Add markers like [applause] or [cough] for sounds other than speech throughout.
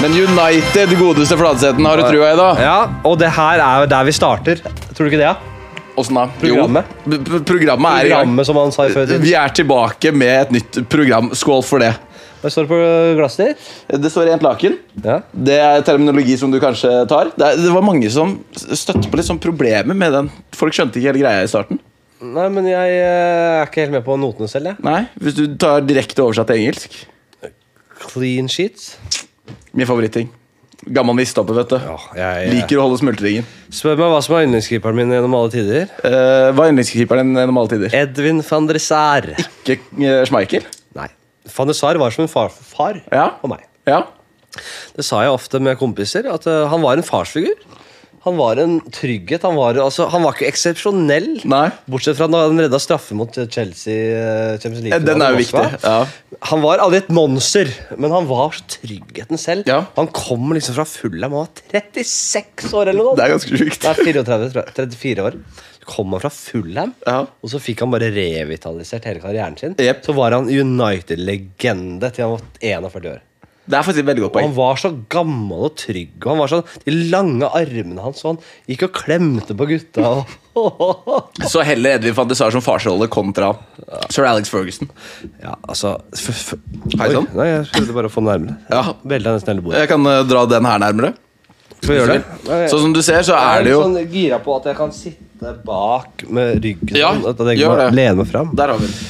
Men United, godeste Fladseten, har du trua i da? Ja, og det her er jo der vi starter. Tror du ikke det? Ja? Åssen da? Programmet. Jo, p- p- programmet er i gang. Programmet som han sa i før. Vi er tilbake med et nytt program. Skål for det. Hva står det på glasset ditt? Det står rent laken. Ja. Det er terminologi som du kanskje tar. Det, er, det var mange som støtte på litt sånn problemer med den. Folk skjønte ikke hele greia i starten. Nei, men jeg eh, er ikke helt med på notene selv, jeg. Nei, Hvis du tar direkte oversatt til engelsk Clean sheets. Min favoritting. Gammel nistappe, vet du. jeg Liker å holde smultringen. Spør meg hva som er yndlingskeeperen min gjennom alle tider. Uh, var yndlingskeeperen din gjennom alle tider? Edvin van der Sar. Ikke eh, Schmeichel? Nei. Van der Sar var som en far, far Ja. for meg. Ja. Det sa jeg ofte med kompiser, at eh, han var en farsfigur. Han var en trygghet. Han var, altså, han var ikke eksepsjonell. Nei. Bortsett fra da han redda straffe mot Chelsea. eh, Champions League. Den er jo Moskva. viktig, ja. Han var aldri et monster, men han var så tryggheten selv. Ja. Han kom liksom fra Fulham, han var 36 år eller noe. Det er ganske sjukt. Nei, 34, tror jeg. 34 år. Så kom han fra Fulham, Ja. og så fikk han bare revitalisert hele karrieren sin. Jep. Så var han United-legende til han var 41 år. Det er faktisk et veldig godt Og poeng. han var så gammel og trygg. Og han var sånn, De lange armene hans, og han gikk og klemte på gutta. Og, [laughs] Så heller Edvin van de Sar som farsrolle kontra sir Alex Ferguson. ja, altså f f Hei Oi, sann. Nei, jeg prøvde bare å få den nærmere. Ja. Velta nesten hele bordet. Jeg kan eh, dra den her nærmere. Skal vi gjøre det? Sånn som du ser, så er det jo Jeg er litt sånn gira på at jeg kan sitte bak med ryggen Ja, sånn, at jeg gjør kan det. lene meg fram. Der har vi den.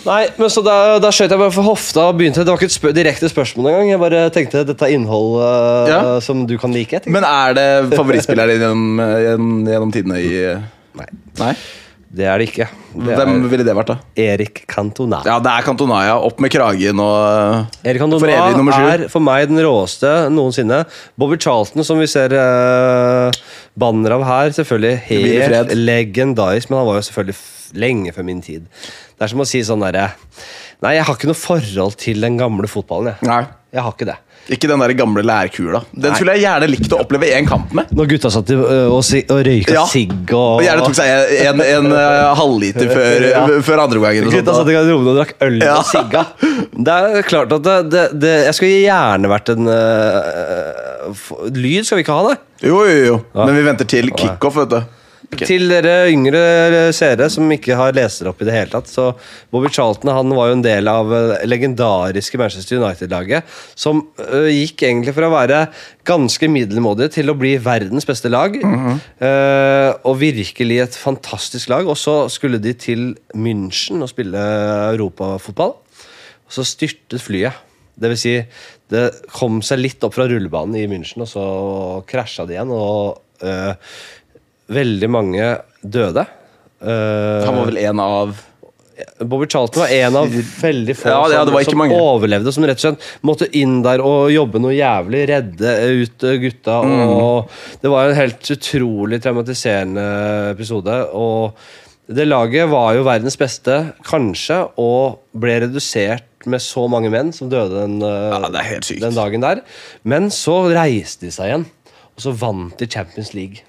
Nei, men så da, da skjøt jeg bare for hofta og begynte. Det var ikke et spø direkte spørsmål engang. Jeg bare tenkte dette er innhold eh, Ja. som du kan like. tenkte jeg. Men er det favorittspilleren din gjennom, eh, gjennom, gjennom tidene i eh, Nei, Nei? det er det ikke. Det er Hvem ville det vært, da? Erik Cantona. Ja, det er Kantonaya. Opp med kragen og eh, Erik For evig nummer Andona sju. er for meg den råeste noensinne. Bobby Charlton, som vi ser eh, banner av her, selvfølgelig Hvil i helt fred. legendarisk, men han var jo selvfølgelig f lenge før min tid. Det er som å si sånn derre Nei, jeg har ikke noe forhold til den gamle fotballen, jeg. Nei. Jeg har ikke det. Ikke den der gamle lærkula. Den skulle jeg gjerne likt å oppleve én kamp med. Når gutta satt i, eh, og, si og røyka Ja. sigg Og og, gjerne tok seg en, en, en eh, halvliter før, Ja. før andre gangen. og Gutta sånt, satt da. i garderoben og drakk øl Ja. og sigga. Det er klart at det, det, det Jeg skulle gjerne vært en eh, f- Lyd skal vi ikke ha, nei. Jo, jo, jo. Men vi venter til kickoff, vet du. Til dere yngre seere som ikke har lesere opp i det hele tatt, så Bobby Charlton han var jo en del av eh, legendariske Manchester United-laget, som eh, gikk egentlig fra å være ganske middelmådige til å bli verdens beste lag. eh, og virkelig et fantastisk lag. Og så skulle de til München og spille europafotball. Og så styrtet flyet. Det vil si, det kom seg litt opp fra rullebanen i München, og så krasja det igjen. og... eh, Veldig mange døde. Eh, Han var vel en av Bobby Charlton var en av veldig få Ja, ja, det som, var ikke som mange. overlevde. Som rett og slett måtte inn der og jobbe noe jævlig, redde ut eh, gutta. Mm. Og det var en helt utrolig traumatiserende episode. Og det laget var jo verdens beste, kanskje, og ble redusert med så mange menn som døde den, eh, Ja, det er helt sykt. den dagen der. Men så reiste de seg igjen, og så vant de Champions League.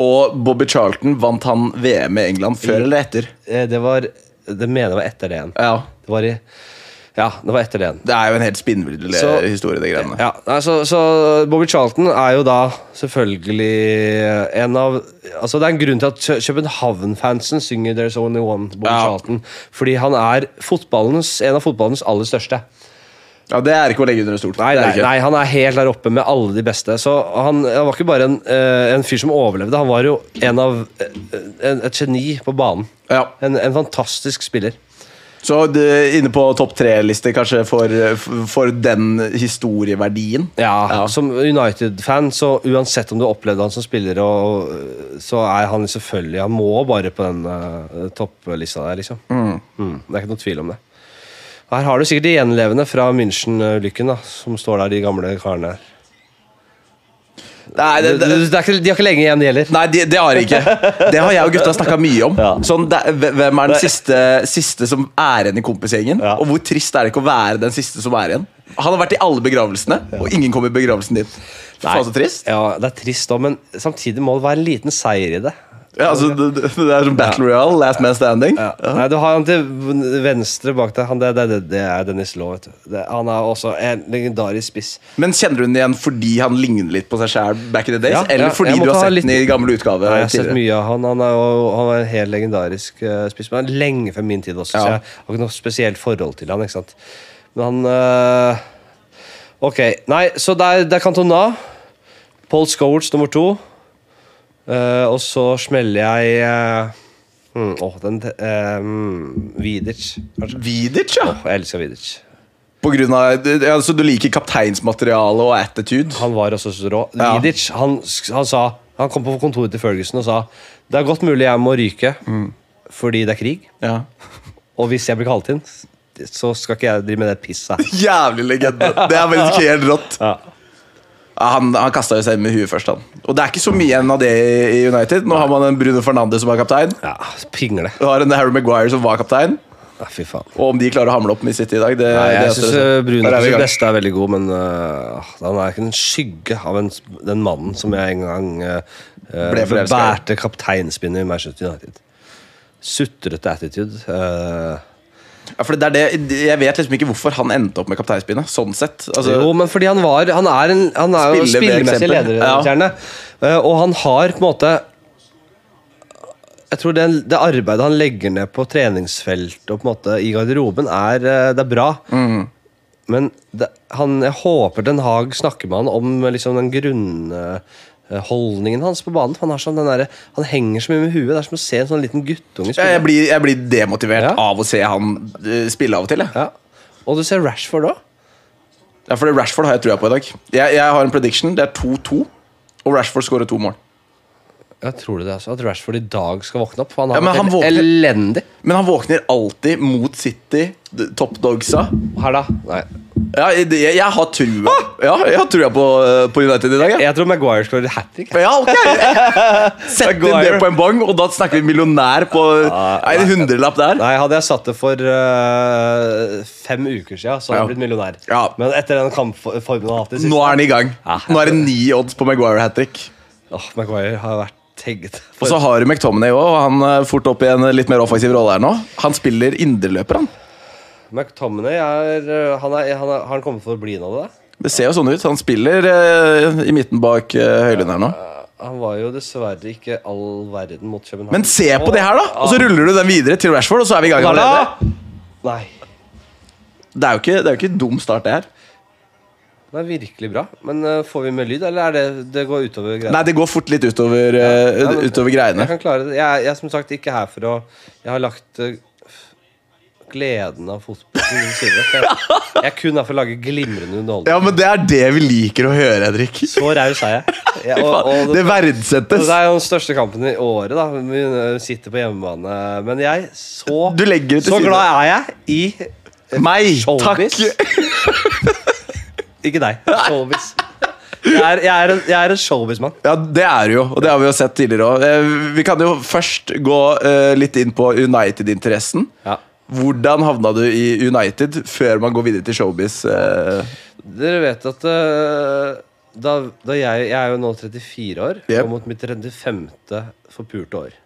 Og Bobby Charlton vant han VM i England før eller etter? Eh, Det var Det mener jeg var etter det igjen. Ja. Det var i Ja, det var etter det igjen. Det er jo en helt spinnvill Så- eh, historie, de greiene. Ja, nei, så, så Bobby Charlton er jo da selvfølgelig en av Altså Det er en grunn til at Kø- København-fansen synger 'There's Only One' Bobby Ja. Charlton. Fordi han er fotballens, en av fotballens aller største. Ja, Det er ikke å legge under en stol. Nei, Det er nei, ikke. nei, han er helt der oppe med alle de beste. Så han, han var ikke bare en, eh, en fyr som overlevde, han var jo en av eh, en, et geni på banen. Ja. En, en fantastisk spiller. Så du, er inne på topp tre-liste kanskje for, for den historieverdien? Ja, Ja. som United-fan, så uansett om du opplevde han som spiller, og, øh, så er han selvfølgelig Han må bare på den øh, topplista der, liksom. Mm, det er ikke noe tvil om det. Og her har du sikkert de gjenlevende fra München-ulykken, da, som står der, de gamle karene her. Nei, det, Det, det, det er ikke, de har ikke lenge igjen, de heller. nei det, det har jeg ikke. Det har jeg og gutta snakka mye om. Ja. Sånn, det, er- hvem er den siste, siste som er igjen i kompisgjengen? Ja. Og hvor trist er det ikke å være den siste som er igjen? Han har vært i alle begravelsene, og ingen kom i begravelsen din. Faen så trist. Ja, det er trist òg, men samtidig må det være en liten seier i det. Ja, altså, det, det det er som Battle Royale, Last Man Standing. Ja. Nei, du har han til venstre bak deg. Han der, det, det, det er Dennis Law. Vet du. Det, han er også en legendarisk spiss. Men kjenner du den igjen fordi han ligner litt på seg sjæl back in the days? Ja, eller ja, fordi jeg du måtte har ha sett litt- den i gammel utgave? Nei, jeg har sett tidligere? mye av han. Han er, jo, han er en helt legendarisk eh, spiss. Men han er lenge før min tid også, Ja. så jeg har ikke noe spesielt forhold til han. Ikke sant? Men han eh, Ok. Nei, så det er, det er Cantona. Paul Scholes nummer to. Eh, og så smeller jeg eh, mm, Åh, den eh, mm, Vidic, kanskje. Vidic, ja. Åh, jeg elsker Vidic. På grunn av, ja, så du liker kapteinsmateriale og attitude? Han var også så rå. Ja. Vidic, han, sk- han sa Han kom på kontoret til Ferguson og sa Det er godt mulig jeg må ryke Mm. fordi det er krig, Ja. og hvis jeg blir kalt inn, så skal ikke jeg drive med det pisset her. Jævlig legende! Det er faktisk [laughs] helt rått. Ja. Ja, Han, han kasta jo seg med huet først, han. Og det er ikke så mye igjen av det i United. Nå har man en Bruno Fernandez som er kaptein. Ja, pingle. Du har en Harry Maguire som var kaptein. Ja, fy faen. Og om de klarer å hamle opp med City i dag, det, Nei, det jeg er syns interessant. Bruno Der er vi i på sitt gang. beste er veldig god, men øh, han er ikke en skygge av en, den mannen som jeg en gang øh, Ble forelsket i. bærte kapteinspinnet i Manchester United. Sutrete attitude. øh. Ja, for det er det, jeg vet liksom ikke hvorfor han endte opp med kapteinspinnet. Sånn sett. Altså, jo, men fordi han var Han er, en, han er jo Spiller ved spillemessig eksempel. lederstjerne. Eh, Og han har på en måte Jeg tror det, det arbeidet han legger ned på treningsfelt og på en måte i garderoben, er, eh, det er bra. Mm. Men det, han, jeg håper Den Haag snakker med han om liksom den grunnholdningen hans på banen. For han, har sånn den derre- han henger så mye med huet. Det er som å se en sånn liten guttunge jeg, jeg, blir, jeg blir demotivert Ja. av å se han eh, spille av og til. Jeg. Ja. Og du ser Rashford òg. Ja, for det Rashford har jeg trua på i dag. Jeg, jeg har en prediction. Det er 2-2, og Rashford skårer to mål. Jeg tror det, altså. At Rashford i dag skal våkne opp. For han Ja, har men vært han helt våkner- elendig. Men han våkner alltid mot City, d- top dogsa. Her, da? Nei. Ja, jeg, jeg jeg har trua Ja, jeg har trua på, eh, på United i dag. Jeg. Jeg tror Maguire skårer hat trick. Ja, [laughs] ok Sett inn det Maguire. på en bong, og da snakker vi millionær på Nei, en hundrelapp der. Nei, Hadde jeg satt det for øh, fem uker siden, så hadde jeg Ja. blitt millionær. Ja. Men etter den kampformen han har hatt i siste Nå er han i gang. Ja. Nå er det ni odds på Maguire hat trick. Åh, Maguire har vært tegget. Og så har du McTominay òg, og han er fort opp i en eh, litt mer offensiv rolle her nå. Han spiller indreløper, han. McTominay er, øh, han er, han er, Har han kommet for å bli nå, da? Det ser jo sånn ut. Han spiller eh, i midten bak eh, Høylund her nå. Han var jo dessverre ikke all verden mot København. Men se på det her, da! Altså, Og så ruller du den videre til Rashford, og så er vi i gang Lala! allerede. Nei. Det er jo ikke, det er jo ikke dum start, det her. Det er virkelig bra. Men øh, får vi med lyd, eller er det, det går utover greiene? Nei, det går fort litt utover, eh, Nei, men- [laughs] utover greiene. Jeg kan klare det. Jeg, er- jeg er som sagt ikke her for å Jeg har lagt eh, gleden av fotball til side. for Jeg, jeg er kun her for å lage glimrende underholdning. Ja, men det er det vi liker å høre, Henrik. Så raus er jeg. jeg og, og, Det det, verdsettes. det er jo den største kampen i året, da. Vi eh, sitter på hjemmebane. Men jeg Så, Du legger det til så side. glad er jeg i Meg! Showbiz. Takk! Ikke deg. Showbiz. Jeg er, jeg er en, jeg er en showbiz-mann. Ja, det er det jo, og det har vi jo sett tidligere òg. Vi kan jo først gå eh, litt inn på United-interessen. Ja. Hvordan havna du i United før man går videre til showbiz? eh? Dere vet at eh, da, da jeg, jeg er jo nå 34 år, Yep. og mot mitt 35. forpulte år.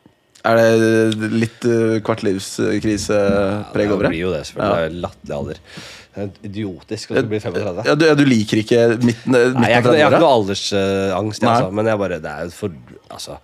Er det litt uh, kvartlivskrisepreg det over blir det? jo det, selvfølgelig. Det er jo latterlig alder. Det er Idiotisk å skulle bli 35. Ja, du, ja, du liker ikke midten, eh, midten Nei, jeg, er av ikke, jeg har 30-åra? ikke noe aldersangst, jeg, Nei. altså, men jeg bare, det er jo for altså,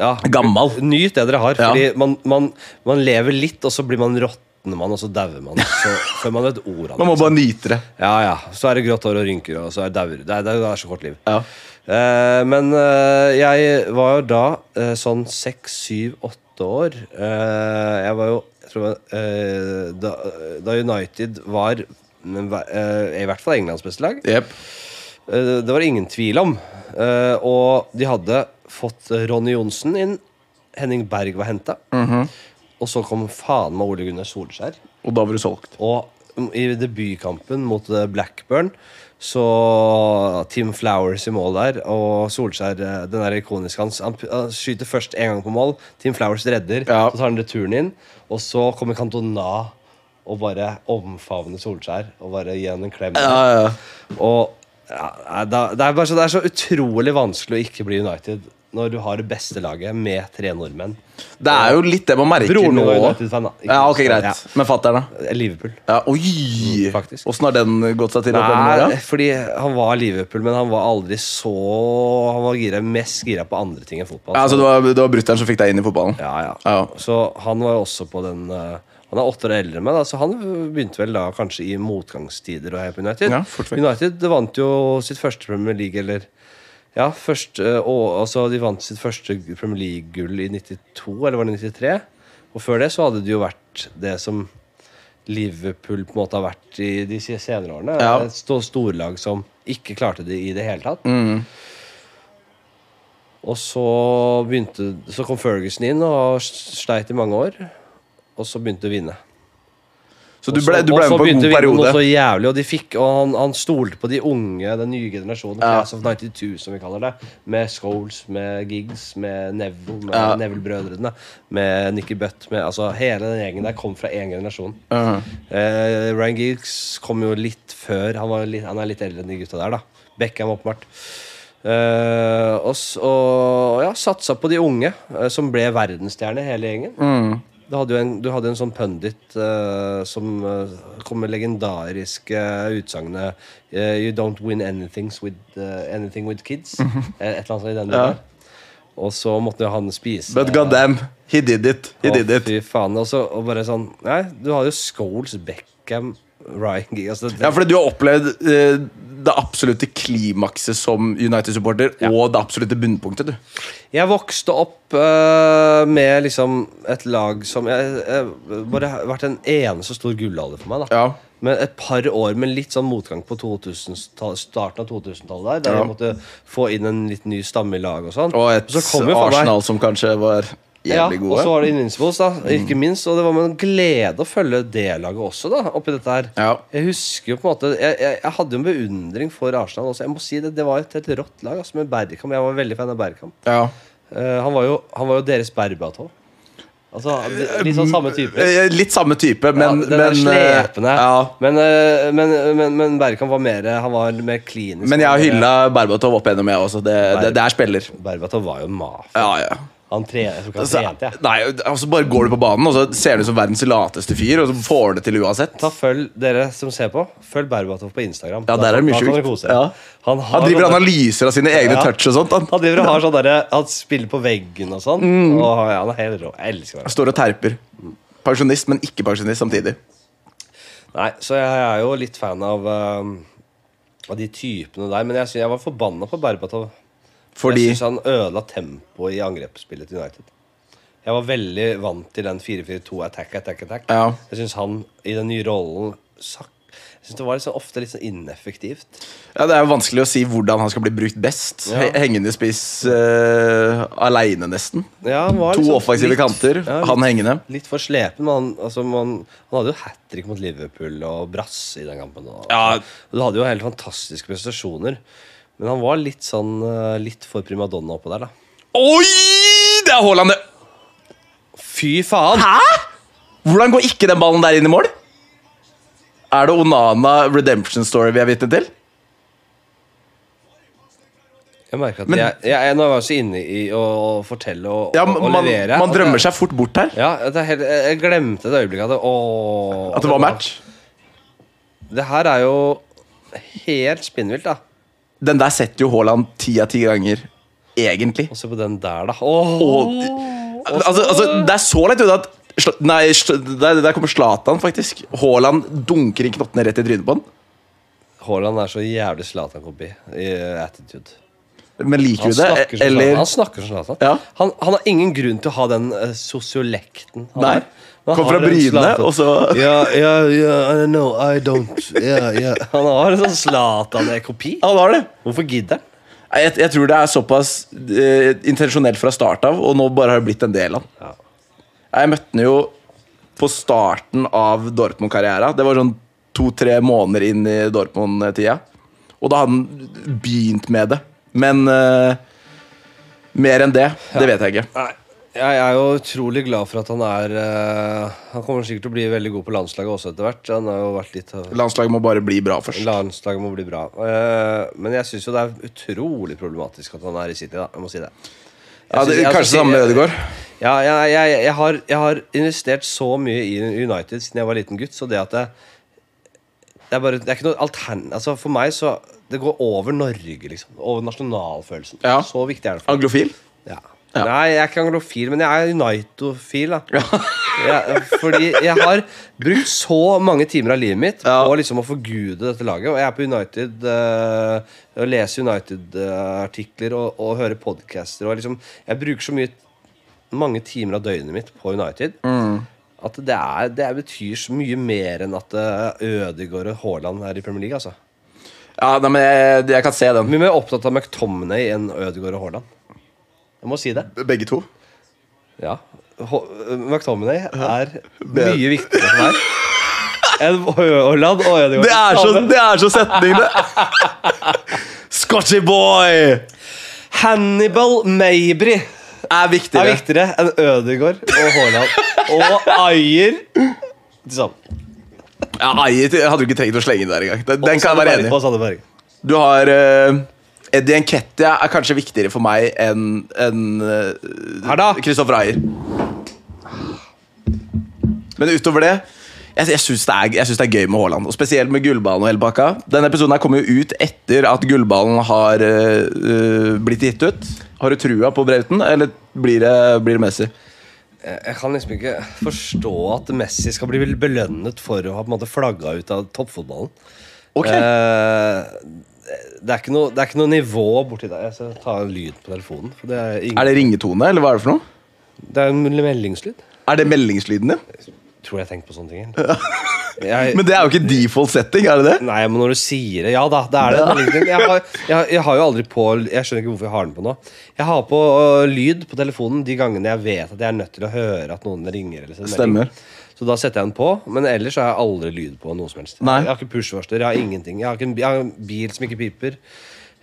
ja. Gammal. Nyt det dere har. Ja. Fordi man, man, man lever litt, og så blir man råtner man, og så dauer man. [laughs] Så, før man vet ordet av Man må det. bare nyte det. Ja, ja. Så er det grått hår og rynker, og så er det dauer. Det, er- det er så kort liv. Ja. Eh, men eh, jeg var jo da eh, sånn seks, syv, åtte år. Eh, jeg var jo jeg tror, jeg var, eh, da, da United var men, hva- eh, I hvert fall Englands beste lag. Jep. Eh, det var det ingen tvil om. Eh, og de hadde fått Ronny Johnsen inn. Henning Berg var henta. Og så kom faen meg Ole Gunnar Solskjær. Og da var du solgt. Og i debutkampen mot eh, Blackburn så Tim Flowers i mål der, og Solskjær, eh, den der ikoniske hans Han p- han skyter først én gang på mål, Tim Flowers redder, Ja. så tar han returen inn, og så kommer Cantona og bare omfavner Solskjær og bare gir han en klem. Ja, ja. Og ja, nei, da, det, er bare så, det er så utrolig vanskelig å ikke bli United når du har det beste laget med tre nordmenn. Det er jo litt det man merker Broren min nå. var United-fan, da. Ikke Ja, ok, sant? greit. Men fatter'n, da? Ja. Liverpool. Ja, oi! faktisk. Åssen har den gått seg til? opp gjennom Nei, åra? fordi han var Liverpool, men han var aldri så Han var gira, mest gira på andre ting enn fotball. Ja, så- altså, det var, det var brutter'n som fikk deg inn i fotballen? Ja, ja. Ja. Så han var jo også på den eh, Han er åtte år eldre enn meg, da, så han begynte vel da kanskje i motgangstider og heia på United. Ja, fort vekk. United vant jo sitt første Premier League, eller Ja, først, eh, og, altså, de vant sitt første Premier League-gull i 92, eller var det 93? Og før det så hadde det jo vært det som Liverpool på en måte har vært i de senere årene. Ja. Et sto- storlag som ikke klarte det i det hele tatt. Mm. Og så, begynte, så kom Ferguson inn og sleit i mange år. Og så begynte å vinne. Så du ble, du ble og så med på en begynte god å vinne noe periode? så jævlig, og, de fikk, og han, han stolte på de unge, den nye generasjonen, Ja. Class of 92, som vi kaller det, med Scholes, med Giggs, med Neville, med Ja. Neville-brødrene, med Nicky Butt med, altså, Hele den gjengen der kom fra én generasjon. Ja. Eh, Ryan Giggs kom jo litt før. Han, var litt, han er litt eldre enn de gutta der, da. Beckham, åpenbart. Eh, og s- og ja, satsa på de unge, eh, som ble verdensstjerner, hele gjengen. Mm. Du hadde jo en, du hadde en sånn pundit eh, som eh, kom med legendariske utsagnet eh, You don't win anything with, eh, anything with kids. Eh, Et eller annet sånt i den Mhm. Ja. duren. Og så måtte jo han spise But god damn, he did it. He å, did it. Fy faen. Og så og bare sånn Nei, du har jo Scholes, Beckham, Ryan Giggs altså, det- Ja, fordi du har opplevd eh, det absolutte klimakset som United-supporter, og det absolutte bunnpunktet, du. Jeg vokste opp eh, med liksom et lag som jeg, jeg, Bare har vært en eneste stor gullalder for meg. da Ja. Men et par år med litt sånn motgang på 2000-tall- starten av 2000-tallet. Der der Ja. jeg måtte få inn en litt ny stamme i lag og sånn. Og et så kom jo faen meg- Arsenal som kanskje var jævlig Og så gode. Mm. var det Invincibles, da. Ikke minst. Og det var med en glede å følge det laget også, da. Oppi dette her. Ja. Jeg husker jo på en måte Jeg, jeg, jeg hadde jo en beundring for Arsenal også. Jeg må si Det det var et helt rått lag altså, med Bergkamp. Jeg var veldig fan av Bergkamp. Ja. Eh, han, var jo, han var jo deres Berbatov. Altså, de- litt sånn samme type. Eh, Litt samme type, men, ja, den der men eh, slepende. ja. Men, eh, men, men, men Bergkamp var mer eh, Han var mer klinisk. Men jeg har hylla Berbatov opp igjennom, jeg også. Det, det, det er spiller. Berbatov var jo en mafia. Ja, ja. Han tre, jeg tror ikke han Altså, trente, jeg. nei, altså bare går du på banen, og så ser du ut som verdens lateste fyr, og så får han det til uansett. Ta følg dere som ser på, følg Berbatov på Instagram. Ja, der er det mye Da kan dere sjukt. kose dere. Ja. Han, har Han driver sånne- analyser av sine egne Ja. touch og sånt. Han han driver og har sånn derre Han spiller på veggen og sånn. Mm. Og ja, han er helt rå. Jeg elsker det. står og terper. Pensjonist, men ikke pensjonist samtidig. Nei, så jeg er jo litt fan av ehm, Av de typene der. Men jeg, synes, jeg var forbanna på Berbatov. Fordi Jeg syns han ødela tempoet i angrepsspillet til United. Jeg var veldig vant til den 4-4-2 attack, attack, attack. Ja. Jeg syns han i den nye rollen sak jeg synes Det var liksom, ofte litt sånn ineffektivt. ja, Det er jo vanskelig å si hvordan han skal bli brukt best. Ja. He- Hengende spiss uh, aleine, nesten. Ja, han var To liksom offensive litt- kanter, ja, litt- han hengende. Litt for slepen, men han, altså, man, han hadde jo hat trick mot Liverpool og brass i den kampen. Og, Ja. og Du hadde jo helt fantastiske prestasjoner. Men han var litt sånn eh, Litt for primadonna oppå der, da. Oi! Det er Haaland, det! Fy faen! Hvordan går ikke den ballen der inn i mål? Er det Onana redemption story vi er vitne til? Jeg merker at Men- jeg, jeg, jeg, nå var jeg så inne i å fortelle og, Ja, og, man, og man, levere. man at drømmer jeg- seg fort bort her. Ja, at jeg, helt- jeg, jeg glemte et øyeblikk at det, åh, At det var match. Det her er jo helt spinnvilt, da. Den der setter jo Haaland ti av ti ganger, egentlig. Og se på den der, da. Åh. Og, altså, altså, det er så lett unna at Sla- Nei, Sl- der, der kommer Zlatan, faktisk. Haaland dunker inn knottene rett i trynet på han. Haaland er så jævlig Zlatan-kopi i attitude. Men liker Han du det? snakker som Eller Zlatan. Han, snakker som Zlatan. Ja. han, han har ingen grunn til å ha den uh, sosiolekten. han Nei. har. Men han Kom har fra den Bryne, Zlatan. og så- Ja, ja, ja, I don't know, I don't ja, ja. [laughs] Han har en sånn Zlatan-kopi. Han har det. Hvorfor gidder han? Nei, Jeg, jeg tror det er såpass eh, intensjonelt fra start av, og nå bare har det blitt en del av han. Ja. Jeg møtte han jo på starten av Dortmund-karriera. Det var sånn to-tre måneder inn i Dortmund-tida. Og da hadde han begynt med det. Men eh, mer enn det, det vet jeg ikke. Nei, jeg er jo utrolig glad for at han er eh, Han kommer sikkert til å bli veldig god på landslaget også etter hvert. Han har jo vært litt av- Landslaget må bare bli bra først. Landslaget må bli bra. Eh, men jeg syns jo det er utrolig problematisk at han er i City, da. Jeg må si det. Ja, det er Jeg- kanskje samme med Ødegaard. Ja, jeg, jeg, jeg, har, jeg har investert så mye i United siden jeg var liten gutt, så det at jeg, det er bare, det er ikke noe altern... Altså For meg så Det går over Norge, liksom. Over nasjonalfølelsen. Ja. Så viktig er det for meg. Anglofil? Ja. Ja. Nei, jeg er ikke anglofil, men jeg er unitofil. da jeg, Fordi jeg har brukt så mange timer av livet mitt Ja. på liksom å forgude dette laget. Og jeg er på United eh, og leser United-artikler og, og hører podcaster. Og liksom, jeg bruker så mye mange timer av døgnet mitt på United. At det, er, det betyr så mye mer enn at eh, Ødegaard og Haaland er i Premier League. Altså. Ja, nei, men jeg, jeg kan se den. Mye mer opptatt av McTominay enn Ødegaard og Haaland. Jeg må si det. Begge to? Ja. H- McTominay er mye viktigere for meg enn Haaland og Ødegaard. Det er sånn- så, det er så setning, [laughs] det! Scotchy boy! Hannibal Mabry Er er viktigere. viktigere enn Ødegaard og Haaland. Og Ayer til sammen. Ja, Ayer til- hadde du ikke trengt å slenge inn der engang. Den, den kan jeg være enig i. Og Sanne Berge. Du har eh, Eddie Nketiah er kanskje viktigere for meg enn enn, eh, Her da. Kristoffer Ayer. Men utover det jeg, jeg syns det, er- jeg syns det er gøy med Haaland. Og spesielt med gullballen og hele pakka. Denne episoden her kommer jo ut etter at gullballen har eh, eh, blitt gitt ut. Har du trua på Brauten, eller blir det, blir det Messi? Jeg jeg kan liksom ikke forstå at Messi skal bli belønnet for å ha på en måte flagga ut av toppfotballen. Ok. Eh, det, er ikke noe, det er ikke noe nivå borti der. Jeg skal ta en lyd på telefonen. For det, er ingen, Er det ringetone, eller hva er det for noe? det er en meldingslyd. Er det meldingslyden din? Tror jeg har tenkt på sånne ting. eller? Jeg, Men det er jo ikke default setting, er det det? nei, men når du sier det Ja da, det er det. en meldingslyd. Jeg har, jeg, jeg har jo aldri på Jeg skjønner ikke hvorfor jeg har den på nå. Jeg har på øh, lyd på telefonen de gangene jeg vet at jeg er nødt til å høre at noen ringer. Eller sender melding. Stemmer. Så da setter jeg den på, men ellers har jeg aldri lyd på noe som helst. Nei. Jeg har ikke push-varsler, jeg har ingenting. Jeg har, ikke en, bi- jeg har en bil som ikke piper.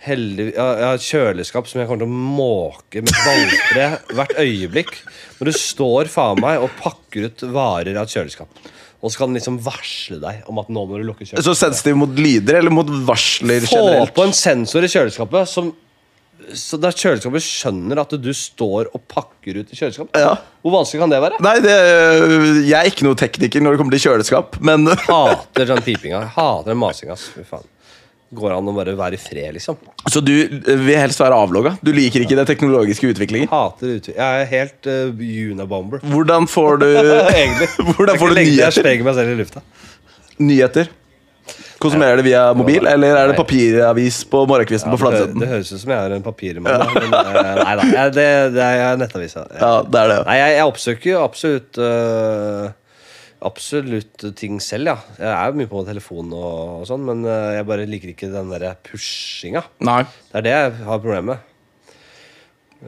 Heldig, jeg har- jeg har et kjøleskap som jeg kommer til å måke med valpre hvert øyeblikk. Når du står faen meg og pakker ut varer av et kjøleskap, og så kan den liksom varsle deg om at nå må du lukke kjøleskapet. Så sensitiv mot lyder, eller mot varsler Få generelt? på en sensor i kjøleskapet som så der kjøleskapet skjønner at du står og pakker ut i kjøleskapet. Ja. Hvor vanskelig kan det være? Nei, det, jeg er ikke noe tekniker når det kommer til kjøleskap, men [laughs] Hater den pipinga. Hater den masinga. ass. Fy faen. Går det an å bare være i fred, liksom? Så du vil helst være avlogga? Du liker ikke den teknologiske utviklingen? Hater utvi... Jeg er helt uh, Unabomber. [laughs] Eh, Hvordan får [laughs] du Egentlig. Hvordan får du Jeg nyheter? stenger meg selv i lufta. nyheter? Konsumerer du det via mobil, eller er det Nei. papiravis på morgenkvisten på Det, hø- Fladseten? det høres ut som jeg er en papirmann. da, Men, eh, nei da. Jeg, det, det er jeg er nettavisa. Ja, det er det. Nei, jeg, jeg oppsøker jo absolutt eh, Absolutt ting selv, ja. Jeg er jo mye på telefon og, og sånn, men eh, jeg bare liker ikke den derre pushinga. Nei. Det er det jeg har problemet med.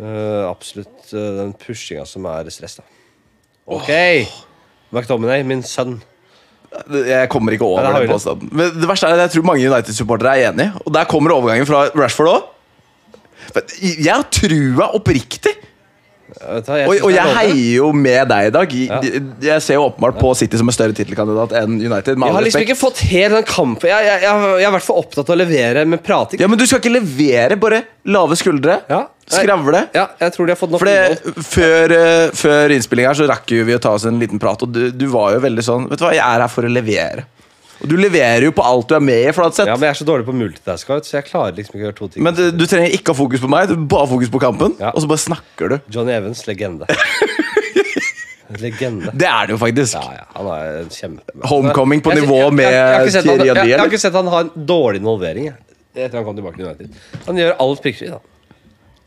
Eh, absolutt eh, den pushinga som er stress, da. OK! McTominay, min sønn. Jeg kommer ikke Nei, over det har den vi det. påstanden. Men det verste er at jeg tror mange United-supportere er enige, og der kommer overgangen fra Rashford òg. Jeg har trua oppriktig! Jeg vet hva, jeg Og, synes og det er jeg lovende. heier jo med deg i dag. Ja. Jeg, jeg ser jo åpenbart på City som en større tittelkandidat enn United. Med Jeg all har liksom respekt. ikke fått helt den kampen. Jeg, jeg, jeg, jeg er i hvert fall opptatt av å levere med prating. Ja, Men du skal ikke levere. Bare lave skuldre. Ja. Nei. Skravle. Ja, jeg tror de har fått nok For det, innhold. før, eh, før innspilling her så rakk jo vi å ta oss en liten prat, og du, du var jo veldig sånn Vet du hva, jeg er her for å levere. Og du leverer jo på alt du er med i, Flatseth. Ja, men jeg er så dårlig på multitask, vet du, så jeg klarer liksom ikke å gjøre to ting. Men du, du trenger ikke ha fokus på meg, du bare fokus på kampen. Ja. Og så bare snakker du. Johnny Evans, legende. [laughs] legende. Det er det jo faktisk. Ja, ja, han er en kjempe... Homecoming på Jeg- jeg- nivå jeg- jeg- med jeg har ikke sett han- Thierry jeg- Henry, Jeg har eller? ikke sett han ha en dårlig involvering jeg, etter han kom tilbake til United. Han gjør alt prikkfritt. da.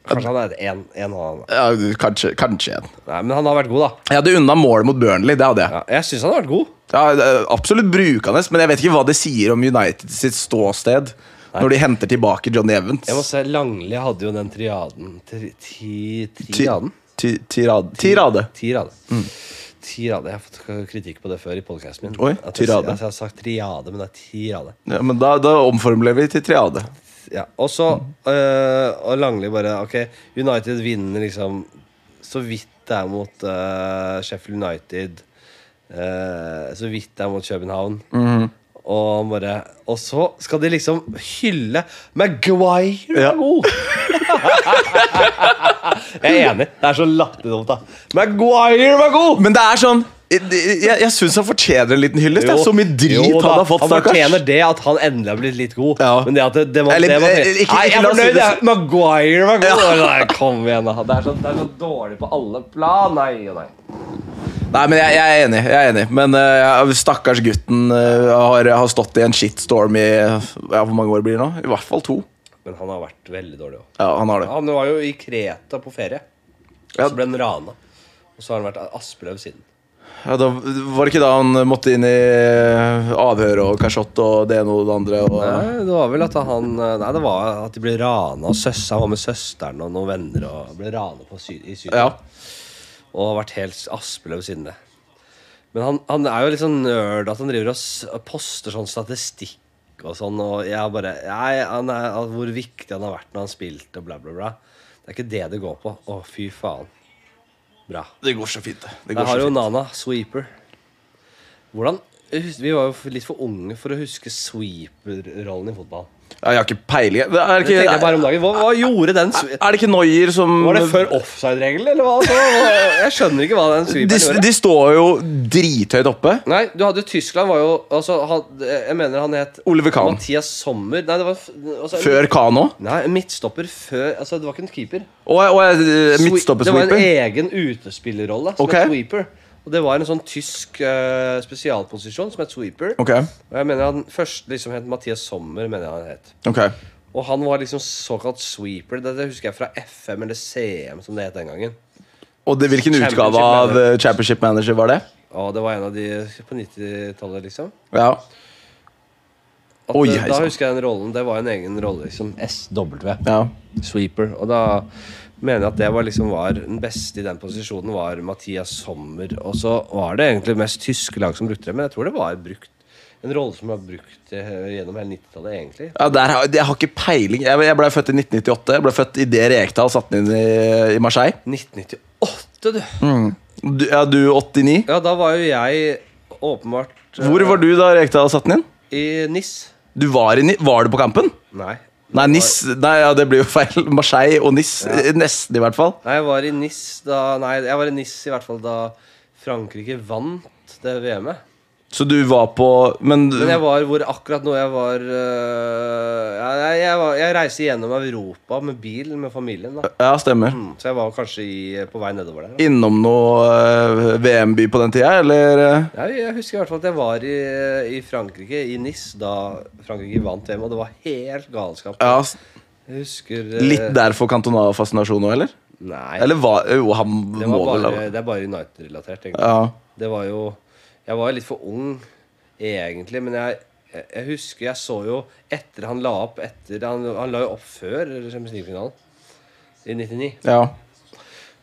Kanskje han er en, en av han. da. Ja, kanskje, kanskje en. Nei, men han har vært god, da. Jeg hadde unna målet mot Burnley. det hadde jeg Ja, jeg syns han har vært god. Ja, det er absolutt brukende, men jeg vet ikke hva det sier om United sitt ståsted når de henter tilbake Johnny Evans. Jeg må se, Langli hadde jo den triaden tri, ti, Ti- Triaden? ti- tirad- Tirade. Tirade. Mm. Tirade. Jeg har fått kritikk på det før i podcasten min. Oi, at jeg, tirade. at jeg har sagt triade, men det er tirade. Ja, men da, da omformulerer vi til triade. Ja, og så øh, Og Langli bare Ok, United vinner liksom så vidt det er mot eh, øh, Sheffield United. øh, så vidt det er mot København. Og, han bare, og så skal de liksom hylle Maguire er Ja. god! [laughs] jeg er enig. Det er så latterdumt, da. Maguire var god! Men det er sånn Jeg, jeg, jeg syns han fortjener en liten hyllest. det er Jo, så mye drit jo da, han har fått, Han fortjener stakkars. det at han endelig har blitt litt god. Ja. Men det at det, det var, Eller, det var eh, ikke- ikke Nei, jeg er la oss si fornøyd. det jeg. Maguire var god! Nei, kom igjen, da. Det er, så, det er så dårlig på alle plan. Nei og nei. Nei, men jeg, jeg er enig. jeg er enig Men eh, jeg- stakkars gutten eh, har, har stått i en shitstorm i ja, Hvor mange år blir det nå? I hvert fall to. Men han har vært veldig dårlig òg. Ja, han har det. Han var jo i Kreta på ferie. Og Ja. så ble han rana. Og så har han vært Aspeløv siden. Ja, da, var det ikke da han måtte inn i avhør og kasjott og det ene og det andre? Og, Nei, det var vel at han eh, Nei, det var at de ble rana. og søs- Han var med søsteren og noen venner og ble rana på sy i Syria. ja. Og har vært helt Aspeløv siden det. Men han, han er jo litt sånn nerd at han driver og s- poster sånn statistikk og sånn. Og jeg bare nei, han er, al- Hvor viktig han har vært når han spilte og bla, bla, bla. Det er ikke det det går på. Å, fy faen. Bra. Det går så fint, det. det Der går har så jo fint. Nana Sweeper. Hvordan hus- Vi var jo litt for unge for å huske sweeper-rollen i fotball. Ja, jeg har ikke peiling. Det er, Det tenkte jeg ikke, bare om dagen. Hva, hva gjorde den swe- er det ikke Noyer som Var det før offside-regelen, eller hva? Så, jeg skjønner ikke hva den de, sweeperen gjorde. de står jo drithøyt oppe. Nei, du hadde Tyskland var jo altså, han, Jeg mener han het Oliver Kahn. Mathias Sommer. Nei, det var f- altså, Før Kano. Nei, en midtstopper før Altså, det var ikke en keeper. Og, og Det var en midtstoppersweeper. egen utespillerrolle som Ok. het sweeper. Og det var en sånn tysk eh, spesialposisjon som het sweeper. Ok, Og jeg mener han først liksom het Mathias Sommer, mener jeg han het. ok Og han var liksom såkalt sweeper. Dette husker jeg fra FM eller CM, som det het den gangen. Og det, hvilken Championship utgave av manager. eh, Championship Manager var det? Og det var en av de på 90-tallet, liksom. Ja. At, Oi, eh, hei da sann. husker jeg den rollen. Det var en egen rolle, liksom. SW. ja. Sweeper. Og da mener jeg at det var liksom var den beste i den posisjonen, var Mathias Sommer. Og så var det egentlig mest tyske lag som brukte det, men jeg tror det var brukt en rolle som var brukt eh, gjennom hele 90-tallet, egentlig. ja der, har- jeg har ikke peiling. Jeg, jeg ble født i 1998. Jeg ble født idet Rekdal satte den inn i, i Marseille. 1998, du! Mm. Du, ja, du 89. Ja, da var jo jeg åpenbart eh, Hvor var du da Rekdal satte den inn? I NIS. Du var, i, Ni- var du på kampen? Nei. Nei, Nis, nei ja, det blir jo feil. [laughs] Marseille og Nis. eh, Nesten, i hvert fall. Nei, jeg var i NIS da Nei, jeg var i NIS i hvert fall da Frankrike vant det VM-et. Så du var på Men, Men jeg var hvor akkurat nå jeg var øh, ja, jeg, jeg, var, jeg reiser gjennom Europa med bil med familien. da Ja, stemmer. Mm, Så jeg var kanskje i, på vei nedover der. da. Innom noe eh, VM-by på den tida, eller? eh? Jeg, jeg husker i hvert fall at jeg var i, i Frankrike, i NIS, da Frankrike vant VM, og det var helt galskap. Ja, s- Jeg husker øh, Litt derfor Cantona-fascinasjon òg, eller? Nei, Eller hva Jo, han det, må var vel bare, ha det er bare United-relatert. egentlig. ja. Det var jo Jeg var jo litt for ung, egentlig, men jeg jeg jeg husker jeg så jo etter han la opp etter Han, han la jo opp før Champions League-finalen i 99. ja.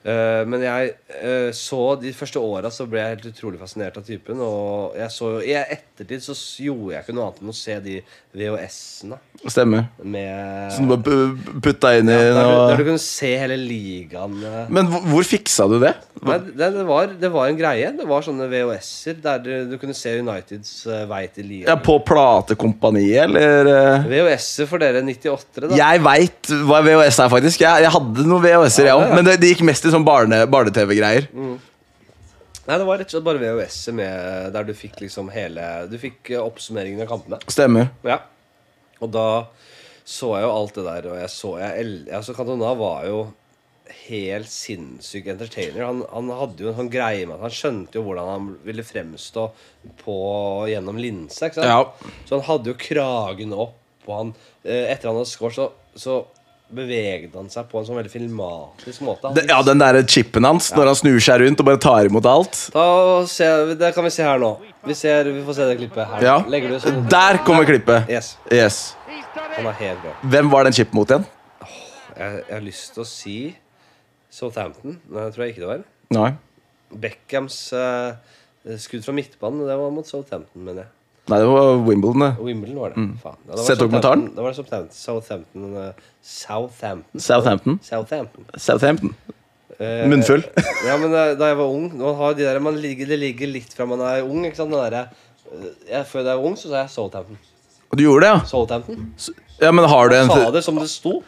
Eh, men jeg eh, så de første åra så ble jeg helt utrolig fascinert av typen. Og jeg så jo, i ettertid så s- gjorde jeg ikke noe annet enn å se de VHS-ene Stemmer. med Så du bare pu- putta inn i der, du, der du noe kunne se hele ligaen. eh. Men hvor, hvor fiksa du det? Nei, det, det, var, det var en greie. Det var sånne VHS-er der du, du kunne se Uniteds eh, vei til ligaen. Ja, på platekompaniet, eller eh? VHS-er for dere 98-ere, da. Jeg veit hva VHS er, faktisk. Jeg, jeg hadde noen VHS-er, jeg Ja, Mm. òg. det er- Men det, det gikk mest i sånn barne- barne-TV-greier. Nei, det var rett og slett bare VHS-er med der du fikk liksom hele Du fikk eh, oppsummeringen av kampene. Stemmer. Ja. Og da så jeg jo alt det der, og jeg så jeg, el- altså Cantona var jo helt sinnssyk entertainer. Han, han hadde jo en sånn greie med at han skjønte jo hvordan han ville fremstå på, gjennom linsa. ikke sant? Ja. Så han hadde jo kragen opp, og han, eh, etter han hadde skåret, så, så beveget han seg på en sånn veldig filmatisk måte. Han Det, ja, den derre chipen hans når han snur seg rundt og bare tar imot alt. Da ser vi, det kan vi se her nå. Vi, ser, vi får se det klippet her. Ja. Legger du sånn Der kommer klippet. Yes. Yes. Han er helt bra. Hvem var den chip mot igjen? Jeg, jeg har lyst til å si Southampton. Nei, det tror jeg ikke det var. Nei. Beckhams eh, skudd fra midtbanen, det var mot Southampton, mener jeg. Nei, det var Wimbledon, det. Og Wimbledon var det. Faen. Ja, det var Sett Mm. dokumentaren? Southampton- Det var Southampton Southampton, eh, Southampton. Southampton. Southampton. Southampton. Eh, [laughs] Munnfull. ja, men eh, da jeg var ung nå har de der, man ligger, Det ligger litt fra man er ung. ikke sant? Den derre jeg, Før jeg var ung, så sa jeg Southampton. Og du gjorde det, ja? Southampton. Ja, men har du en Sa det som det sto.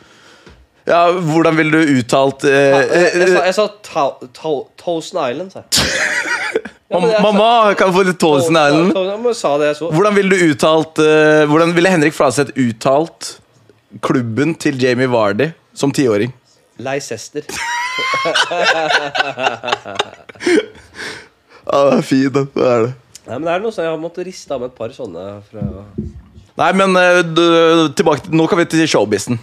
Ja, Hvordan ville du uttalt eh, Jeg, jeg, sa, eh, jeg sa Tau- Tau- Thousand [laughs] Island, sa jeg. Ja, men mam- jeg sa- Mamma, kan jeg få litt Tolson Island? Thousand Island, men jeg sa det jeg så. Hvordan ville du uttalt eh, Hvordan ville Henrik Flaseth uttalt klubben til Jamie Vardy som tiåring? Leicester. Ja, det er fint. Det er det. Nei, men det er noe sånn, Jeg har måttet riste av med et par sånne. Fra Nei, men eh, du, tilbake til, nå kan vi til showbizen.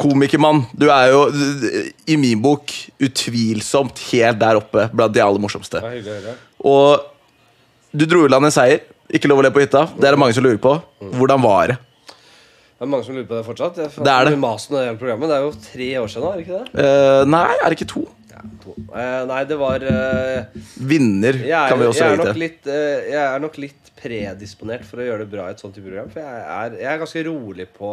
Komikermann. Du er jo du- i min bok utvilsomt helt der oppe blant de aller morsomste. Og du dro i land en seier. Ikke lov å le på hytta. Det er det mange som lurer på. Hvordan var det? Det er mange som lurer på det fortsatt. Jeg Det er det. Masen i det hele programmet. Det er jo tre år siden nå, er det ikke det? Eh, nei, er det ikke to? Ja, to. Eh, nei, det var eh, Vinner jeg, er, kan vi også jeg, er legge nok til. litt, eh, jeg er nok litt predisponert for å gjøre det bra i et sånt type program. For jeg er, jeg er ganske rolig på,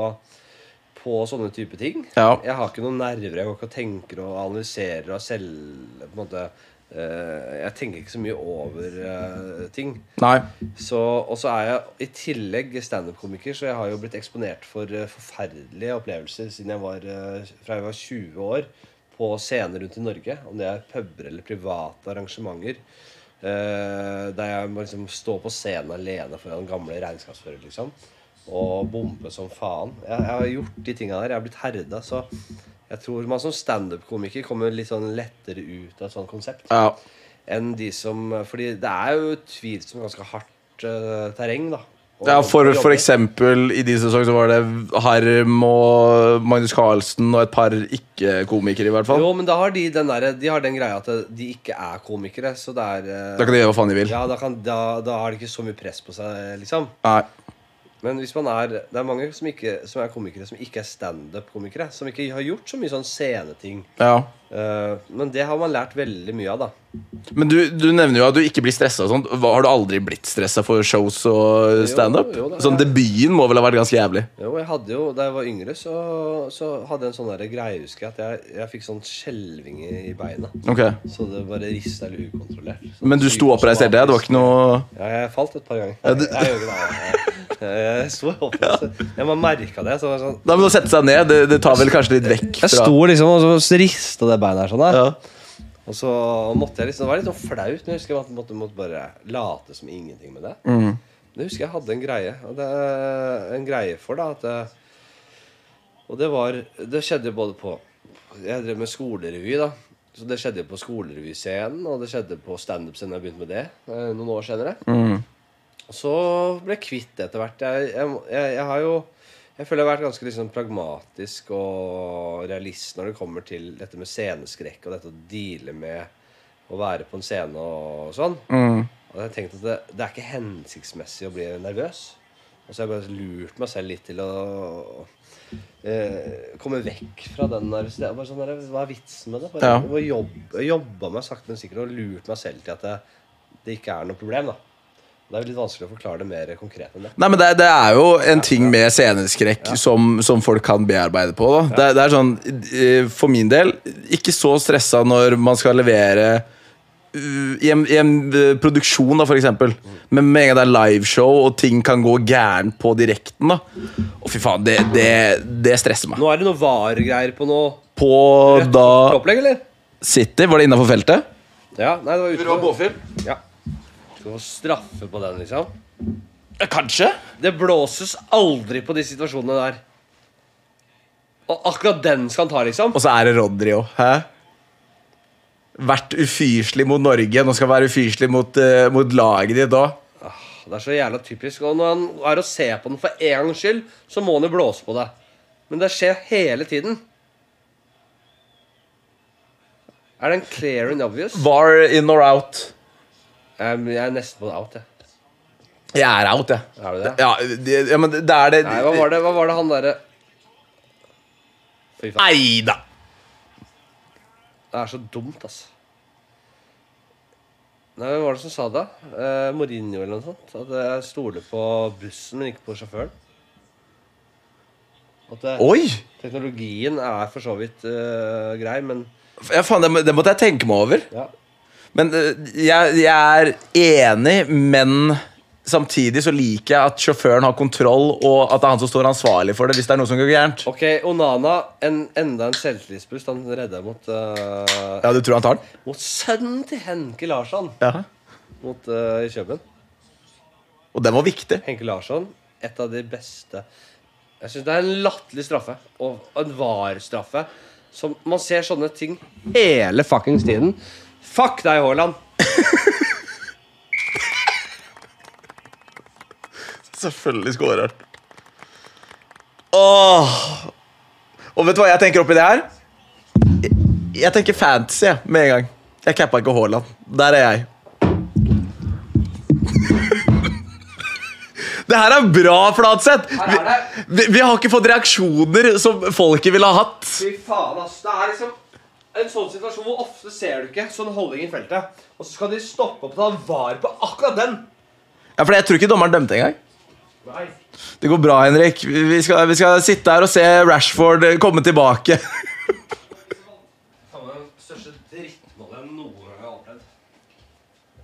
på sånne type ting. Ja. Jeg har ikke noen nerver. Jeg går ikke og tenker og analyserer og selv på en måte, eh, Jeg tenker ikke så mye over eh, ting. Nei. Så, og så er jeg i tillegg standup-komiker, så jeg har jo blitt eksponert for eh, forferdelige opplevelser siden jeg var, eh, fra jeg var 20 år på scener rundt i Norge. Om det er puber eller private arrangementer. eh, der jeg må liksom stå på scenen alene foran gamle regnskapsførere, liksom. Og bombe som faen. Jeg, jeg har gjort de tinga der. Jeg har blitt herda, så jeg tror man som standup-komiker kommer litt sånn lettere ut av et sånt konsept Ja. enn de som Fordi det er jo utvilsomt ganske hardt eh, terreng, da. å- Ja, for, å jobbe. for eksempel i din sesong så var det Harm og Magnus Carlsen og et par ikke-komikere, i hvert fall. Jo, men da har de den, derre- de har den greia at de ikke er komikere, så det er eh, Da kan de gjøre hva faen de vil. Ja, da, kan, da, da har de ikke så mye press på seg, liksom. Nei. Men hvis man er Det er mange som, ikke, som er komikere, som ikke er standup-komikere. Som ikke har gjort så mye sånn sceneting. Ja. Eh, men det har man lært veldig mye av, da. Men du, du nevner jo at du ikke blir stressa og sånt. Hva- Har du aldri blitt stressa for shows og standup? jo, det er- Sånn debuten må vel ha vært ganske jævlig? Jo, jeg hadde jo, Da jeg var yngre, så, så hadde jeg en sånn der greie, husker jeg, at jeg, jeg fikk sånn skjelving i, i beina. Ok. Så det bare rista litt ukontrollert. Så Men du sto oppreist hele tida? Det var ikke noe Ja, jeg falt et par ganger. Jeg, jeg, gjorde det, jeg, jeg, jeg sto [laughs] oppreist. Jeg bare merka det. Så det var sånn Nei, men Å sette seg ned, det, det tar vel kanskje litt vekk Jeg fra sto liksom og så rista det beinet her sånn. Der. ja. Og så måtte jeg liksom Det var litt sånn flaut, men jeg husker jeg måtte, måtte, måtte bare late som ingenting med det. Mm. Men Jeg husker jeg hadde en greie, og det, en greie for da, at eh, Og det var Det skjedde både på Jeg drev med skolerevy, da. Så det skjedde på skolerevyscenen, og det skjedde på standup-scenen jeg begynte med det eh, noen år senere. Mm, Og så ble jeg kvitt det etter hvert. Jeg, jeg, jeg, jeg har jo jeg føler jeg har vært ganske liksom pragmatisk og realist når det kommer til dette med sceneskrekk og dette å deale med å være på en scene og sånn. mm. Og jeg har tenkt at det, det er ikke hensiktsmessig å bli nervøs. Og så har jeg bare lurt meg selv litt til å eh, komme vekk fra den nervøsiteten. Bare sånn der, Hva er vitsen med det? Bare, Ja. og jobb- Jeg jobba meg sakte, men sikkert og lurt meg selv til at det, det ikke er noe problem. da. Det er jo litt vanskelig å forklare det mer konkret enn det. Nei, men det, det er jo en ting med sceneskrekk som, som folk kan bearbeide på. Da. Det, er- det er sånn, eh, For min del, ikke så stressa når man skal levere uh, i en, i en eh, produksjon, da, for eksempel. Men med en gang det er liveshow, og ting kan gå gærent på direkten, da. Å, fy faen, det, det, det stresser meg. Nå er det noe VAR-greier på noe På da opplegg, eller? City, var det innafor feltet? Ja, nei, det var ute. Båfjell? Ja. Skal få straffe på den, liksom. Kanskje. Det blåses aldri på de situasjonene der. Og akkurat den skal han ta, liksom. Og så er det Rodri òg. Hæ? Vært ufyselig mot Norge, nå skal han være ufyselig mot, eh, mot laget ditt òg. Ah, Det er så jævla typisk. Og når han er og ser på den for en gangs skyld, så må han jo blåse på det. Men det skjer hele tiden. Er den clear and obvious? Var in or out? Jeg jeg er nesten på det out, jeg. Jeg er out, jeg. Er du det? Ja, det, ja men det er det Nei, hva var det, hva var det han derre Fy faen. Nei da! Det er så dumt, altså. Nei, Hvem var det som sa det? Eh, Mourinho eller noe sånt? At jeg stoler på bussen, men ikke på sjåføren. At det, Oi! teknologien er for så vidt eh, grei, men Ja, faen, det, må- det måtte jeg tenke meg over. ja. Men eh, jeg, jeg er enig, men samtidig så liker jeg at sjåføren har kontroll, og at det er han som står ansvarlig for det hvis det er noe som går gærent. Ok, Onana, en, enda en selvtillitsboost han redder mot, eh, Ja, du tror han tar den? mot sønnen til Henke Larsson Ja. mot, eh, i København. Og den var viktig. Henke Larsson, et av de beste Jeg syns det er en latterlig straffe. Og en VAR-straffe. Som Man ser sånne ting hele fuckings tiden. Fuck deg, Haaland! Selvfølgelig scorer han. Åh. Og vet du hva jeg tenker oppi det her? Jeg, jeg tenker fantasy jeg, med en gang. Jeg cappa ikke Haaland. Der er jeg. [laughs] Det her er bra, Flatseth! Her Vi, er det. vi, vi har ikke fått reaksjoner som folket ville ha hatt. Fy faen, ass. Det er liksom en sånn situasjon hvor ofte ser du ikke sånn holdning i feltet. Og så skal de stoppe opp og ta VAR på akkurat den! Ja, for Jeg tror ikke dommeren dømte engang. Nei. Det går bra, Henrik. Vi skal, vi skal sitte her og se Rashford komme tilbake. Faen, det er den største drittmålet jeg noen gang har opplevd.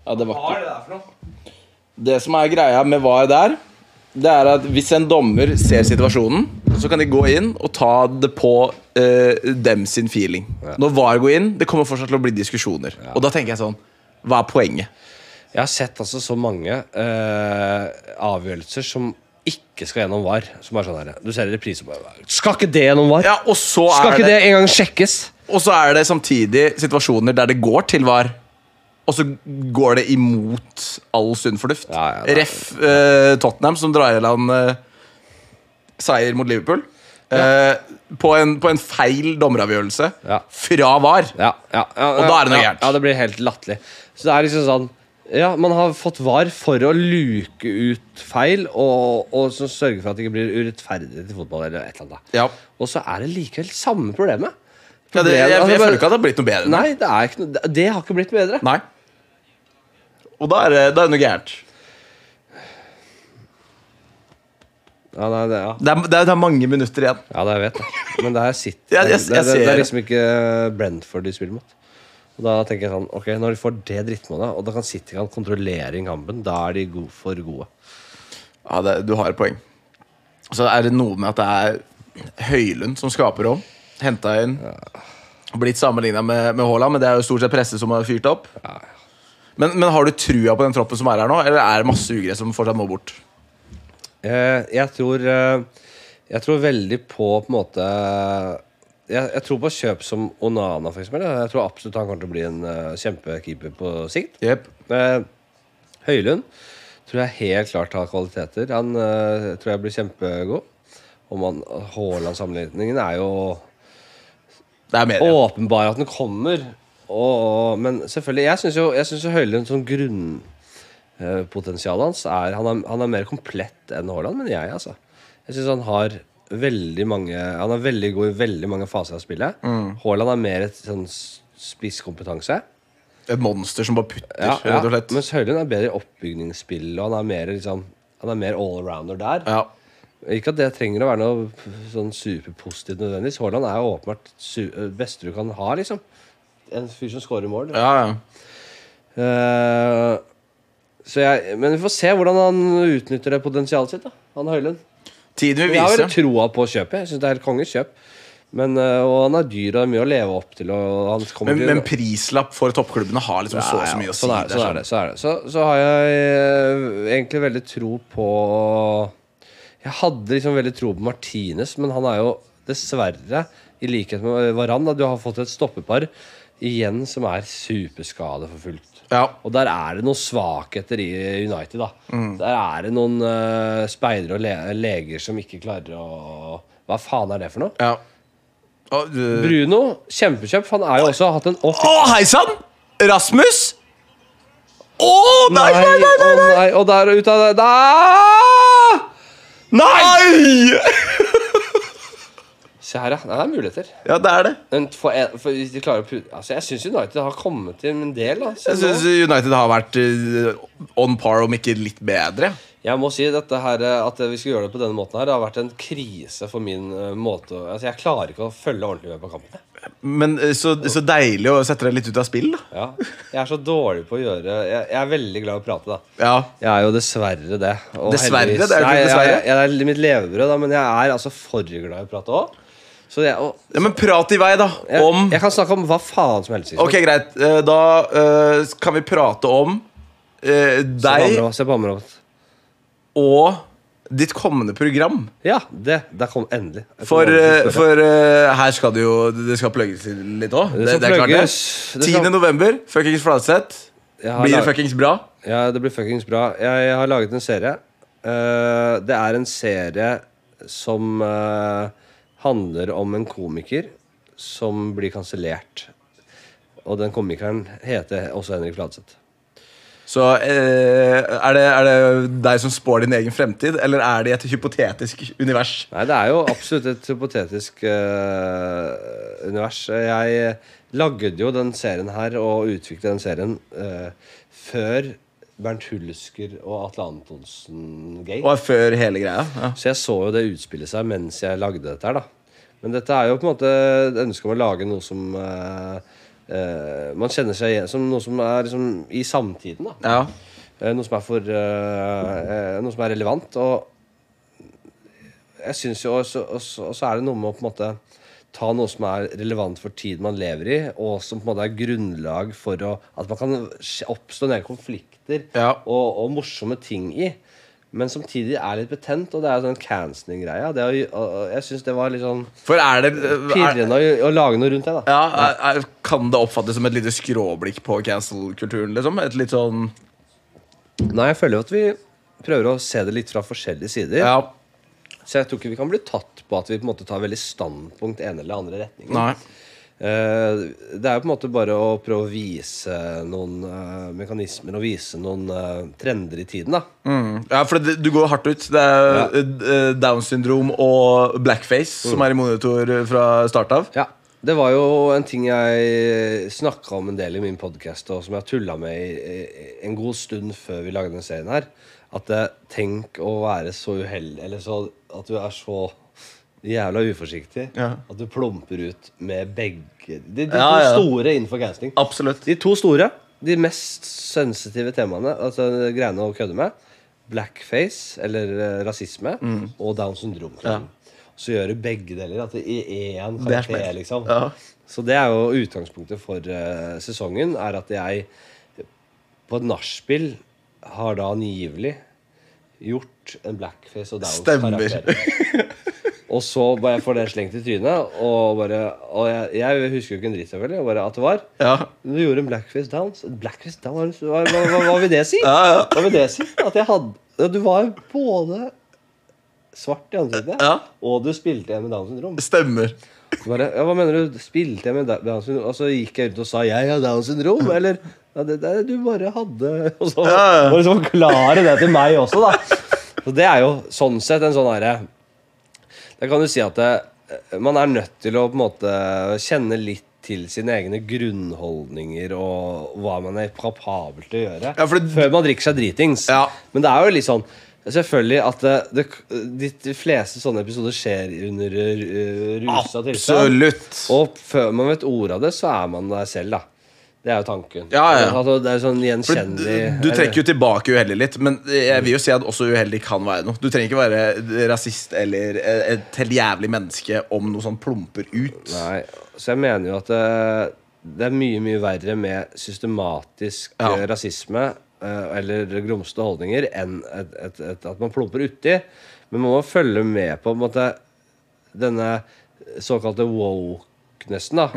Ja, det Hva er det der for noe? Det som er greia med VAR der, det er at hvis en dommer ser situasjonen, så kan de gå inn og ta det på eh, dem sin feeling. Når VAR går inn, det kommer fortsatt til å bli diskusjoner. Og da tenker jeg sånn Hva er poenget? Jeg har sett altså så mange eh, avgjørelser som ikke skal gjennom VAR. Som er sånn her, Du ser reprise på Skal ikke det gjennom VAR? Ja, og så, skal er ikke det, det engang sjekkes? og så er det samtidig situasjoner der det går til VAR, og så går det imot all sunn fornuft. Ja, ja, det er- Ref eh, Tottenham, som drar i land eh, seier mot Liverpool. Eh, på, en, på en feil dommeravgjørelse Ja. fra VAR. Ja, ja, ja, Og da er det noe ja, gærent. Ja, det blir helt latterlig. Så det er liksom sånn Ja, man har fått VAR for å luke ut feil, og, og så sørge for at det ikke blir urettferdig til fotball eller et eller annet. Ja. Og så er det likevel samme problemet. Ja, det, jeg, jeg, Altså, bare- føler ikke at det har blitt noe bedre. Nei, det, er ikke noe, det- det har ikke blitt bedre. Nei. Og da er det da er det noe gærent. Ja, nei, det, ja. Det er, det, er, det er mange minutter igjen. Ja, det jeg vet jeg. Men det her sitter Ja, jeg- jeg det, det, det ser er det. liksom ikke Brentford de spiller mot. Og da tenker jeg sånn Ok, når de får det drittmålet, og da kan City kan kontrollere i kampen, da er de go for gode. Ja, det, Du har et poeng. Så er det noe med at det er Høylund som skaper rom. Henta inn. Blitt sammenligna med, med Haaland, men det er jo stort sett presse som har fyrt opp. Men, men har du trua på den troppen som er her nå, eller er det masse ugress som fortsatt må bort? Eh, jeg tror eh, Jeg tror veldig på på en måte jeg, jeg tror på kjøp som Onana, for eksempel. Jeg tror absolutt han kommer til å bli en eh, kjempekeeper på sikt. Yep. Eh, Høylund tror jeg helt klart har kvaliteter. Han eh, tror jeg blir kjempegod. Og man- Haaland-sammenligningen er jo Det er media. åpenbar at den kommer. Og, men selvfølgelig, jeg syns jo, jeg synes jo Høylund som grunnpotensialet hans er han, er han er mer komplett enn Haaland, men jeg, altså. Jeg syns han har veldig mange Han er veldig god i veldig mange faser av spillet. Mm. Haaland er mer et sånn s- spisskompetanse. Et monster som bare putter, Ja, ja. rett og slett. Mens Høylund er bedre i oppbygningsspill, og han er mer, liksom, han er mer allrounder der. Ja. Ikke at det trenger å være noe p- sånn superpositivt nødvendigvis. Haaland er jo åpenbart su eh, beste du kan ha, liksom. En fyr som scorer mål. Ja, ja. Eh, så jeg, men vi får se hvordan han utnytter det potensialet sitt, da. Han Høylund. Tiden vil Jeg har vise. veldig troa på kjøpet. Jeg synes det er et konges kjøp. Men, eh, og han er dyr og det er mye å leve opp til. Og han kommer Men, til- men prislapp for toppklubbene har liksom så, Ja, ja, så mye å si. sånn Er, der, sånn er det, sånn er det. Så, så har jeg eh, egentlig veldig tro på Jeg hadde liksom veldig tro på Martinez, men han er jo dessverre, i likhet med Varan, da, du har fått et stoppepar igjen som er superskadeforfulgt. Ja. Og der er det noen svakheter i United. da Mm. Der er det noen eh, speidere og le leger som ikke klarer å Hva faen er det for noe? ja. øh, Å, du- Bruno, kjempekjøp. for Han er jo også hatt en off Å, hei sann! Rasmus! Å, nei, Nei, nei, nei! å nei, og der og ut av det da! Nei! nei! Se her, ja. Nei, Det er muligheter. Ja, det er det. Men for, en- for hvis de klarer å put- altså, Jeg syns United har kommet til en del. Da. Så Jeg nå- syns United har vært eh, on par, om ikke litt bedre. Jeg må si dette her, eh, at vi skal gjøre det på denne måten her, det har vært en krise for min eh, måte å- Altså, jeg klarer ikke å følge ordentlig med på kampene. Men eh, så, så deilig å sette deg litt ut av spill, da. Ja. Jeg er så dårlig på å gjøre Jeg, jeg er veldig glad i å prate, da. Ja. Jeg er jo dessverre det. og Dessverre? heldigvis- Det er jo ikke Nei, jeg- dessverre. Jeg, jeg, det er mitt levebrød, da, men jeg er altså for glad i å prate òg. Så jeg, og, ja, Men prat i vei, da. jeg, Om jeg kan snakke om hva faen som helst. Liksom. Ok, greit. Eh, Da eh, kan vi prate om eh, Se på deg Amro- Se på Amroth. og ditt kommende program. Ja, det. Der kom endelig. Jeg For, kom eh, aldri til å spørre. for eh, her skal det jo Det skal plugges litt òg. Det skal plugges. Det skal- 10. november, fuckings Fladseth. Jeg har Blir det lag- fuckings bra? Ja, det blir fuckings bra. Jeg, jeg har laget en serie. Eh, det er en serie som eh, handler om en komiker som blir kansellert. Og den komikeren heter også Henrik Fladseth. Så eh, er, det, er det deg som spår din egen fremtid, eller er det i et hypotetisk univers? Nei, det er jo absolutt et hypotetisk eh, univers. Jeg eh, lagde jo den serien her og utviklet den serien eh, før Bernt Hulsker og Atle Antonsen-gate. Og er før hele greia? Ja. Så jeg så jo det utspille seg mens jeg lagde dette her, da. Men dette er jo på en måte et ønske om å lage noe som eh, eh, Man kjenner seg igjen som noe som er liksom, i samtiden, da. ja. Eh, noe som er for eh, eh, Noe som er relevant. Og jeg synes jo også, også, også er det noe med å på en måte ta noe som er relevant for tiden man lever i, og som på en måte er grunnlag for å, at man kan skje- oppstå nye konflikter Ja. og, og morsomme ting i. Men samtidig er litt betent, og det er jo den canceling-greia. Det er jo- og- og Jeg syns det var litt sånn For er det er, pirrende å, å lage noe rundt det, da. ja, er, er, Kan det oppfattes som et lite skråblikk på cancel-kulturen? liksom? Et litt sånn Nei, jeg føler jo at vi prøver å se det litt fra forskjellige sider. Ja. Så jeg tror ikke vi kan bli tatt på at vi på en måte tar veldig standpunkt ene eller andre retningen. Nei. Eh, Det er jo på en måte bare å prøve å vise noen eh, mekanismer og vise noen eh, trender i tiden, da. Mm. Ja, for det, du går hardt ut. Det er eh, Downs syndrom og blackface som er i monitor fra start av. Ja. Det var jo en ting jeg snakka om en del i min podkast, og som jeg tulla med i, i, en god stund før vi lagde denne serien her. At eh, tenk å være så uheldig, eller så at du er så jævla uforsiktig Ja. at du plumper ut med begge De, de to Ja, ja. store innenfor gangsting. Absolutt. De to store, de mest sensitive temaene, altså greiene å kødde med, blackface, eller eh, rasisme, Mm. og Downs syndrom. Så gjør du begge deler, at det i én Det er karakter, smell. liksom. Ja. Så det er jo utgangspunktet for eh, sesongen, er at jeg på et nachspiel har da angivelig gjort en blackface og Downs Stemmer. Og så bare får det slengt i trynet, og bare Og jeg, jeg husker jo ikke en dritt, selvfølgelig, og bare at det var. Ja. Du gjorde en blackface dance. Blackface dance hva, hva, hva, hva vil det si? Ja, ja. Hva vil det si? At jeg hadde ja, Du var jo både svart i ansiktet, Ja. og du spilte en med Downs syndrom. Stemmer. Så Bare, ja, hva mener du? Spilte jeg med Da- Downs syndrom? Og så gikk jeg ut og sa 'jeg har Downs syndrom', eller ja, det, det, Du bare hadde [laughs] Og så Ja, ja. må du liksom forklare det til meg også, da. Så det er jo sånn sett en sånn herre da kan du si at eh, man er nødt til å på en måte kjenne litt til sine egne grunnholdninger og hva man er kapabel til å gjøre. Ja, for det- Før man drikker seg dritings. Ja. Men det er jo litt sånn Selvfølgelig at det, det, de, de fleste sånne episoder skjer under eh, rusa tilstand. Absolutt. Og før man vet ordet av det, så er man der selv, da. Det er jo tanken. Ja, ja, ja. Altså, det er sånn For gjenkjennelig du, du trekker jo tilbake uheldig litt, men jeg vil jo si at også uheldig kan være noe. Du trenger ikke være rasist eller eh, et helt jævlig menneske om noe sånn plumper ut. Nei, så jeg mener jo at det, det er mye, mye verre med systematisk Ja. eh, rasisme eh, eller grumsete holdninger enn et, et, et, at man plumper uti. Men man må følge med på, på en måte, denne såkalte wokenessen, da.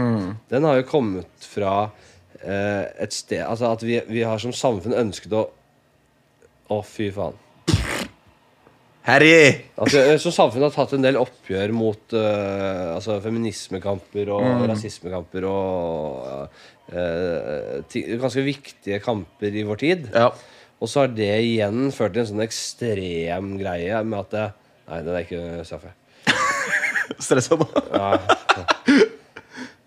Den har jo kommet fra eh, et sted Altså at vi, vi har som samfunn ønsket å Å, fy faen. Harry! Altså, så samfunnet har tatt en del oppgjør mot eh, altså, feminismekamper og Mm. rasismekamper og eh, ti, ganske viktige kamper i vår tid. Ja. Og så har det igjen ført til en sånn ekstrem greie med at det, Nei, det er ikke straffe. Stressa nå. [laughs]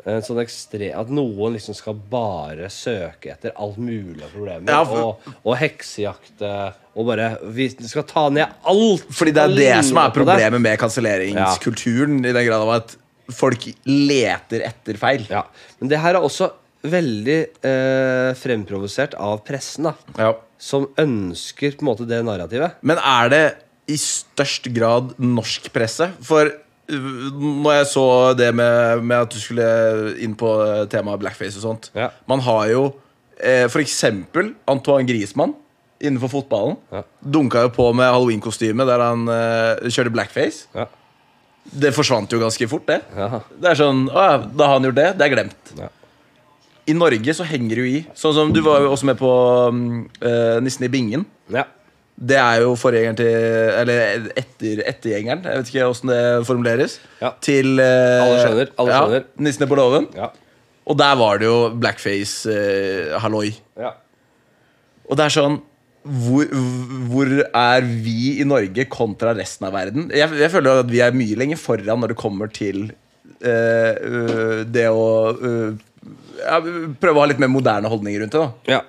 En sånn ekstre, at noen liksom skal bare søke etter alt mulig av problemer. Ja, for- og, og heksejakte og bare Vi skal ta ned alt! Fordi det er det Alle som er på det. problemet med kanselleringskulturen. I den grad av at folk leter etter feil. Ja. Men det her er også veldig eh, fremprovosert av pressen, da. Ja. Som ønsker på en måte det narrativet. Men er det i størst grad norsk presse? For øh, når jeg så det med, med at du skulle inn på øh, temaet blackface og sånt Ja. Man har jo eh, for eksempel Antoine Griezmann innenfor fotballen. Ja. Dunka jo på med halloweenkostyme der han eh, kjørte blackface. Ja. Det forsvant jo ganske fort, det. Ja. Det er sånn, å, ja, Da har han gjort det. Det er glemt. Ja. I Norge så henger det jo i. Sånn som Du var jo også med på mm, eh, Nissen i bingen. Ja. Det er jo forgjengeren til Eller etter, ettergjengeren, jeg vet ikke hvordan det formuleres. Ja. Til eh, Alle skjønner, alle skjønner. Ja, Nissene på låven. Ja. Og der var det jo blackface-halloi. ja. og det er sånn hvor, hvor er vi i Norge kontra resten av verden? Jeg, jeg føler jo at vi er mye lenger foran når det kommer til eh, øh, det å øh, ja, Prøve å ha litt mer moderne holdninger rundt det. da Ja.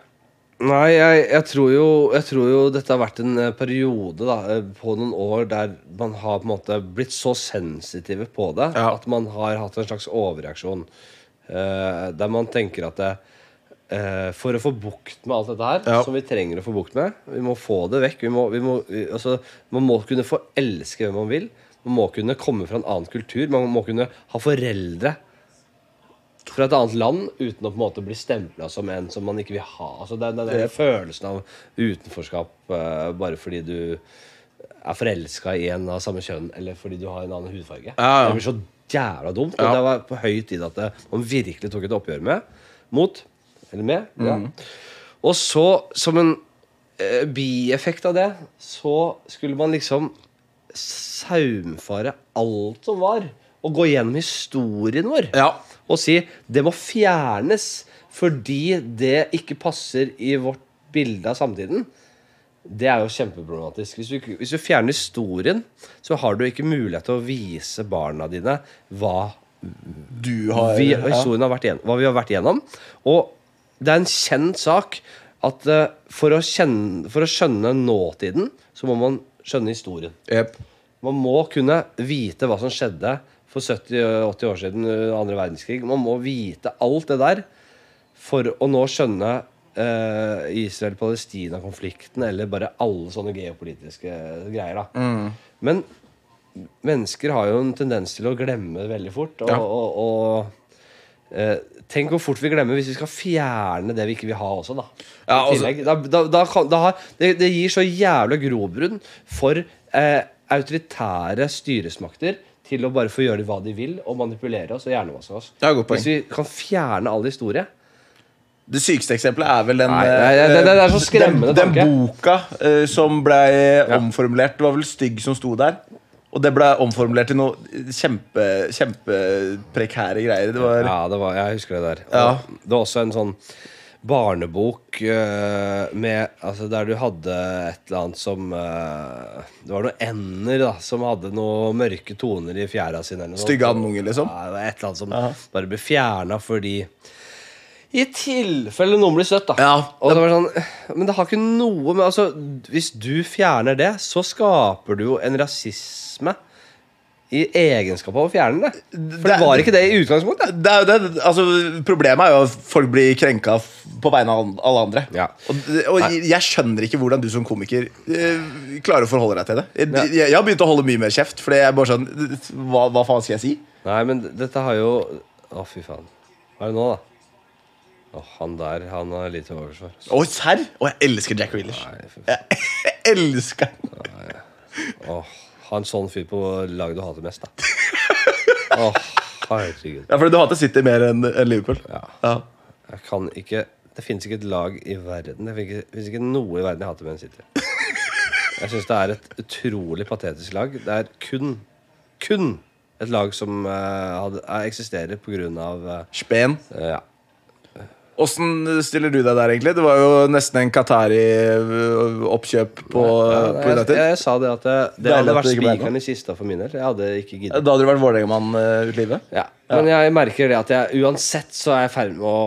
Nei, jeg, jeg, tror jo, jeg tror jo dette har vært en eh, periode da, eh, på noen år der man har på en måte blitt så sensitive på det Ja. at man har hatt en slags overreaksjon. Eh, der man tenker at det, eh, for å få bukt med alt dette her, Ja. som vi trenger å få bukt med Vi må få det vekk. Vi må, vi må, vi- altså, man må kunne få elske hvem man vil. Man må kunne komme fra en annen kultur. Man må kunne ha foreldre fra et annet land uten å på en måte bli stempla som en som man ikke vil ha. Altså, det, det, det er følelsen av utenforskap eh, bare fordi du er forelska i en av samme kjønn, eller fordi du har en annen hudfarge. Ja, ja. Det blir så jævla dumt. Og Ja. det var på høy tid at det, man virkelig tok et oppgjør med. Mot. Eller med. Ja. Mm. Og så, som en eh, bieffekt av det, så skulle man liksom saumfare alt som var, og gå gjennom historien vår Ja, og si det må fjernes fordi det ikke passer i vårt bilde av samtiden. Det er jo kjempeproblematisk. Hvis du, ikke- hvis du fjerner historien, så har du ikke mulighet til å vise barna dine hva du har vi, ja. historien har vært igjen, hva vi har vært igjennom. Og det er en kjent sak at eh, for, å kjenne, for å skjønne nåtiden, så må man skjønne historien. Jep. Man må kunne vite hva som skjedde for 70-80 år siden under andre verdenskrig. Man må vite alt det der for å nå skjønne eh, Israel-Palestina-konflikten eller bare alle sånne geopolitiske greier. da. Men mennesker har jo en tendens til å glemme veldig fort. Og, Ja. og, og eh, tenk hvor fort vi glemmer hvis vi skal fjerne det vi ikke vil ha også, da. Ja, I altså- tillegg. da, da, da, kan, da har, det, det gir så jævla grobunn for eh, autoritære styresmakter til å bare få gjøre hva de vil og manipulere oss og hjernevaske oss. Ja, godt poeng. Hvis vi kan fjerne all historie Det sykeste eksempelet er vel den Nei, eh, nei, det- det- det er så skremmende Den, den tanke. boka eh, som ble omformulert. Det var vel 'Stygg' som sto der. Og det ble omformulert til noe kjempe, kjempeprekære greier. Det var, Ja, det var, jeg husker det der. Og Ja. Det var også en sånn barnebok eh, med, altså, der du hadde et eller annet som eh, Det var noen ender da, som hadde noen mørke toner i fjæra sine. eller noe Stygge sånt. andunge, liksom? Ja, det var et eller annet som Aha. bare ble fjerna fordi i tilfelle noen blir støtt, da. Ja. Og det var sånn, men det har ikke noe med altså, Hvis du fjerner det, så skaper du jo en rasisme i egenskap av å fjerne det. For det, Det- var ikke det i utgangspunktet. det er jo det, altså, problemet er jo at folk blir krenka f- på vegne av an- alle andre. Ja. Og, det- og jeg- jeg skjønner ikke hvordan du som komiker eh, klarer å forholde deg til det. Jeg, jeg, jeg har begynt å holde mye mer kjeft, for jeg er bare sånn hva, hva faen skal jeg si? Nei, men dette har jo Å, fy faen. Hva er det nå, da? Å, han der, han har lite overs for. Å, serr? Og jeg elsker Jack Reelers. Nei, fy faen. Jeg [laughs] elsker han. Å, ha en sånn fyr på laget du hater mest, da. Å, herregud. Ja, for du hater City mer enn enn Liverpool. Ja. Ja. Jeg kan ikke Det fins ikke et lag i verden Det fins ikke noe i verden jeg hater mer enn City. Jeg syns det er et utrolig patetisk lag. Det er kun, kun eh, et lag som eh, hadde, eksisterer på grunn av eh, Spen. ja, Åssen stiller du deg der, egentlig? Det var jo nesten en Qatari-oppkjøp på, Ja, på jeg, jeg, United. sa det at det, det Deilig hadde at vært det ikke ble noe. spikeren i kista for min del. Jeg hadde ikke Da giddet. hadde du vært Vålerenga-mann eh, ut livet? Ja. Men jeg merker det at jeg uansett så er jeg i ferd med å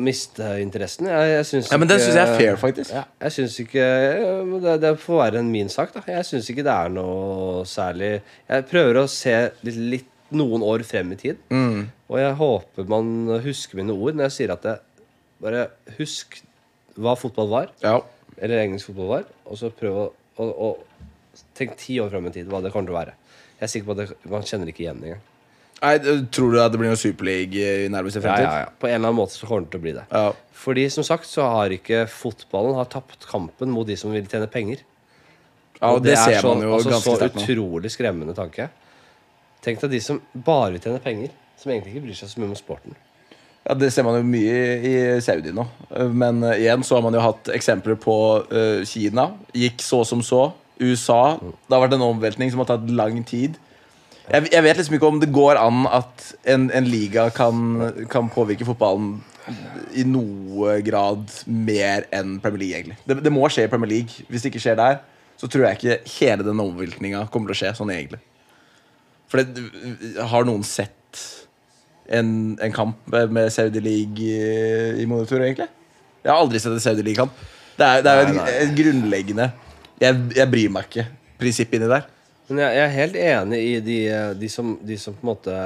miste interessen. Jeg, jeg syns Ja, men den ikke- synes jeg er fair, faktisk. Ja, jeg syns ikke men det, det får være en min sak, da. Jeg syns ikke det er noe særlig Jeg prøver å se litt, litt noen år frem i tid. Mm, Og jeg håper man husker mine ord når jeg sier at det, Bare husk hva fotball var, Ja. eller engelsk fotball var, og så prøv å, å, å Tenk ti år frem i tid hva det kommer til å være. Jeg er sikker på at det, Man kjenner ikke igjen det engang. Nei, tror du at det blir noen superleague i nærmeste Ja, fremtid? ja, ja. På en eller annen måte så kommer det til å bli det. Ja. Fordi som sagt så har ikke fotballen har tapt kampen mot de som vil tjene penger. Ja, og det, er ser så- man jo altså, ganske sterkt Så nå. utrolig skremmende tanke. Tenk deg de som bare vil tjene penger, som egentlig ikke bryr seg så mye om sporten. Ja, det ser man jo mye i Saudi nå. Men eh, igjen så har man jo hatt eksempler på eh, Kina. Gikk så som så. USA. Det har vært en omveltning som har tatt lang tid. Jeg, jeg vet liksom ikke om det går an at en, en liga kan, kan påvirke fotballen i noe grad mer enn Premier League, egentlig. Det, det må skje i Premier League. Hvis det ikke skjer der, så tror jeg ikke hele den omveltninga kommer til å skje sånn egentlig. For det, har noen sett en, en kamp med Saudi League eh, i- i monitor, egentlig. Jeg har aldri sett en Saudi League-kamp. Det er, det er jo Nei, et, et grunnleggende jeg, jeg bryr meg ikke prinsipp inni der. Men jeg, jeg er helt enig i de, eh, de, som, de som på en måte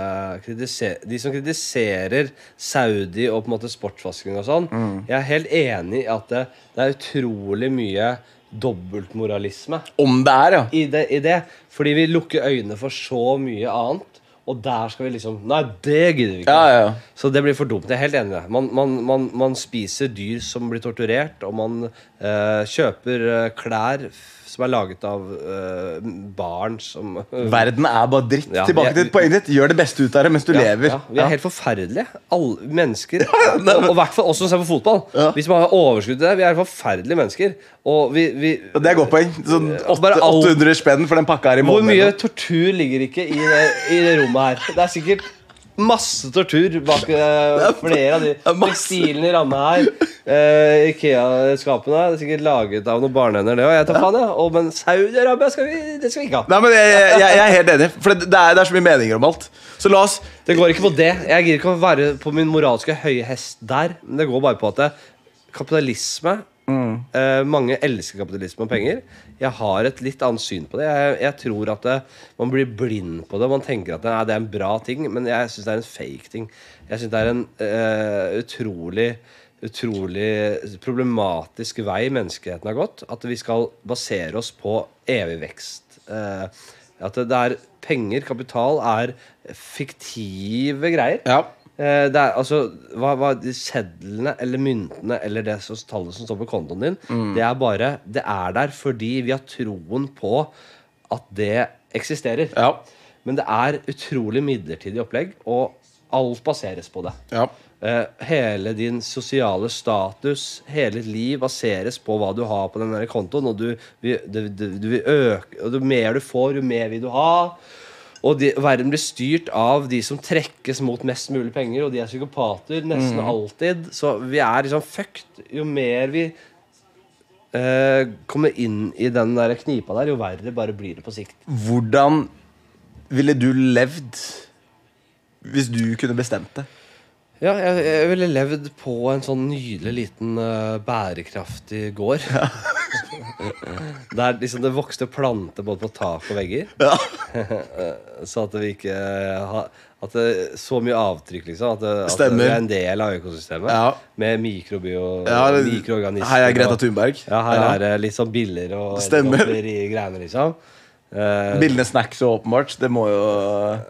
kritiserer, De som kritiserer Saudi og på en måte sportsvasking og sånn. Mm. Jeg er helt enig i at det, det er utrolig mye dobbeltmoralisme. Om det er, ja. i det, i det. Fordi vi lukker øynene for så mye annet. Og der skal vi liksom Nei, det gidder vi ikke. Ja, ja, ja. Så det blir for dumt. Jeg er helt enig i det. Man, man, man, man spiser dyr som blir torturert, og man eh, kjøper eh, klær f- som er laget av eh, barn som Verden er bare dritt. Ja, Tilbake jeg- til poenget ditt. Gjør det beste ut av det mens du Ja, lever. Ja, vi er Ja. helt forferdelige. Alle [laughs] mennesker. ja, nei, men- Og i hvert fall oss som ser på fotball. Ja. Vi som har overskudd til det. Vi er forferdelige mennesker. Og vi, vi Og Det er et godt poeng. Sånn åtte- Bare alt- 800 spenn for den pakka her i Hvor måneden. mye tortur ligger ikke i det, i det rommet her? Det er sikkert masse tortur bak eh, flere av de er masse. tekstilene i ramma her. Eh, Ikea-skapene er sikkert laget av noen barnehender, det òg. Jeg tar faen, jeg. Og, men Saudi-Arabia skal vi, det skal vi ikke ha. Nei, men jeg, jeg, jeg er helt enig. For det, det, er, det er så mye meninger om alt. Så la oss Det går ikke på det. Jeg gidder ikke å være på min moralske høye hest der. Men det går bare på at det, kapitalisme eh, Mange elsker kapitalisme og penger. Jeg har et litt annet syn på det. Jeg, jeg tror at det, man blir blind på det. Man tenker at det, er- det er en bra ting, men jeg syns det er en fake ting. Jeg syns det er en eh, utrolig Utrolig problematisk vei menneskeheten har gått. At vi skal basere oss på evig vekst. Eh, at det, det er penger, kapital, er fiktive greier. Ja. Eh, Det er, altså, hva, hva, de sedlene eller myntene eller det som, tallet som står på kontoen din, Mm. det er bare Det er der fordi vi har troen på at det eksisterer. Ja. Men det er utrolig midlertidig opplegg, og alt baseres på det. Ja. Eh, hele din sosiale status, hele ditt liv baseres på hva du har på den der kontoen. Og du, vil- du, du, du vil øke Og jo mer du får, jo mer vil du ha. Og de, verden blir styrt av de som trekkes mot mest mulig penger, og de er psykopater nesten alltid. Så vi er liksom fucked. Jo mer vi eh, kommer inn i den der knipa der, jo verre bare blir det på sikt. Hvordan ville du levd hvis du kunne bestemt det? Ja, jeg, jeg ville levd på en sånn nydelig liten eh, bærekraftig gård. [laughs] Der liksom det vokste planter både på tak og vegger. så at vi ikke har At det er så mye avtrykk, liksom. At det, at Stemmer. det er en del av økosystemet. Ja. Med mikrobio, Ja, det- mikroorganismer. her er Greta og- Thunberg. Ja, her Ja. er det litt sånn biller og Stemmer. i greiene, liksom. Eh, Bildene snacks og åpenbart. Det må jo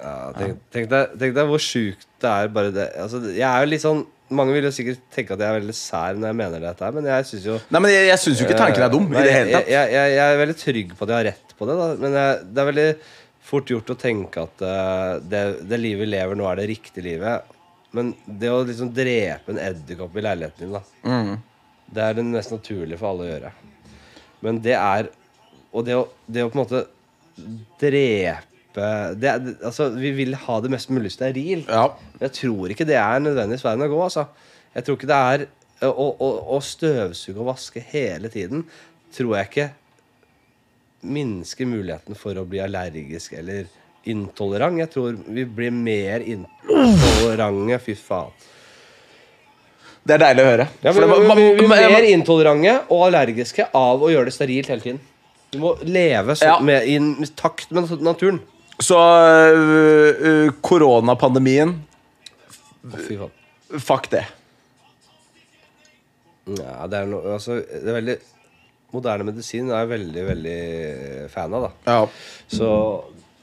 ja, tenk, tenk, deg, tenk deg hvor sjukt det er bare det. Altså, jeg er jo litt sånn Mange vil jo sikkert tenke at jeg er veldig sær når jeg mener dette, her, men jeg syns jo eh, Nei, men Jeg, jeg syns jo ikke tanken er dum. Nei, i det hele tatt Jeg, jeg, jeg er veldig trygg på at jeg har rett på det, da. men jeg, det er veldig fort gjort å tenke at eh, det, det livet vi lever nå, er det riktige livet. Men det å liksom drepe en edderkopp i leiligheten din, da Mm. det er det mest naturlige for alle å gjøre. Men det er Og det å, det å på en måte drepe det, er- det, Altså, vi vil ha det mest mulig sterilt. Ja. Jeg tror ikke det er nødvendigvis veien å gå, altså. Jeg tror ikke det er eh, å, å, å støvsuge og vaske hele tiden tror jeg ikke minsker muligheten for å bli allergisk eller intolerant. Jeg tror vi blir mer intolerante. Fy faen. Det er deilig å høre. Ja, For men, det var- man- vi, vi, vi man- blir man- mer intolerante og allergiske av å gjøre det sterilt hele tiden. Du må leve så, Ja. med, i en- med takt med naturen. Så øh, øh, koronapandemien Å, fy faen. Fuck det. Ja, det er noe altså, det er veldig Moderne medisin er jeg veldig, veldig fan av, da. Ja. Så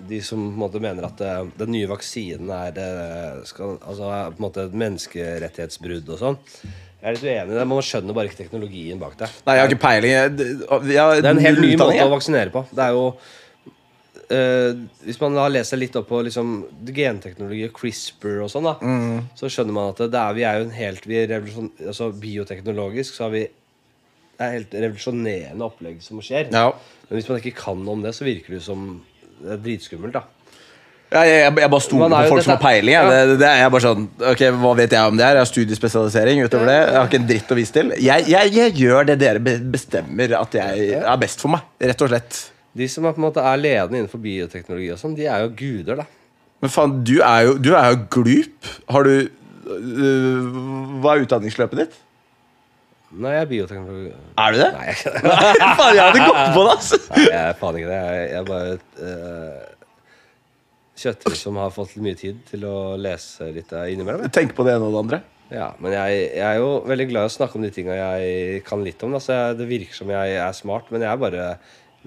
de som på en måte mener at eh, den nye vaksinen er eh, skal, altså, er på en måte et menneskerettighetsbrudd og sånn, jeg er litt uenig i det. Man skjønner bare ikke teknologien bak det. Nei, jeg har ikke peiling. Jeg, jeg, jeg, Det er en helt ny måte å utdanning, jeg. vaksinere på. Det er jo eh, Hvis man har lest seg litt opp på liksom, genteknologi og CRISPR og sånn, da, Mm. så skjønner man at det er, vi er jo en helt vi er revolusjon, altså, Bioteknologisk så har vi Det er helt revolusjonerende opplegg som skjer. Ja. Men hvis man ikke kan noe om det, så virker det jo som det er dritskummelt. da Ja, jeg, jeg, jeg bare stoler Man er på jo- folk som har dette- peiling. Jeg. Ja. Det, det er jeg bare sånn, ok, Hva vet jeg om det her? Jeg har studiespesialisering utover det. Jeg har ikke en dritt å vise til. Jeg, jeg, jeg gjør det dere be- bestemmer at jeg er best for meg. Rett og slett. De som er, på en måte, er ledende innenfor bioteknologi, og sånn, de er jo guder. da Men faen, du er jo, du er jo glup. Har du øh, Hva er utdanningsløpet ditt? Nei, jeg er bioteknologi Er du det? Nei, [laughs] jeg faen, jeg hadde gått på det, altså! Nei, jeg er faen ikke det. Jeg, jeg er bare et eh, kjøttfyr som har fått mye tid til å lese litt av innimellom. jeg. Tenk på det ene og det andre. Ja, men jeg, jeg er jo veldig glad i å snakke om de tinga jeg kan litt om. Da, så jeg, det virker som jeg er smart, men jeg er bare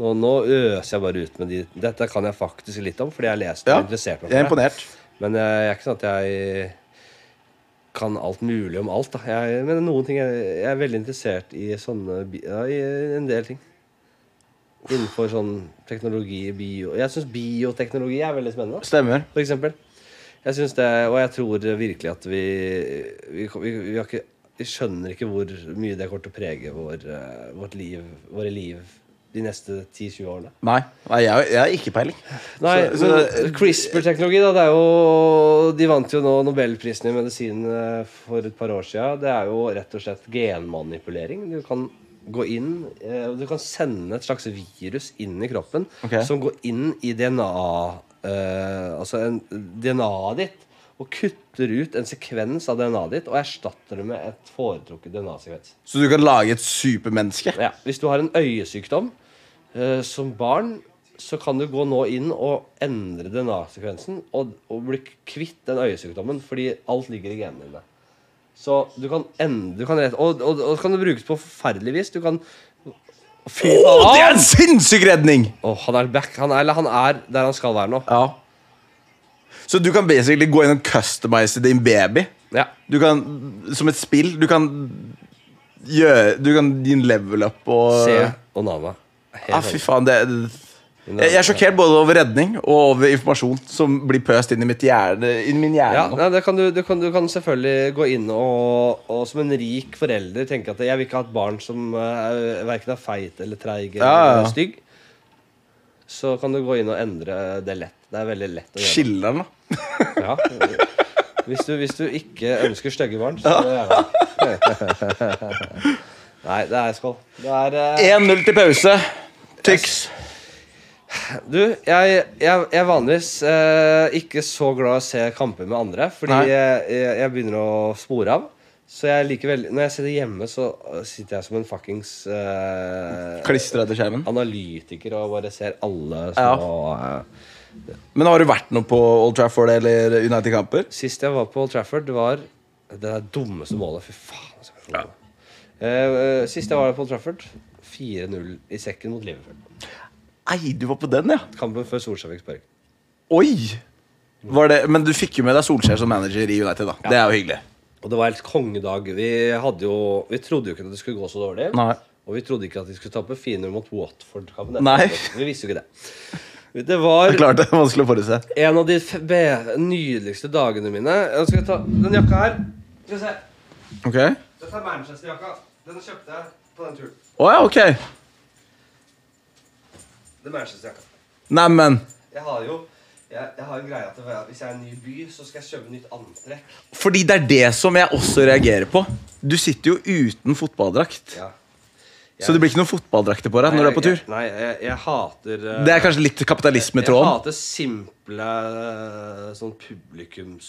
nå, nå øser jeg bare ut med de Dette kan jeg faktisk litt om, fordi jeg har lest det Ja, og interessert altså. meg jeg er for det. imponert. Men jeg, jeg er ikke sånn at jeg kan alt mulig om alt. Da. Jeg, men noen ting jeg, jeg er veldig interessert i sånne bi- ja, I en del ting. Innenfor sånn teknologi, bio Jeg syns bioteknologi er veldig spennende, da, Stemmer. for eksempel. Jeg synes det, og jeg tror virkelig at vi Vi, vi, vi, har ikke, vi skjønner ikke hvor mye det kommer til å prege vår, eh, vårt liv, våre liv de neste 10-20 årene. Nei, nei jeg, jeg har ikke peiling. Nei, Så- så men CRISPR-teknologi, da. Det er jo De vant jo nå Nobelprisen i medisin eh, for et par år siden. Det er jo rett og slett genmanipulering. Du kan gå inn eh, Du kan sende et slags virus inn i kroppen Ok. som går inn i DNA eh, Altså en- DNA-et ditt. Og kutter ut en sekvens av DNA-et ditt og erstatter det med et foretrukket DNA-sekvens. Så du kan lage et supermenneske? Ja, hvis du har en øyesykdom eh, som barn, så kan du gå nå inn og endre DNA-sekvensen og, og bli kvitt den øyesykdommen, fordi alt ligger i genene dine. Så du kan endre du kan rett, og, og, og så kan det brukes på forferdelig vis. Du kan Fy Å, det er faen! en sinnssyk redning! Åh, han er back. Han er, eller han er der han skal være nå. Ja. Så du kan basically gå inn og customize din baby. Ja. Du kan, Som et spill. Du kan gjøre Du kan gi en level up og Se Onana. Helt Ja, Øh. Ah, fy faen, det jeg jeg er sjokkert både over redning og over informasjon som blir pøst inn i mitt hjerne. Inn i min hjerne Ja, nå. nei, det kan du, du, kan, du kan selvfølgelig gå inn og, og som en rik forelder tenke at jeg vil ikke ha et barn som uh, verken er feit eller treig eller Ja, ja, ja. stygg. Så kan du gå inn og endre det lett. Det er veldig lett å gjøre. Skiller den, da. Ja. Hvis, du, hvis du ikke ønsker stygge barn, så gjerne. Nei, det er skål. Det er eh, 1-0 til pause. Tyx. Du, jeg, jeg, jeg er vanligvis eh, ikke så glad i å se kamper med andre, fordi Nei. jeg, jeg, jeg begynner å spore av. Så jeg liker veldig Når jeg sitter hjemme, så sitter jeg som en fuckings eh, Klistra til skjermen. analytiker og bare ser alle små eh. Men har du vært noe på Old Trafford eller United-kamper? Sist jeg var på Old Trafford, det var det der dummeste målet. Fy faen. altså, fy faen. Eh, eh, sist jeg var på Old Trafford, 4-0 i sekken mot Liverpool. Ei, du var på den, ja. Kampen før Solskjær fikk spark. Oi! Var det, men du fikk jo med deg Solskjær som manager i United. da Det er jo hyggelig. Og det var helt kongedag. Vi, hadde jo, vi trodde jo ikke at det skulle gå så dårlig. Nei. Og vi trodde ikke at de skulle tape 4-0 mot Watford. kampen. Nei. Vi visste jo ikke det. Det [laughs] var Det er klart det er vanskelig å forutse. en av de fe- be- nydeligste dagene mine. Jeg skal ta den jakka her. Skal vi se. Ok Å Dette er Manchester-jakka. Den kjøpte jeg på den turen. ja, ok. Det er Manchester-jakka. Neimen. Jeg har jo jeg Jeg, jeg har en greie at det- Hvis jeg er i en ny by, så skal jeg kjøpe nytt antrekk. Fordi det er det som jeg også reagerer på. Du sitter jo uten fotballdrakt. Ja. Så det blir ikke noen fotballdrakter på deg når du er på tur. Jeg, nei, jeg, jeg hater eh, Det er kanskje litt kapitalisme i Jeg tråden. hater simple eh, sånn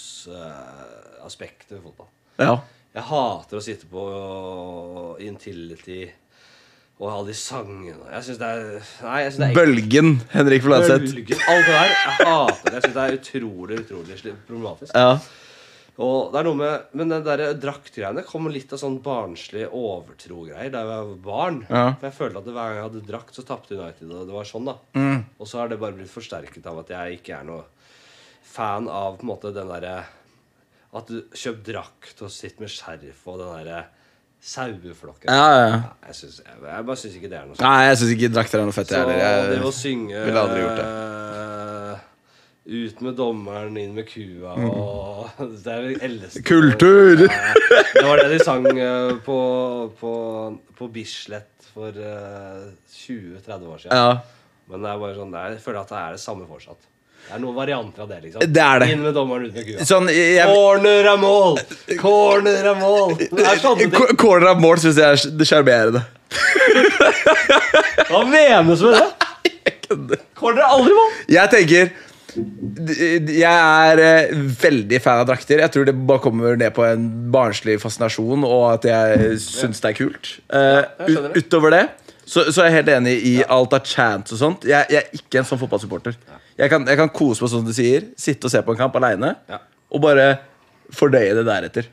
publikumsaspektet ved fotball. Ja. Jeg hater å sitte på Intility og alle de sangene Jeg syns det er Nei, jeg syns det er Bølgen, Henrik Fladseth. Bølgen, Alt det der. Jeg hater det. Jeg syns det er utrolig, utrolig sli- problematisk. Ja. Og det er noe med, Men den der draktgreiene kom litt av sånn barnslig overtro-greier da jeg var barn. Ja. For jeg følte at hver gang jeg hadde drakt, så tapte United, og det var sånn, da. Mm. Og så har det bare blitt forsterket av at jeg ikke er noe fan av på en måte den derre At du kjøper drakt og sitter med skjerf og den derre saueflokken. Ja, ja, ja. Nei, Jeg, synes, jeg, jeg bare syns ikke det er noe sånn. Nei, jeg syns ikke drakter er noe fett. så jeg heller. det å Jeg- synge ville aldri gjort det. eh, Ut med dommeren, inn med kua og [laughs] Det er det eldste Mm. Kultur! Ja, [laughs] Det var det de sang eh, på, på, på Bislett for eh, 20-30 år siden. Ja. Men det er bare sånn, det er- jeg føler at det er det samme fortsatt. Det er noen varianter av det, liksom. Det er det. Inn med dommeren, ut med kua. Sånn, jeg, Corner er mål! Corner er mål! Det er sånn sånne ting. K- Corner av mål syns jeg er sj- det sjarmerende. Hva menes med det? Corner er aldri mål! Jeg tenker d- d- Jeg er eh, veldig fan av drakter. Jeg tror det bare kommer ned på en barnslig fascinasjon, og at jeg syns det er kult. Eh, jeg skjønner ut- utover det så, så er jeg helt enig i alt av chance og sånt. Jeg, jeg er ikke en sånn fotballsupporter. Jeg kan, jeg kan kose meg sånn du sier, sitte og se på en kamp aleine, Ja. og bare fordøye det deretter.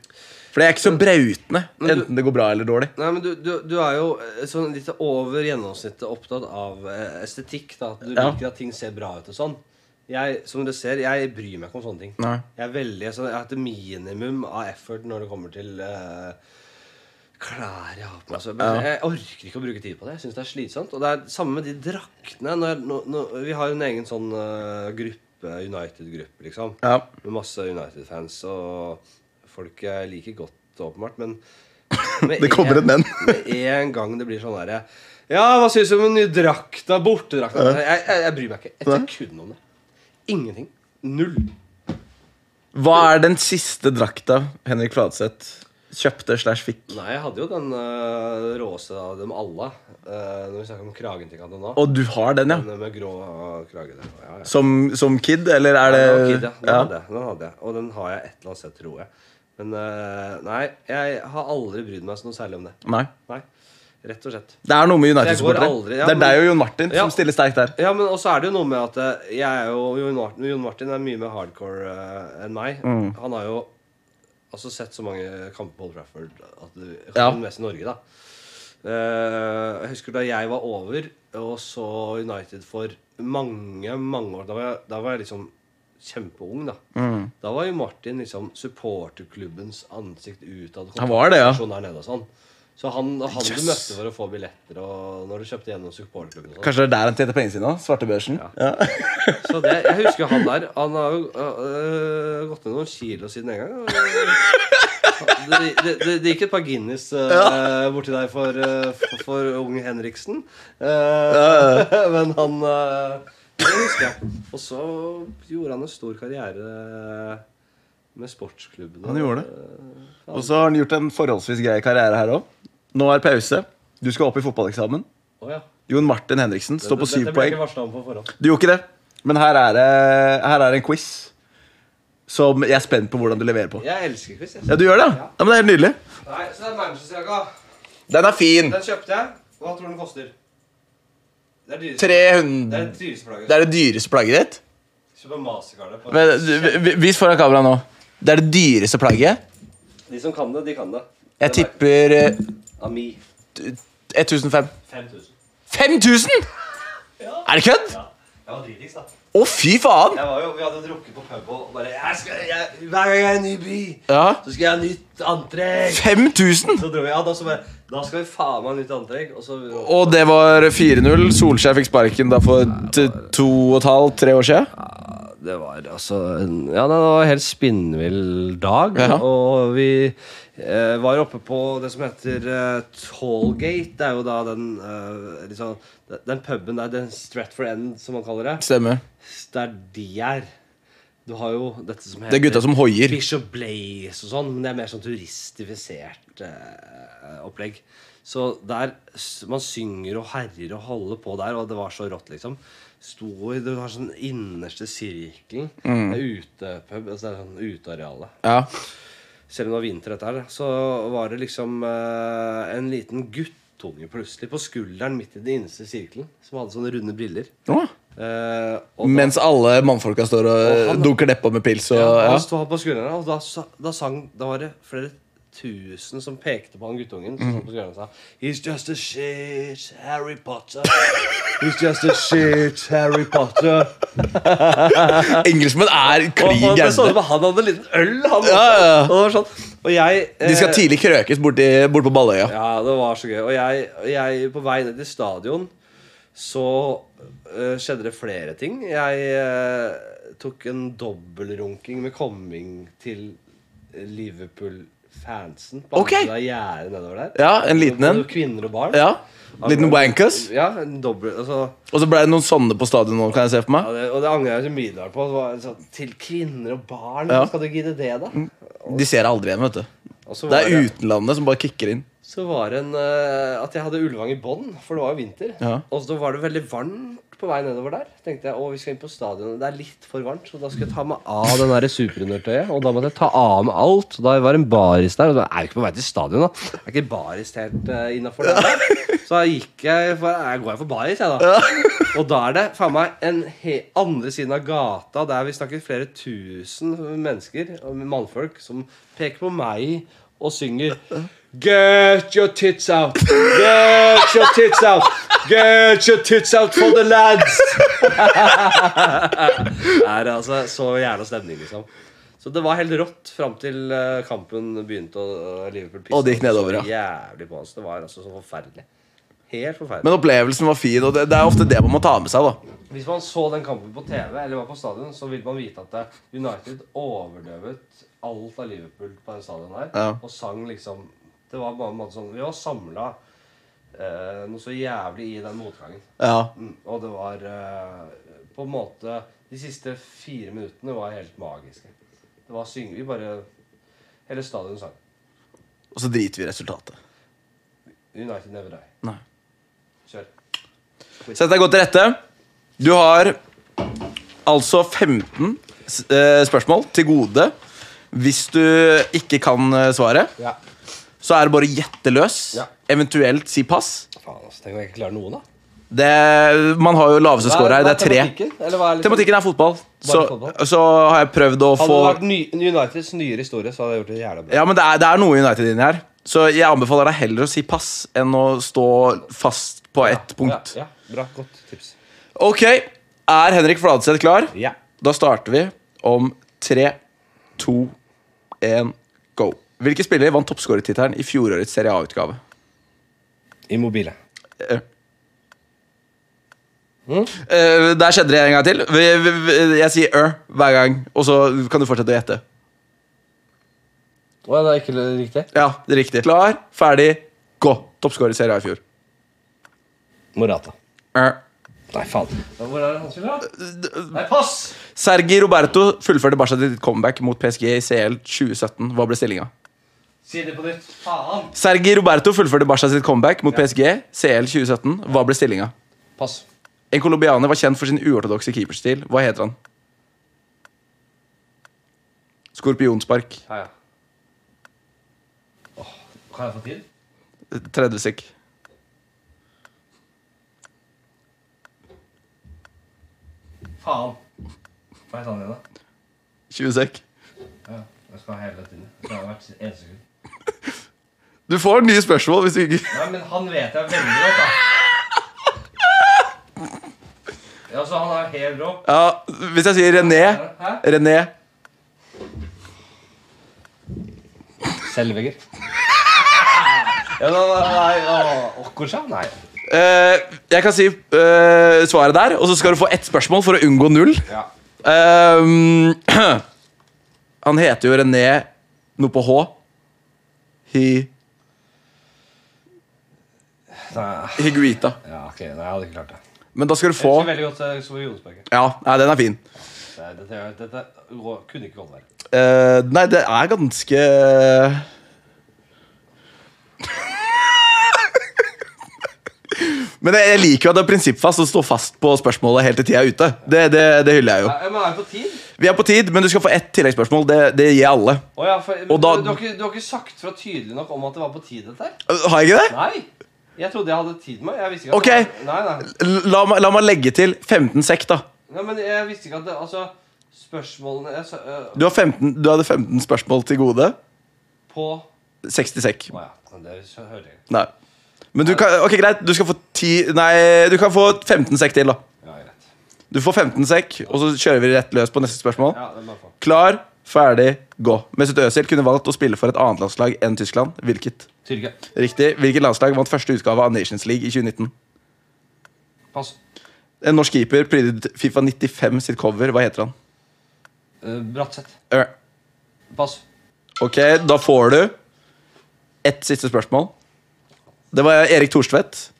For jeg er ikke så brautende, enten det går bra eller dårlig. Nei, men du, du, du er jo eh, sånn litt over gjennomsnittet opptatt av eh, estetikk. da At du Ja. liker at ting ser bra ut og sånn. Jeg, som du ser, jeg bryr meg ikke om sånne ting. Nei. Jeg er veldig sånn, jeg har et minimum av effort når det kommer til eh, klær jeg har på meg. Så, men Jeg orker ikke å bruke tid på det. Jeg synes det er slitsomt. Og det er samme med de draktene. Når, når, når, vi har jo en egen sånn eh, gruppe, United-gruppe, liksom. Ja. Med masse United-fans og folk jeg liker godt, åpenbart. Men med Det kommer et men. [laughs] med en gang det blir sånn derre Ja, hva syns du om den nye drakta? Bortedrakta? Jeg, jeg, jeg bryr meg ikke et Nei. sekund om det. Ingenting. Null. Hva er den siste drakta Henrik Fladseth kjøpte slash fikk? Nei, jeg hadde jo den uh, råeste av dem alle. eh, når vi snakker om kragen til Kanada nå. Og du har den, ja? Den med grå eh, krage der. Ja, ja. Som, som kid, eller er det Den var kid, ja. Den, Ja. Hadde jeg. den hadde jeg. Og den har jeg et eller annet sett, tror jeg. Men eh, nei, jeg har aldri brydd meg så noe særlig om det. Nei. Nei, Rett og slett. Det er noe med Jeg går United-supportere. aldri- ja, det er men- deg og Jon Martin Ja. som stiller sterkt der. Ja, men også er det jo noe med at eh, jeg er jo Jon Martin, Jon Martin er mye mer hardcore eh, enn meg. Mm. Han har jo altså sett så mange kamper på Old Trafford at du Ja. kan mest i Norge, da. Eh, jeg husker da jeg var over og så United for mange, mange år Da var jeg, da var jeg liksom kjempeung, da. Mm. Da var jo Martin liksom supporterklubbens ansikt utad. Han var det, ja. kontaktperson Der nede og sånn. Så han, og han Yes. du møtte for å få billetter, og når du kjøpte gjennom supporterklubben og sånn. Kanskje det er der han tjente pengene sine? også? Svartebørsen? Ja. Så det, jeg husker han der. Han har jo øh, gått ned noen kilo siden den gang. Det, det, det, det gikk et par Guinness øh, borti der for, øh, for, for unge Henriksen. Eh, [laughs] Men han øh, Det husker jeg. Og så gjorde han en stor karriere øh, med sportsklubben. [laughs] Han gjorde det. Og så har han gjort en forholdsvis grei karriere her òg. Nå er pause. Du skal opp i fotballeksamen. Å ja. Jon Martin Henriksen står på Dette- syv Dette ble poeng. jeg ikke varsla om på forhånd. Du gjorde ikke det, men her er, det, her er en quiz som jeg er spent på hvordan du leverer på. Jeg elsker quiz. jeg. Ja, du gjør det? Ja, men Det er helt nydelig. Nei, så det er Manchester-jakka. Den er fin. Den kjøpte jeg. Hva tror du den koster? Det er dyreste- det 300 er det dyreste plagget. Det er det dyreste plagget ditt? Kjøp en mastercard på Men, du, vi- vis foran kamera nå. Det er det dyreste plagget. De som kan det, de kan det. Jeg tipper eh, Ami. 1005. 5000. 5000?! Er det kødd? Jeg var dritings, da. Å, fy faen! Jeg var jo, vi hadde drukket på pub og bare jeg skal, jeg, Hver gang jeg er i en ny by, Ja. så skal jeg ha nytt antrekk. 5000! Så dro vi av, da, så bare Da skal vi faen meg ha nytt antrekk. Og så Og det var 4-0. Solskjær fikk sparken da for t- to og et halvt, tre år siden. Det var altså en- Ja, det var en helt spinnvill dag. Ja. Og vi eh, var oppe på det som heter eh, Tollgate. Det er jo da den eh, liksom, den- Den puben der, den Stratford End, som man kaller det. Stemmer. Der de er. Du har jo dette som heter Det er gutta som hoier. Bishop Blaze og sånn, men det er mer sånn turistifisert eh, opplegg. Så der s- Man synger og herjer og holder på der, og det var så rått, liksom. Stor, Du har sånn innerste sirkelen. Mm. Det er utepub, altså det er sånn uteareale. Ja. Selv om det var vinter, dette her, da, så var det liksom eh, en liten guttunge plutselig på skulderen midt i den innerste sirkelen, som hadde sånne runde briller. Å. Eh, og da- Mens alle mannfolka står og eh, han- dunker nedpå med pils og ja, ja. han sto på skuldrene, og da, sa- da sang Da var det flere tusen som pekte på han guttungen. Som sto på skuldrene og sa He's just a shit Harry Potter. He's just a shit Harry Potter. Engelskmenn er Og, og klin det så gærne. ut som han hadde en liten øl, han. også. Ja, ja, ja. Og, det var sånn. og jeg De skal tidlig krøkes bort, i, bort på Balløya. Ja, det var så gøy. Og jeg, og jeg på vei ned til stadion så øh, skjedde det flere ting. Jeg øh, tok en dobbeltrunking med komming til Liverpool-fansen på Ok. andre gjerdet nedover der. Ja, en liten en. Både Kvinner og barn. Altså, Ja. Liten wankers. Ja, en dobbel, altså, Og så ble det noen sånne på stadion nå, kan jeg se for ja, meg. det, og det angrer jeg så umiddelbart på. Det var, sånn, til kvinner og barn, Ja. skal du gidde det, da? De ser deg aldri igjen, vet du. Og så Det var er utenlandet som bare kicker inn. Så var det en, eh, at jeg hadde Ulvang i bånd, for det var jo vinter. Ja. Og så var det veldig varmt på vei nedover der. tenkte jeg, å vi skal inn på stadionet, det er litt for varmt, så da skal jeg ta meg av den der superundertøyet. Og da måtte jeg ta av meg alt. Og da var det en baris der, og da er jeg ikke på vei til stadion, da. Jeg er ikke baris helt uh, innafor der. Så da gikk jeg for, jeg går jeg for baris, jeg, da. Og da er det faen meg en he andre siden av gata der vi snakker flere tusen mennesker, og mannfolk, som peker på meg og synger Get your tits out! Get your tits out! Get your tits out for the lads! Det [laughs] er altså så jævla stemning, liksom. Så det var helt rått fram til eh, kampen begynte og og Liverpool pisset Og det gikk nedover, så Jævlig på oss. Det var altså så forferdelig. Helt forferdelig. Men opplevelsen var fin, og det, det er ofte det man må ta med seg. da Hvis man så den kampen på TV eller var på stadion, så vil man vite at eh, United overdøvet alt av Liverpool på den stadion her. Ja. Og sang liksom Det var bare en måte sånn Vi var samla eh, noe så jævlig i den motgangen. Ja, Mm, og det var eh, på en måte De siste fire minuttene var helt magiske. Det var syng... Vi bare Hele stadion sang. Og så driter vi i resultatet. United never die. Nei. Kjør. Sett deg godt til rette. Du har altså 15 s- eh, spørsmål til gode. Hvis du ikke kan eh, svaret, Ja. så er det bare å gjette løs. Ja. Eventuelt si pass. Faen, altså. Tenk om jeg ikke klarer noen, da. Det, man har jo laveste score her. Det er tre. tematikken? Eller hva er liksom- Tematikken er fotball. Så, fotball? så har jeg prøvd å Hadde få det vært ny, Uniteds nyere historie, så hadde jeg gjort det jævla bra. Ja, men det er, det er noe United inni her. Så jeg anbefaler deg heller å si pass enn å stå fast på ett punkt. Ja, ja, bra, godt tips. Ok, er Henrik Fladseth klar? Ja. Da starter vi om tre, to, én, go. Hvilke spillere vant toppskårertittelen i fjorårets Serie A-utgave? Immobile. Eh. Mm. Eh, der skjedde det en gang til. Vi- vi- vi- Jeg sier ø hver gang, og så kan du fortsette å gjette. Å, det er ikke riktig? Ja, det er riktig. Klar, ferdig, gå. Toppskårer i Serie A i fjor. Morata. Eh. Nei, faen. Hvor er det han spiller, da? Nei, pass! Sergi Roberto fullførte Barca til sitt comeback mot PSG i CL 2017. Hva ble stillinga? Si det på nytt. Faen! Sergi Roberto fullførte Barca sitt comeback mot PSG CL 2017. Hva ble stillinga? Pass. En colombianer var kjent for sin uortodokse keeperstil. Hva heter han? Skorpionspark. Ja, ja. Åh, kan jeg få tid? 30 sek. Faen. Hva heter han igjen, da? 20 sek. Ja, jeg skal ha hele tiden. Det har vært en sekund. Du får nye spørsmål hvis du ikke Nei, men han vet jeg veldig godt, da. Ja, så han er helt rå. Ja, Hvis jeg sier René Hæ? René Selvegger. [laughs] ja, nei, nei, nei, Okkorsja? Nei. Eh, Jeg kan si eh, svaret der, og så skal du få ett spørsmål for å unngå null. Ja. Eh, [clears throat] han heter jo René noe på H. Hi... Nei. Higuita. Ja, ok, nei, jeg hadde ikke klart det. Men da skal du Jeg få husker veldig godt eh, Sofie Jonsberg. Ja, nei, den er fin. Dette, dette, dette rå- kunne ikke gått verre. Eh, nei, det er ganske [laughs] Men jeg jeg liker jo at det er prinsippfast og står fast på spørsmålet helt til tida er ute. Det, det, det hyller jeg jo. Nei, Men er det på tid? Vi er på tid, men du skal få ett tilleggsspørsmål. Det, det gir jeg alle. Å ja, for, Og da- du, har ikke, du har ikke sagt fra tydelig nok om at det var på tid, dette her? Eh, Har jeg ikke det? Nei! Jeg trodde jeg hadde tid med jeg visste ikke at Ok. det var- Nei, nei. L- La, meg- la meg legge til 15 sekk, da. nei, men jeg visste ikke at det Altså, spørsmålene jeg, sa- øh, Du, har 15, du hadde 15 spørsmål til gode. På 60 sekk. Å ja. men Det så hører jeg. Nei. Men du kan, ok, greit. Du skal få 10 Nei, du kan få 15 sekk til, da. Ja, greit. Du får 15 sekk, og så kjører vi rett løs på neste spørsmål. Ja, det må jeg få. Klar, ferdig, gå. Mesut Özil kunne valgt å spille for et annet landslag enn Tyskland. Hvilket? Tyrkia. Riktig. Hvilket landslag vant første utgave av Nations League i 2019? Pass. En norsk keeper prydet Fifa 95 sitt cover. Hva heter han? Uh, Bratseth. Øh. Pass. Ok, da får du ett siste spørsmål. Det var Erik Thorstvedt.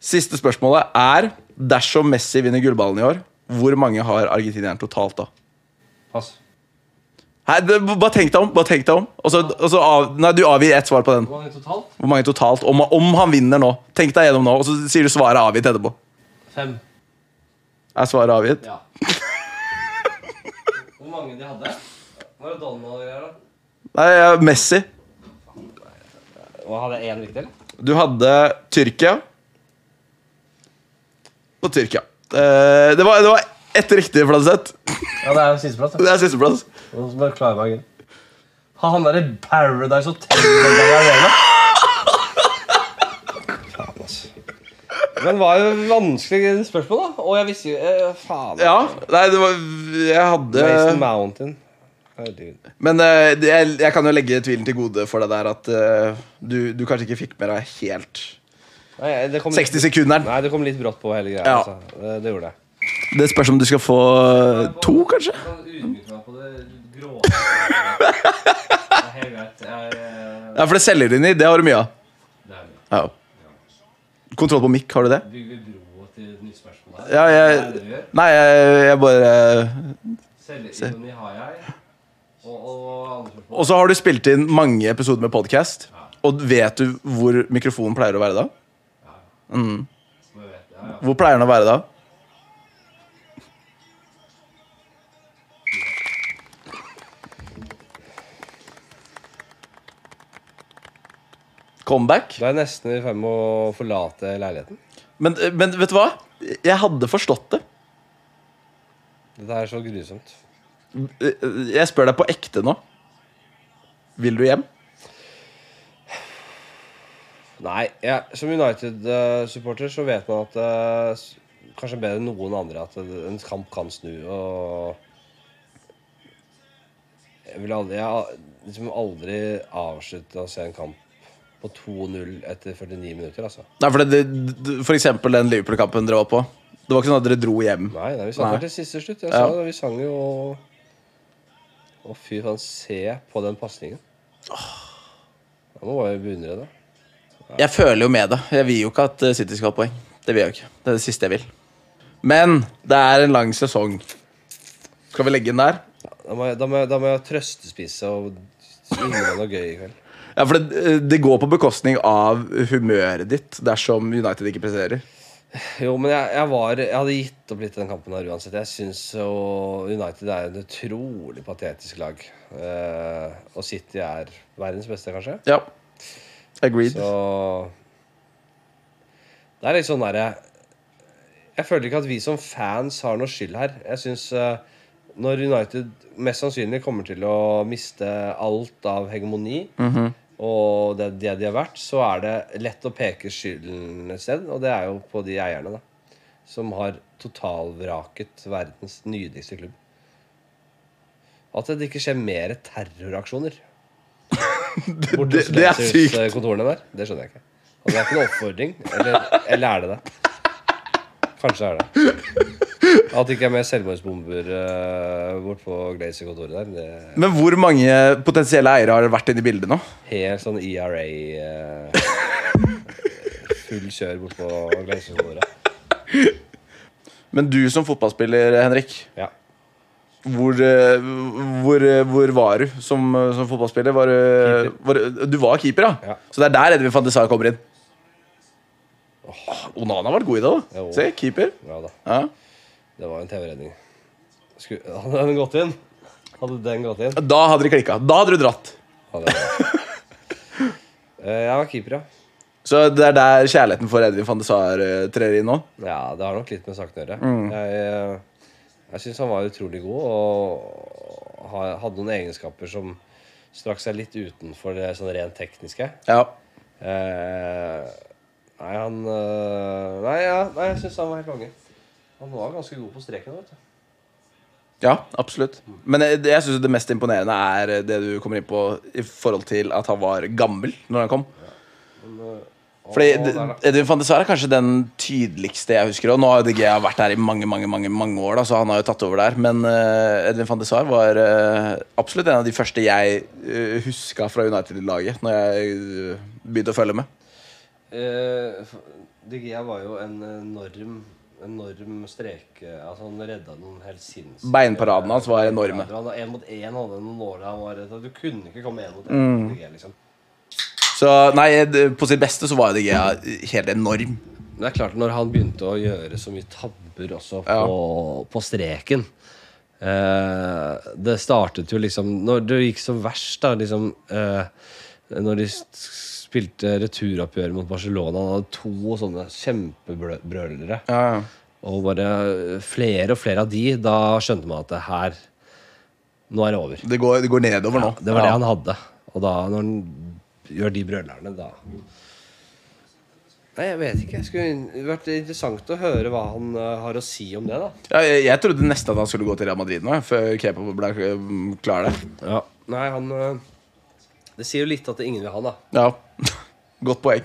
Siste spørsmålet er dersom Messi vinner gullballen i år, hvor mange har argentineren totalt da? Pass. Hei, det, bare tenk deg om. bare tenk deg om og så, og så av, Nei, Du avgir ett svar på den. Hvor mange totalt? Hvor mange totalt, om, om han vinner nå. Tenk deg gjennom nå, og så sier du svaret avgitt etterpå. Fem. Er svaret avgitt? Ja. Hvor mange de hadde? Maradona og greier, da? Nei, ja, Messi. Og hadde jeg én riktig, eller? Du hadde Tyrkia og Tyrkia. Eh, det, var, det var ett riktig, Fladseth. Ja, det er jo sisteplass. Det er sisteplass. Nå må jeg klare meg igjen. Ha han derre Paradise Hotel-greiene. Men var jo vanskelig spørsmål, da. Og jeg visste jo eh, Faen. Ja, nei, det var Jeg Mason hadde Mountain. Herregud. Men eh, det- jeg, jeg kan jo legge tvilen til gode for deg der at eh, du, du kanskje ikke fikk med deg helt Nei, det kom litt, 60-sekunderen. nei, det kom litt brått på, hele greia. Ja. Altså. Det, det gjorde det. Det spørs om du skal få eh, to, kanskje? eh, Ja, for det selger du inn i. Det har du mye av. Ja. Kontroll på mikk, har du det? Bygger vi bro til et nytt spørsmål her? Ja, jeg Nei, jeg, jeg bare Selvironi har jeg. Og, og andre spørsmål. Og så har du spilt inn mange episoder med podkast. Og vet du hvor mikrofonen pleier å være da? Som jeg vet. Ja, ja. Hvor pleier den å være da? Comeback? Da er jeg nesten i ferd med å forlate leiligheten. Men, eh, men vet du hva? Jeg hadde forstått det. Dette er så grusomt. Jeg spør deg på ekte nå. Vil du hjem? Nei, jeg, som United-supporter så vet man at eh, s- Kanskje bedre enn noen andre at en kamp kan snu, og Jeg vil aldri Jeg har liksom aldri avslutta å se en kamp på 2-0 etter 49 minutter, altså. Nei, for, det, det, for eksempel den Liverpool-kampen dere var på. Det var ikke sånn at dere dro hjem. Nei, nei vi sang Nei. vel til siste slutt. Jeg Ja. sa det, vi sang jo Å, fy faen, se på den pasningen. Da må jeg beundre det. Jeg føler jo med det. Jeg vil jo ikke at eh, City skal ha poeng. Det vil jeg jo ikke. Det er det siste jeg vil. Men det er en lang sesong. Skal vi legge den der? Da må jeg, da må jeg, da må jeg trøstespise og innrømme noe gøy i kveld. Ja, for det, eh, det går på bekostning av humøret ditt dersom United ikke presterer. Jo, men jeg, jeg, var, jeg hadde gitt opp litt den kampen her uansett. Jeg syns United er et utrolig patetisk lag. Eh, og City er verdens beste, kanskje. Ja. Agreed. [laughs] Så Det er litt sånn derre Jeg føler ikke at vi som fans har noe skyld her. Jeg syns når United mest sannsynlig kommer til å miste alt av hegemoni og det, det de har vært, så er det lett å peke skylden et sted, og det er jo på de eierne, da. Som har totalvraket verdens nydeligste klubb. At det ikke skjer mer terroraksjoner Det, det, det er sykt. eh, kontorene der. Det skjønner jeg ikke. Og det er ikke noen oppfordring. Eller, eller er det det? Kanskje er det. At det ikke er mer selvmordsbomber uh, bortpå Glazer-kontoret der. Det er Men hvor mange potensielle eiere har vært inne i bildet nå? helt sånn ERA eh, Full kjør bortpå Glazer-kontoret. Men du som fotballspiller, Henrik, Ja. hvor, eh, hvor, eh, hvor var du som, eh, som fotballspiller? Var, du- var, du- du var keeper, ja. Ja. Så det er der Edvin Fantizar kommer inn. Åh, Onana har vært god i dag, da. Jo. Se, keeper. Ja da. Ja. Det var en TV-redning. Skulle- Hadde den gått inn? Hadde den gått inn? Da hadde de klikka. Da hadde du dratt. Hadde den. Eh, Jeg var keeper, ja. Så det er der kjærligheten for Edvin Fantizar eh, trer inn nå. Ja, det har nok litt med saken å gjøre. Mm. Jeg, jeg syns han var utrolig god og ha- hadde noen egenskaper som strakk seg litt utenfor det sånn rent tekniske. Ja. Eh, nei, han eh, Nei, ja, nei jeg syns han var helt konge. Han var ganske god på streken. vet du Ja, absolutt. Men jeg, jeg synes det mest imponerende er eh, det du kommer inn på i forhold til at han var gammel når han kom. Fordi Å, eh, der, da. d- Edvin van de Sar er kanskje den tydeligste jeg husker. Og nå har jo De Gea vært der i mange mange, mange, mange år, da, så han har jo tatt over der. Men eh, Edvin van de Sar var eh, absolutt en av de første jeg uh, huska fra United-laget når jeg eh, begynte å følge med. Eh, f- De Gea var jo en enorm Enorm streke Altså Han redda noen helt sinnssyke Beinparadene hans var enorme. Han var Én mot én hadde noen nåler han var redd for. Du kunne ikke komme én mot én. mot De Gea, liksom. Så nei, d- på sitt beste så var jo De Gea helt enorm. Men det er klart, når han begynte å gjøre så mye tabber også på, på streken eh, Det startet jo liksom Når det gikk som verst, da, liksom eh, Når de s- spilte returoppgjør mot Barcelona, han hadde to sånne kjempebrølere. Ja, ja. Og bare flere og flere av de, da skjønte man at det her Nå er det over. Det går, det går nedover nå. Det var det Ja. han hadde. Og da, når han gjør de brølerne, da Nei, jeg vet ikke. Det skulle vært interessant å høre hva han eh, har å si om det, da. Ja, jeg, jeg trodde nesten at han skulle gå til Real Madrid nå, jeg, før Kepa ble mm, klar der. Nei, han eh, Det sier jo litt at ingen vil ha han, da. Ja, [laughs] Godt poeng.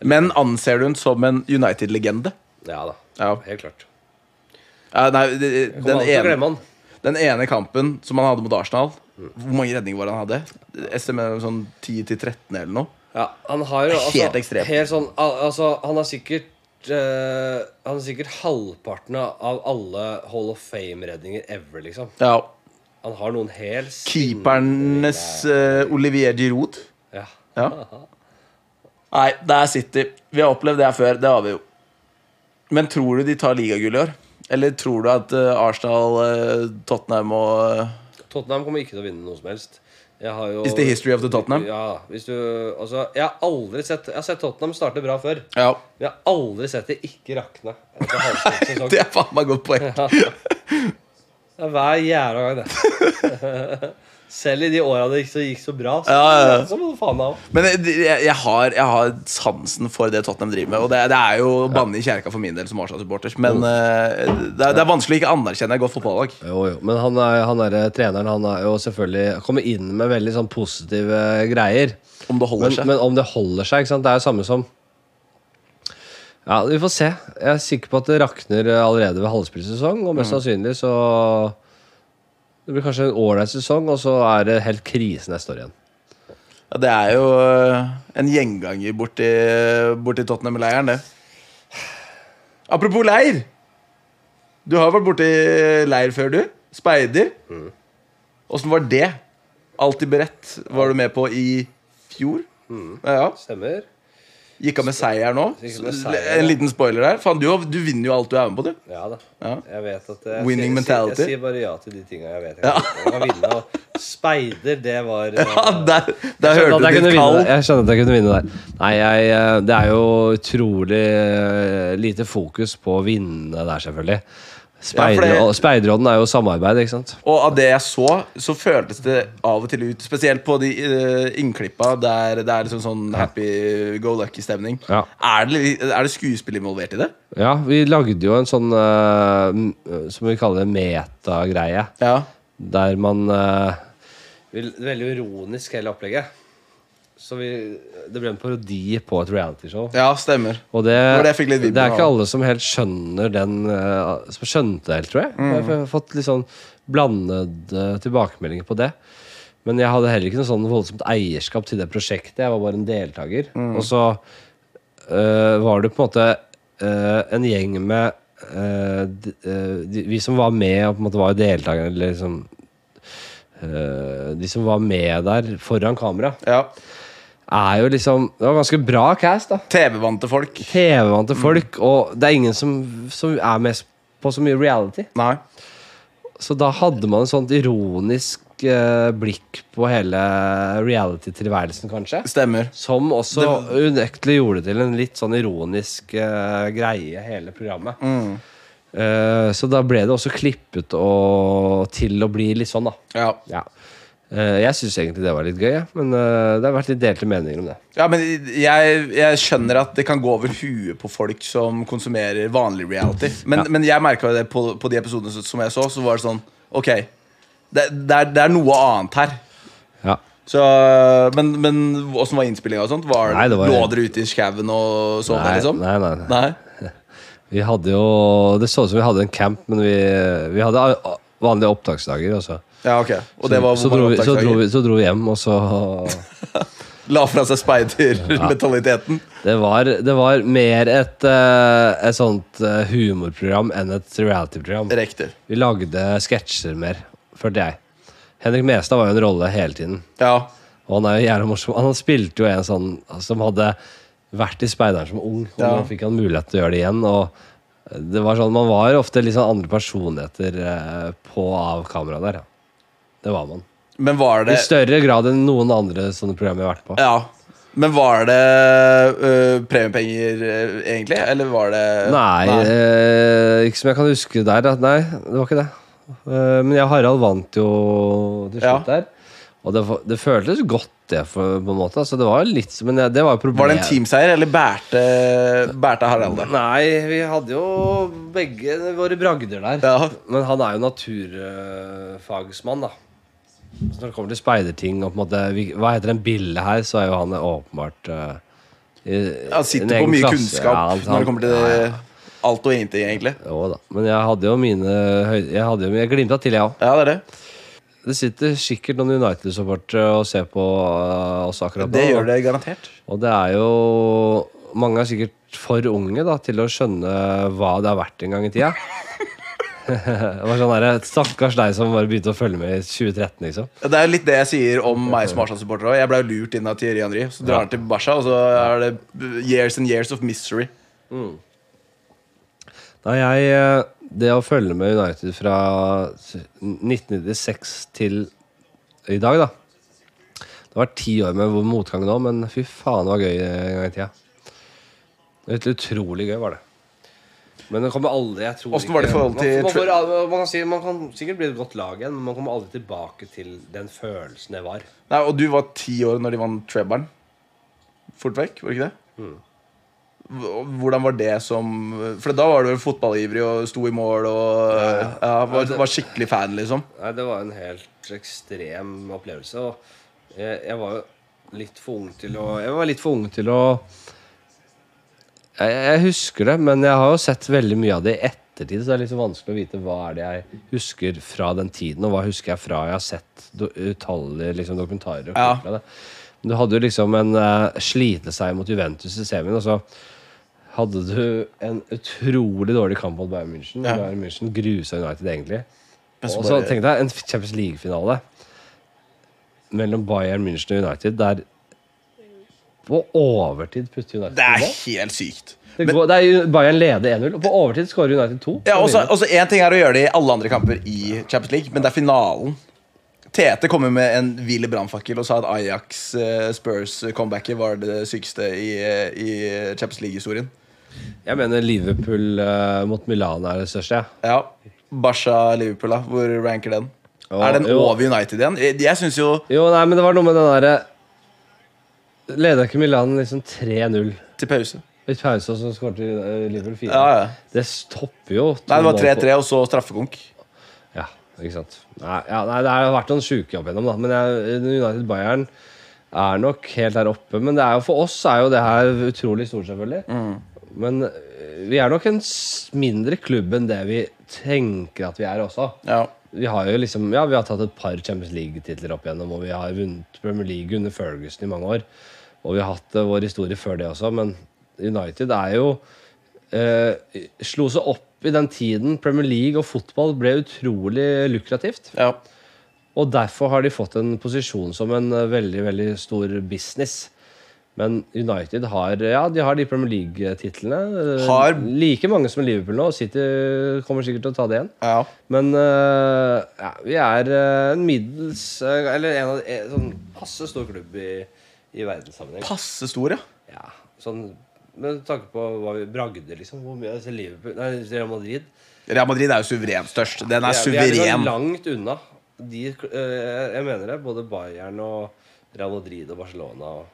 Men anser du hun som en United-legende? Ja da. Ja. Helt klart. Ja, nei, det- det- Kommer den alltid til å ene, glemme han. den ene kampen som han hadde mot Arsenal Hvor mange redninger var det han hadde? Estimerer sånn 10-13 eller noe. Ja, han har jo Det er altså, helt ekstremt. Helt sånn, al altså, han har sikkert eh, Han har sikkert halvparten av alle Hall of Fame-redninger ever, liksom. Ja, Han har noen helt sin- Keepernes eh, Olivier Giroud. Ja. Ja. Nei, der sitter Vi har opplevd det her før. Det har vi jo. Men tror du de tar ligagull i år? Eller tror du at eh, Arsenal, eh, Tottenham og eh, Tottenham kommer ikke til å vinne noe som helst. Jeg har jo Is the history of the Tottenham? Ja, hvis du Altså, jeg har aldri sett Jeg har sett Tottenham starte bra før. Ja. Men jeg har aldri sett det ikke rakne. etter halvveis sesong. [laughs] [laughs] Det er faen meg godt poeng. [laughs] Det er Hver jævla gang, det. [laughs] Selv i de åra det gikk så, gikk så bra, så, Ja, ja, ja. så må du faen av. Men jeg, jeg, jeg, har, jeg har sansen for det Tottenham driver med. Og det, det er jo å banne i kjerka for min del som Arsenal-supporter. Mm. Men eh, det, er, det er vanskelig å ikke anerkjenne et godt fotballag. Jo, jo. Men han, er, han er, eh, treneren han er jo selvfølgelig kommer inn med veldig sånn positive greier. Om det holder Men, seg. men om det holder seg, ikke sant? det er jo samme som Ja, vi får se. Jeg er sikker på at det rakner eh, allerede ved halvspillsesong, og Mm. mest sannsynlig så Det blir kanskje en ålreit sesong, og så er det helt krise neste år igjen. Ja, det er jo eh, en gjenganger borti, borti Tottenham-leiren, det. Apropos leir. Du har vært borti leir før, du. Speider. Mm. Åssen var det? Alltid beredt var du med på i fjor. Mm. Ja, ja. Stemmer. Gikk av med seier nå. Gikk av med seier, En ja. liten spoiler her. Faen, du, har- du vinner jo alt du er med på, du. Ja da. Ja. Jeg vet at eh, jeg, Winning sier- jeg, sier- mentality. Jeg sier bare ja til de tinga jeg vet jeg kan, jeg kan vinne. Og speider, det [laughs] var [laughs] eh, Ja, der der Jeg skjønner hørte at jeg du kunne ditt vinne kall. der. Jeg skjønner at jeg kunne vinne der. Nei, jeg, eh, det er jo utrolig eh, lite fokus på å vinne der, selvfølgelig. Ja, for det- Speider- og- Speiderodden er jo samarbeid, ikke sant? Og av det jeg så, så føltes det av og til ut Spesielt på de eh, innklippa der det er liksom sånn happy go lucky-stemning. Ja. Er, det- er det skuespill involvert i det? Ja, vi lagde jo en sånn eh, m- som vi kaller det metagreie, Ja. der man eh, vil- Veldig ironisk hele opplegget. Så vi, det ble en parodi på et realityshow. ja, stemmer. Og det, var det, det jeg fikk litt vibber er ikke av. alle som helt skjønner den eh, Som skjønte det helt, tror jeg. Mm. Jeg har fått litt sånn blandede tilbakemeldinger på det. Men jeg hadde heller ikke noe sånn voldsomt eierskap til det prosjektet. Jeg var bare en Mm. deltaker. Og så eh, var det på en måte eh, en gjeng med eh, d- eh, de, Vi som var med, og på en måte var deltakerne, eller liksom eh, De som var med der foran kamera, Ja. er jo liksom Det var ganske bra cast, da. TV-vante folk. TV-vante Mm. folk, og det er ingen som, som er med på så mye reality. Nei. Så da hadde man et sånt ironisk eh, blikk på hele reality-tilværelsen, kanskje. Stemmer. Som også unektelig gjorde det til en litt sånn ironisk eh, greie, hele programmet. Mm. Eh, så da ble det også klippet og, til å bli litt sånn, da. Ja. Ja. Eh, jeg syns egentlig det var litt gøy, jeg, men eh, det har vært litt delte meninger om det. Ja, men jeg, jeg skjønner at det kan gå over huet på folk som konsumerer vanlig reality. Men, men jeg merka det på, på de episodene som- som jeg så. Så var det sånn Ok, det, det, er, det er noe annet her. Ja. Så, men men åssen var innspillinga og sånt? Var, Nei, det var- lå dere ute i skauen og så det, Nei, liksom? nei, nei, nei. Nei? Vi hadde jo Det så ut som vi hadde en camp, men vi, vi hadde a- a- vanlige opptaksdager. Også. Ja, ok. Og det var så, hvor dro mange vi, så, opptaksdager? dro vi, så dro vi hjem, og så [laughs] La fra seg speidermentaliteten? Det var, det var mer et, eh, et sånt eh, humorprogram enn et reality-program. Riktig. Vi lagde sketsjer mer, følte jeg. Henrik Mestad var jo en rolle hele tiden. Ja. Og han er jo jævla morsom. Han spilte jo en sånn som hadde vært i Speideren som ung, og Ja. nå fikk han mulighet til å gjøre det igjen. Og det var sånn, Man var ofte litt sånn andre personligheter eh, på og av kamera der. Ja. Det var man. Men var I det større grad enn noen andre sånne program jeg har vært på. Ja. Men var det øh, premiepenger, øh, egentlig? Eller var det Nei, Eh, ikke som jeg kan huske der. Da. Nei, det var ikke det. Eh, men jeg og Harald vant jo til Ja. slutt der. Og det, var- det føltes godt, det, for, på en måte. Altså, det var jo litt, men det, det var jo problemet. Var det en teamseier, eller bærte, bærte Harald det? Nei, vi hadde jo begge våre bragder der. Ja. Men han er jo naturfagsmann, da. Så når det kommer til speiderting og på en måte, vi, Hva heter den bille her, så er jo han åpenbart eh, i- Han i en sitter egen på mye klasse. kunnskap Ja, han- når det kommer til ja, ja. alt og ingenting, egentlig. Jo da. Men jeg hadde jo mine høy- Jeg, hadde jo, jeg glimta til, jeg òg. Ja, det er det. Det sitter sikkert noen United-supportere og ser på eh, oss akkurat nå. Det da. gjør det garantert. Og det er jo Mange er sikkert for unge da, til å skjønne hva det har vært en gang i tida. [laughs] det var sånn der, Stakkars deg som bare begynte å følge med i 2013, liksom. Det er jo litt det jeg sier om meg som Arsenal-supporter òg. Jeg ble jo lurt inn av Thierry Henry. Så drar han til Barca, og så er det years and years of misery. Da jeg, eh, det å følge med United fra 1996 til i dag, da Det har vært ti år med hvor motgang nå, men fy faen, det var gøy en gang i tida. Det var Utrolig gøy var det. Men det kommer aldri jeg tror Hvordan var det i ikke- forhold til- man, man, får- man, kan si, man kan sikkert bli et godt lag igjen, men man kommer aldri tilbake til den følelsen det var. Nei, Og du var ti år når de vant Treberen. Fort vekk, var det ikke det? Hv- Hvordan var det som For da var du vel fotballivrig og sto i mål og ja, var, var skikkelig fan, liksom. Nei, det var en helt ekstrem opplevelse. Og jeg, jeg var jo litt for ung til å Jeg var litt for ung til å jeg, jeg husker det, men jeg har jo sett veldig mye av det i ettertid, så det er litt så vanskelig å vite hva er det jeg husker fra den tiden, og hva husker jeg fra jeg har sett do, utallige liksom, dokumentarer. og Ja. klipp fra det. Men Du hadde jo liksom en eh, sliteseier mot Juventus i semien, og så hadde du en utrolig dårlig kamp mot Bayern München. Ja. Bayern München grusa United, egentlig. Men så Og så bare- tenk deg en Champions League-finale mellom Bayern München og United, der på overtid putter United Det er to mål. helt sykt. Det går, det er jo- Bayern leder 1-0, og på overtid skårer United 2. Ja, også, også en ting er å gjøre det i alle andre kamper i Champions League, men det er finalen. Tete kom jo med en hvil i brannfakkel og sa at Ajax eh, Spurs-comebacket var det sykeste i, eh, i Champions League-historien. Jeg mener Liverpool eh, mot Milan er det største. jeg. Ja. Barca-Liverpool, da. Hvor ranker den? Ja, er den jo. over United igjen? Jeg, jeg syns jo Jo, nei, men det var noe med den derre Leda ikke Milan liksom 3-0 Til pause. i pause, og så skåret eh, Liverpool 4? Ja, ja. Det stopper jo. to Nei, det mål var på- 3-3, og så straffekonk. Ja, ikke sant. Nei, ja, nei det har vært noen sjuke opp igjennom, da. Men jeg, United Bayern er nok helt der oppe. Men det er jo, for oss er jo det her utrolig stort, selvfølgelig. Men øh, vi er nok en s- mindre klubb enn det vi tenker at vi er også. Ja. Vi har jo liksom, ja, vi har tatt et par Champions League-titler opp igjennom, og vi har vunnet Premier League under Ferguson i mange år. Og vi har hatt eh, vår historie før det også, men United er jo eh, slo seg opp i den tiden Premier League og fotball ble utrolig lukrativt. Ja. Og derfor har de fått en posisjon som en eh, veldig, veldig stor business. Men United har ja, de har de Premier League-titlene. eh, Har- Like mange som Liverpool nå. og City kommer sikkert til å ta det igjen. ja. Men eh, ja, vi er eh, en middels eh, Eller en av de- en sånn passe stor klubb i, i verdenssammenheng. Passe stor, ja. Ja, sånn med tanke på hva vi bragde, liksom. Hvor mye altså Liverpool Nei, Real Madrid. Real Madrid er jo suverent størst. Den er Vi er- vi er liksom suveren. langt unna. De, eh, jeg mener det. Både Bayern og Real Madrid og Barcelona. Og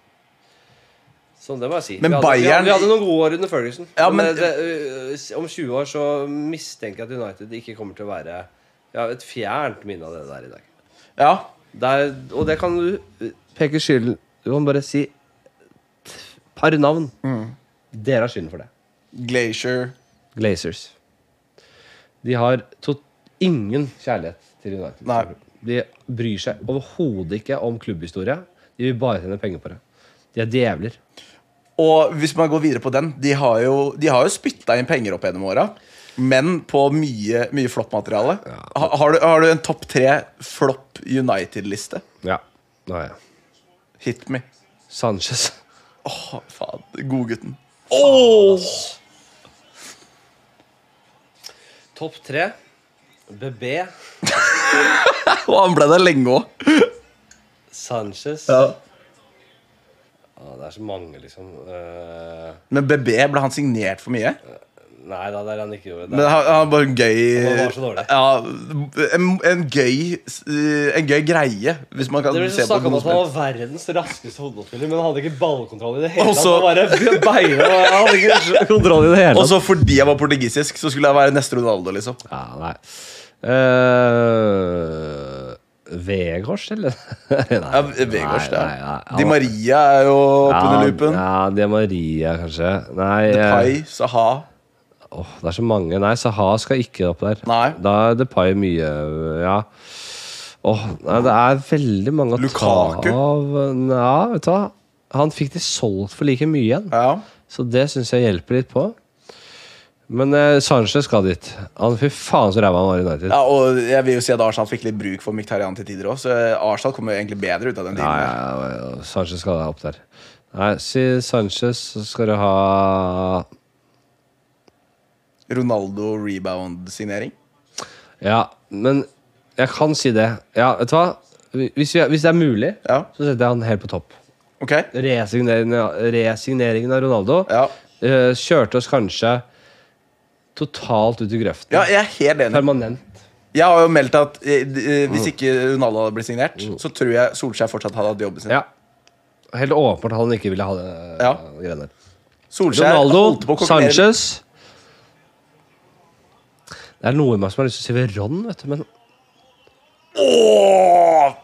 så det må jeg si. Men vi, hadde, Bayern- vi, hadde, vi hadde noen gode år under Ferguson. Ja, men- men det, eh, om 20 år så mistenker jeg at United ikke kommer til å være ja, et fjernt minne av det der i dag. Ja. Der, og det kan du eh, peke skylden Du kan bare si et par navn. Dere har skylden for det. Glacier. Glazers. De har to ingen kjærlighet til United. Nei. De bryr seg overhodet ikke om klubbhistorie. De vil bare tjene penger på det. De er djevler. Og hvis man går videre på den De har jo, de har jo spytta inn penger opp gjennom åra. Men på mye, mye floppmateriale. Ha, har, du- har du en topp tre flopp United-liste? Ja. Nå er jeg. Hit me. Sanchez. Åh, faen. Godgutten. [laughs] Topp tre. BB. Og han ble der lenge òg. Sanchez. Å, det er så mange, liksom. Eh, Men BB, ble han signert for mye? nei da, det er han ikke gjorde. Det Men han, han var en gøy Han var så dårlig. Ja, en, en gøy eh, En gøy greie, hvis man kan Det ble se så på snakket om noe at som han var verdens raskeste hodespiller, men han hadde ikke ballkontroll i det hele Og tatt. så- Han bare beina og han [laughs] hadde ikke kontroll i det hele Og tatt. så fordi jeg var portugisisk, så skulle jeg være neste Ronaldo, liksom. Ja, nei. Uh, Vegårs, eller? [laughs] Ja, nei, Vegårs, det. er. nei, nei, han- Di Maria er jo på den loopen. Ja, Di Maria, kanskje. Nei, eh, Pai, Saha åh, det er så mange. Nei, Saha skal ikke opp der. Nei. Da er Depay mye Ja. Åh, nei, det er veldig mange å Lukaku. ta av. Ja, vet du hva. Han fikk de solgt for like mye igjen. Ja. Så det syns jeg hjelper litt på. Men eh, Sanchez skal dit. Han, fy faen så ræva han var i United. ja, og jeg vil jo si at Arsenal fikk litt bruk for Miktarian til tider òg, så Arsenal kommer jo egentlig bedre ut av den Ja, tiden. ja, ja, Sanchez skal opp der. Nei, si Sanchez, så skal du ha Ronaldo rebound-signering. Ja, men jeg kan si det. Ja, vet du hva? Hvis, vi, hvis det er mulig, Ja, så setter jeg han helt på topp. ok? Resigneringen, resigneringen av Ronaldo Ja, eh, kjørte oss kanskje totalt ut i grøften. ja jeg er helt enig. Permanent. Jeg har jo meldt at eh, d- eh, Mm. hvis ikke Ronaldo hadde blitt signert, så tror jeg Solskjær fortsatt hadde hatt jobben sin. Ja. Helt åpenbart at han ikke ville ha det Ja. eh, greiene der. Solskjær holdt på Ronaldo, å kokkelere- Sanchez Det er noe i meg som har lyst til å si Veron, vet du, men Åh!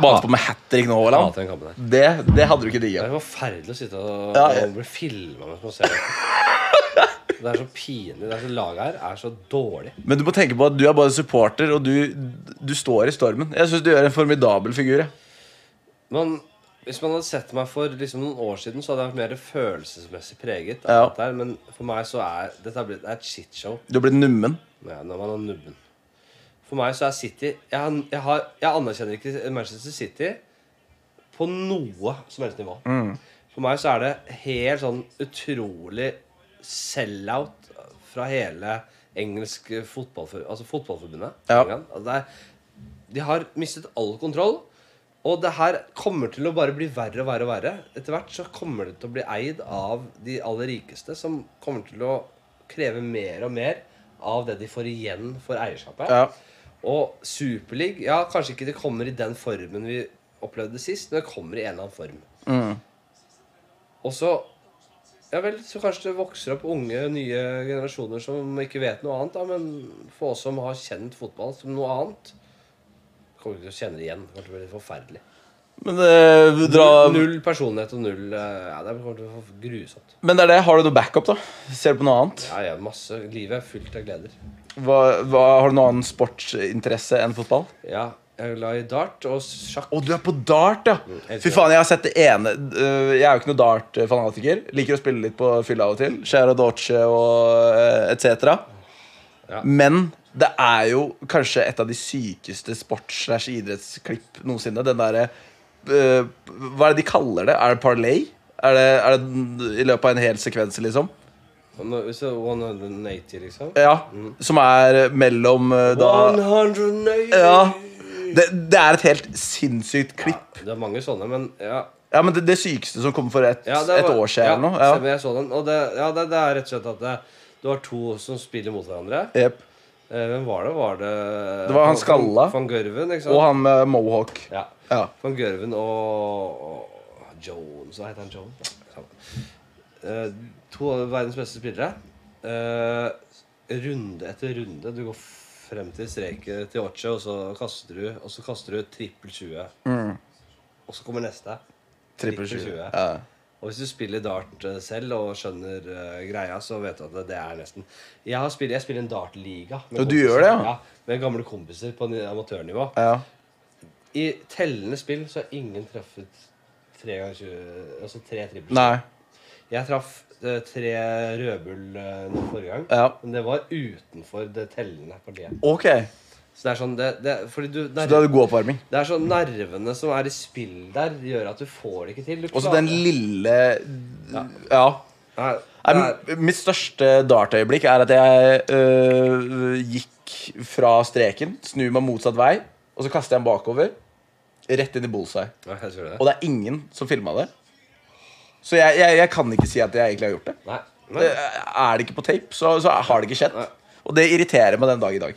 Bate på med hat trick nå, Haaland. hater den kampen der. Det, det hadde du ikke Det digga. er forferdelig å sitte og, Ja, jeg- og bli filma mens man [laughs] ser det. Det er så pinlig. Det er så Laget her er så dårlig. Men du må tenke på at du er bare supporter, og du, du står i stormen. Jeg syns du gjør en formidabel figur. jeg. Men hvis man hadde sett meg for liksom noen år siden, så hadde jeg vært mer følelsesmessig preget. Ja. av dette her, Men for meg så er dette er blitt det er et shitshow. Du har blitt nummen. Ja, når man er nubben. For meg så er City jeg, har- jeg, har, jeg anerkjenner ikke Manchester City på noe som helst nivå. Mm. For meg så er det helt sånn utrolig sell-out fra hele engelsk fotballfor, altså fotballforbundet. Ja. England. Altså det er, de har mistet all kontroll. Og det her kommer til å bare bli verre og verre og verre. Etter hvert så kommer det til å bli eid av de aller rikeste, som kommer til å kreve mer og mer av det de får igjen for eierskapet. Ja. Og Superleague Ja, kanskje ikke det kommer i den formen vi opplevde sist, men det kommer i en eller annen form. Mm. Og så Ja vel, så kanskje det vokser opp unge, nye generasjoner som ikke vet noe annet, da, men for oss som har kjent fotball som noe annet Kommer ikke til å kjenne det igjen. Det kommer til å bli helt forferdelig. Men, eh, dra, Null personlighet og null eh, Ja, det kommer til å bli grusomt. men det er det. Har du noe backup, da? Ser du på noe annet? Ja, ja, masse. Livet er fullt av gleder. Hva, hva, har du noen annen sportsinteresse enn fotball? Ja, Jeg er glad i dart og sjakk. Å, du er på dart, ja! Fy faen, Mm, jeg har sett det ene øh, Jeg er jo ikke noe dart-fanatiker. Liker å spille litt på fylla av og til. Shara Doce og uh, etc. Ja. Men det er jo kanskje et av de sykeste sports-idrettsklipp noensinne. Den derre øh, Hva er det de kaller det? Er det parlay? Er det, er det i løpet av en hel sekvens, liksom? Og nå- Så 180, liksom. Ja. Som er mellom øh, da 180! Ja. Det, det er et helt sinnssykt klipp. Det er mange sånne, men ja. Ja, men Det, det sykeste som kom for et, ja det et var- år siden ja, eller noe. stemmer, jeg så den. Og det, ja, det, det er rett og slett at det, du har to som spiller mot hverandre. Ja. Jep. Eh, hvem var det? Var det Det var han skalla. Van Gørven, ikke sant? Og han med mohawk. Ja. Ja. Van Gørven og, og Jones Hva heter han Jones? Eh, to av verdens beste spillere. Eh, runde etter runde. Du går frem til streket til Oche, og så kaster du Og så kaster du trippel 20. Mm. Og så kommer neste. Trippel Trippel 20. tjue. Ja. Og hvis du spiller dart eh, selv og skjønner eh, greia, så vet du at det, det er nesten Jeg, har spill, jeg spiller en dartliga. med Ja, du kompiser. gjør det, ja? Med gamle kompiser på ny- amatørnivå. Ja. I tellende spill så har ingen truffet tre ganger 20 Altså tre trippel. Nei. Jeg traff eh, tre rødbull eh, nå forrige gang. Ja. Men det var utenfor det tellende partiet. Ok. Så det er sånn det, det, fordi du, Så du hadde god oppvarming. det er sånn nervene som er i spill der, gjør at du får det ikke til. Du Og så klarer- den lille Ja. Nei, Nei, det er- men mitt største dartøyeblikk er at jeg øh, gikk fra streken, snur meg motsatt vei, og så kaster jeg den bakover. Rett inn i bullseye. Nei, jeg tror det. Og det er ingen som filma det. Så jeg, jeg, jeg kan ikke si at jeg egentlig har gjort det. Nei, nei. Det- Eh, Er det ikke på tape, så, så har det ikke skjedd. Og det irriterer meg den dag i dag.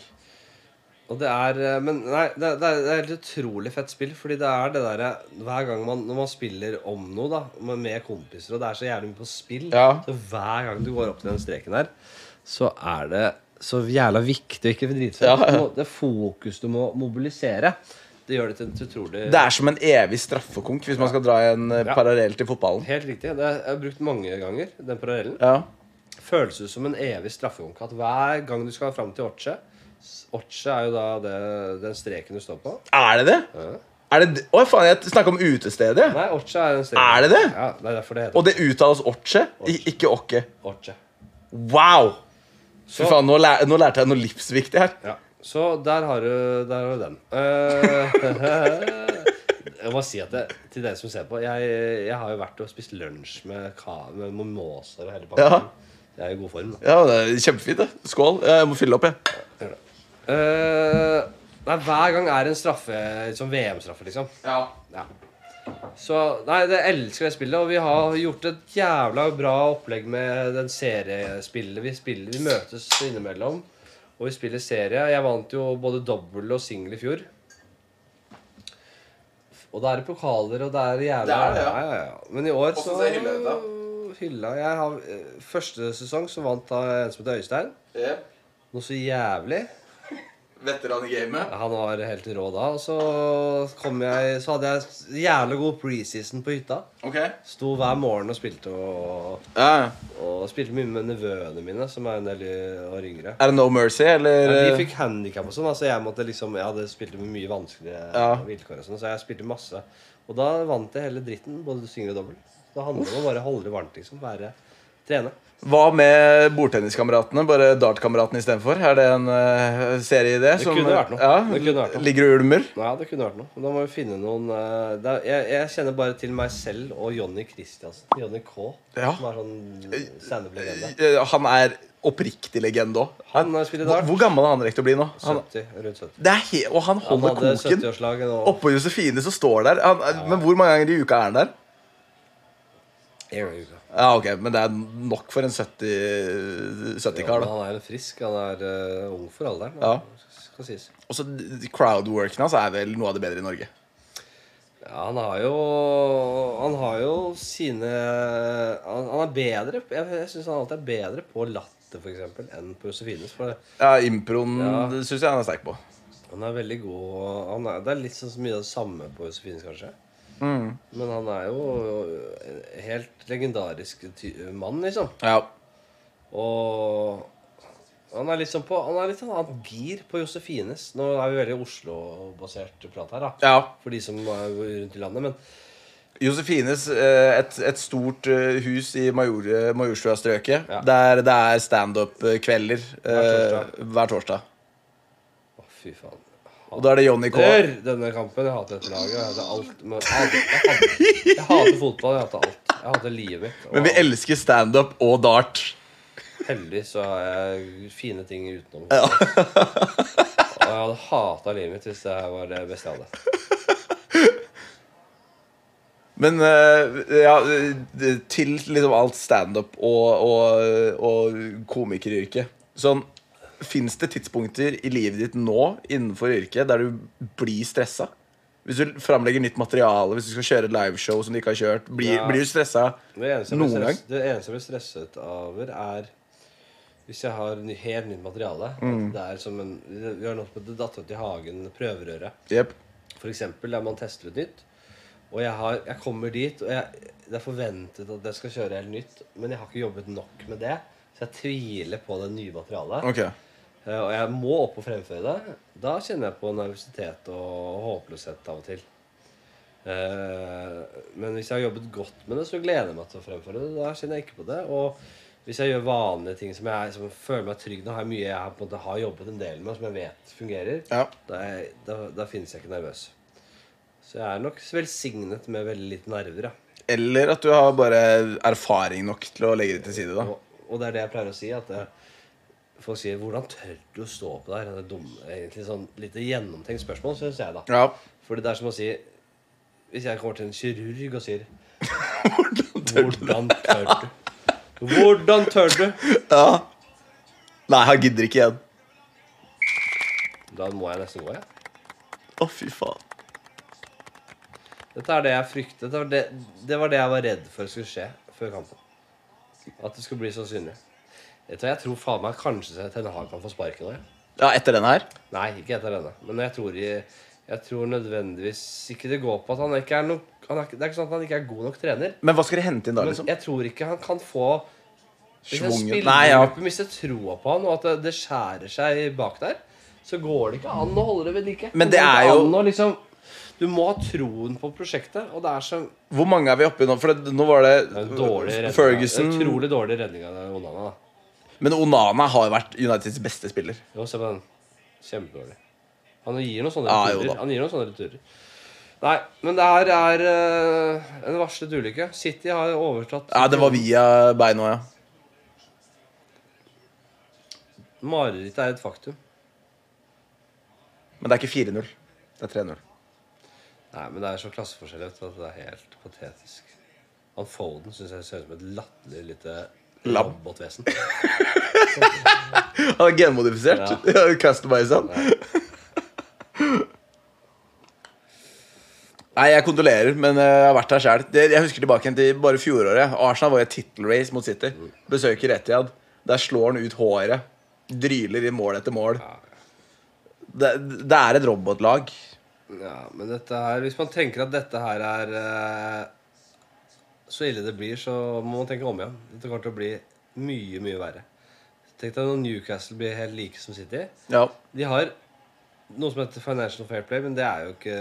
Og det er eh, Men nei, det, det, er, det er et utrolig fett spill. Fordi det er det derre Hver gang man, når man spiller om noe, da, med, med kompiser, og det er så jævlig mye på spill Ja. Så hver gang du går opp til den streken der, så er det så jævla viktig å ikke drite seg Ja, ut. ja. Du må- Det fokus du må mobilisere, det gjør det til et utrolig Det er som en evig straffekonk, hvis man skal dra en eh, Ja. parallell til fotballen. Helt riktig. Det er, jeg har brukt mange ganger, den parallellen. Ja. føles ut som en evig straffekonk. At hver gang du skal fram til Oche Oche er jo da det, den streken du står på. Er det det? Er det d- Å, faen, jeg snakka om utestedet. jeg. Nei, Oche er den streken. Er det det? Ja, det er derfor det heter Og det uttales Orche, i- ikke Åkke. Oche. Wow! Fy Så- faen, nå, lær, nå lærte jeg noe livsviktig her. Ja. Så der har du, der har du den. Eh, [laughs] jeg må si at det, til dere som ser på Jeg, jeg har jo vært og spist lunsj med, ka, med mimosaer og hele pakken. Jeg er i god form, da. Ja, det er Kjempefint. det Skål. Jeg må fylle opp, jeg. Gjør det. Eh, nei, hver gang er en straffe Sånn VM-straffe, liksom. Ja. Ja. Så Nei, jeg elsker det spillet, og vi har gjort et jævla bra opplegg med den seriespillet vi spiller. Vi møtes innimellom, og vi spiller serie. Jeg vant jo både dobbel og singel i fjor. Og da er det pokaler, og det er jævla Det er det, ja. ja, ja, ja. Men i år så Hvordan ser hylla ut da? Hylla jeg har, eh, Første sesong så vant da en som heter Øystein. Noe så jævlig. Eh, Veteran i gamet. Han var helt rå da. Og så, kom jeg, så hadde jeg jævlig god preseason på hytta. Ok. Sto hver morgen og spilte og, Ja. og spilte mye med nevøene mine, som er en del y- år yngre. Er det No Mercy, eller? eh, Ja, de fikk handikap og sånn, altså jeg måtte liksom Jeg hadde spilt med mye vanskeligere Ja. vilkår og sånn, så jeg spilte masse. Og da vant jeg hele dritten, både singel og dobbel. Da handler det om å bare holde det varmt, liksom. Være trene. Hva med bordtenniskameratene? Bare dartkameratene istedenfor? Er det en eh, serieidé? Det som- kunne vært noe. Ja, Det kunne vært noe. Ligger og ulmer? Ja, det kunne vært noe. Men Da må vi finne noen eh, det er, jeg, jeg kjenner bare til meg selv og Jonny Christiansen. Jonny K. Ja. Som er sånn standup-legende. Eh, Han er oppriktig legende òg. Han har spilt i dag. Hvor gammel er han rekt å bli nå? Han, 70, rundt 70. det er he og han Han holder hadde koken. 70-årslag nå. Oppå Josefine som står der. Han, eh, Men hvor mange ganger i uka er han der? En gang i uka. Ja, ok, Men det er nok for en 70 Ja, 70-kar. men han er jo frisk. Han er eh, ung for alderen. Ja. Skal sies. Og så crowdworken hans er vel noe av det bedre i Norge. Ja, han har jo Han har jo sine Han, han er bedre Jeg, jeg syns han alltid er bedre på latter, for eksempel, enn på Josefines. For Ja, Improen Ja. synes syns jeg han er sterk på. han er veldig god han er, Det er litt sånn så mye av det samme på Josefines, kanskje. Mm. Men han er jo eh, en helt legendarisk ty mann, liksom. Ja. Og Han er litt sånn på Han er litt sånn annet gir på Josefines. Nå er vi veldig Oslo-basert prat her, da. Ja. For de som er rundt i landet. Men Josefines, eh, et, et stort eh, hus i Major, Majorstuastrøket, Ja. der det er standup-kvelder eh, hver torsdag. å, fy faen. Og da er det Johnny K. Dør denne kampen. Jeg hater dette laget. Jeg hater alt. Men, jeg, hater, jeg, hater, jeg hater fotball. Jeg hater alt. Jeg hater livet mitt. Men vi Og elsker standup og dart. heldig så har jeg fine ting utenom. Og jeg hadde hata livet mitt hvis det her var det beste jeg hadde. Men eh, ja, eh, til liksom alt standup og, og, og komikeryrket Sånn, Fins det tidspunkter i livet ditt nå innenfor yrket der du blir stressa? Hvis du framlegger nytt materiale, hvis du skal kjøre et liveshow som du ikke har kjørt, blir, Ja. blir du stressa? Det eneste, jeg blir Noen gang? stress, det eneste jeg blir stresset over, er hvis jeg har ny, helt nytt materiale. Mm. at Det er som en, vi har nådd på det datt ut i hagen prøverøret. Jep. For eksempel der man tester ut nytt. Og jeg, har, jeg kommer dit, og jeg, det er forventet at jeg skal kjøre helt nytt. Men jeg har ikke jobbet nok med det, så jeg tviler på det nye materialet. Ok. Eh, Og jeg må opp og fremføre det. Da kjenner jeg på nervøsitet og håpløshet av og til. Eh, Men hvis jeg har jobbet godt med det, så gleder jeg meg til å fremføre det. Da kjenner jeg ikke på det. Og hvis jeg gjør vanlige ting som jeg som føler meg trygg Nå har jeg mye jeg har, på en måte, har jobbet en del med, som jeg vet fungerer. Ja. Da, er jeg, da, da finnes jeg ikke nervøs. Så jeg er nok velsignet med veldig lite nerver. Ja. Eller at du har bare erfaring nok til å legge det til side. da Og, og det er det jeg pleier å si. At eh, Folk sier 'Hvordan tør du å stå på der?' Det er dumme, egentlig sånn lite gjennomtenkt spørsmål, syns jeg, da. Ja. [laughs] Fordi det er som å si Hvis jeg kommer til en kirurg og sier Hvordan tør du? 'Hvordan tør du?' Hvordan tør du? Ja. Nei, han gidder ikke igjen. Da må jeg nesten gå, jeg. Å, fy faen. Dette er det jeg fryktet. Det var det, det var det jeg var redd for skulle skje før kampen. At det skulle bli så synlig. Vet du hva, Jeg tror faen meg kanskje Ten Hag kan få sparken nå. jeg. Ja, etter den her? Nei, ikke etter denne. Men jeg tror, i- jeg tror nødvendigvis ikke det går på at han ikke er nok han er, ikke- Det er ikke sånn at han ikke er god nok trener. Men hva skal de hente inn da, Men liksom? jeg tror ikke han kan få Hvis en Schwungen. Nei, ja. spillergruppe mister troa på han, og at det, det skjærer seg bak der, så går det ikke an å holde det ved like. Men det går er ikke jo- an å liksom, Du må ha troen på prosjektet, og det er så Hvor mange er vi oppe i nå? For det, nå var det, Det er en dårlig redning. Øh, Ferguson En Utrolig dårlig redning av Onana. da. Men Onana har jo vært Uniteds beste spiller. Jo, se på den. Kjempedårlig. Han gir noen sånne Ja, jo da. returer. Han gir noen sånne returer. Nei, men det her er eh, en varslet ulykke. City har overtatt Ja, Det var via beina, ja. Marerittet er et faktum. Men det er ikke 4-0. Det er 3-0. Nei, men det er så klasseforskjell vet du, at det er helt patetisk. Han Foden syns jeg ser ut som et latterlig lite Labb. robotvesen. Han er genmodifisert. [laughs] Ja. Customized. Nei, jeg kondolerer, men eh, jeg har vært her sjæl. Jeg husker tilbake igjen til bare fjoråret. Arsenal var i et tittelrace mot City. Besøker Etiad. Der slår han ut håret. Dryler i mål etter mål. Ja. Det, det er et robotlag. Ja, men dette her Hvis man tenker at dette her er eh, så ille det blir, så må man tenke om igjen. Dette kommer til å bli mye, mye verre. Tenk deg når Newcastle blir helt like som City. Ja. De har noe som heter Financial Fair Play, men det er jo ikke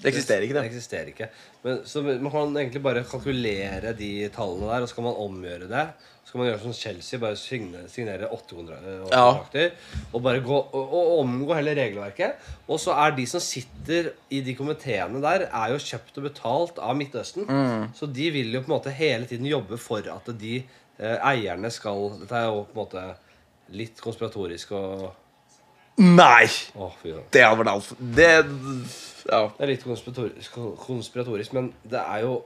Det eksisterer ikke, det. eksisterer ikke. Men, så man kan egentlig bare kalkulere de tallene der, og så kan man omgjøre det. Så kan man gjøre som Chelsea, bare signe- signere åtte kontra- øh, åtte Ja. kontrakter. Og bare gå, og, og omgå hele regelverket. Og så er de som sitter i de komiteene der, er jo kjøpt og betalt av Midtøsten. Mm. Så de vil jo på en måte hele tiden jobbe for at de eh, eierne skal Dette er jo på en måte litt konspiratorisk og Nei! Å, fy da. Det hadde vært alt. Det Ja. Det er litt konspiratorisk, konspiratorisk, men det er jo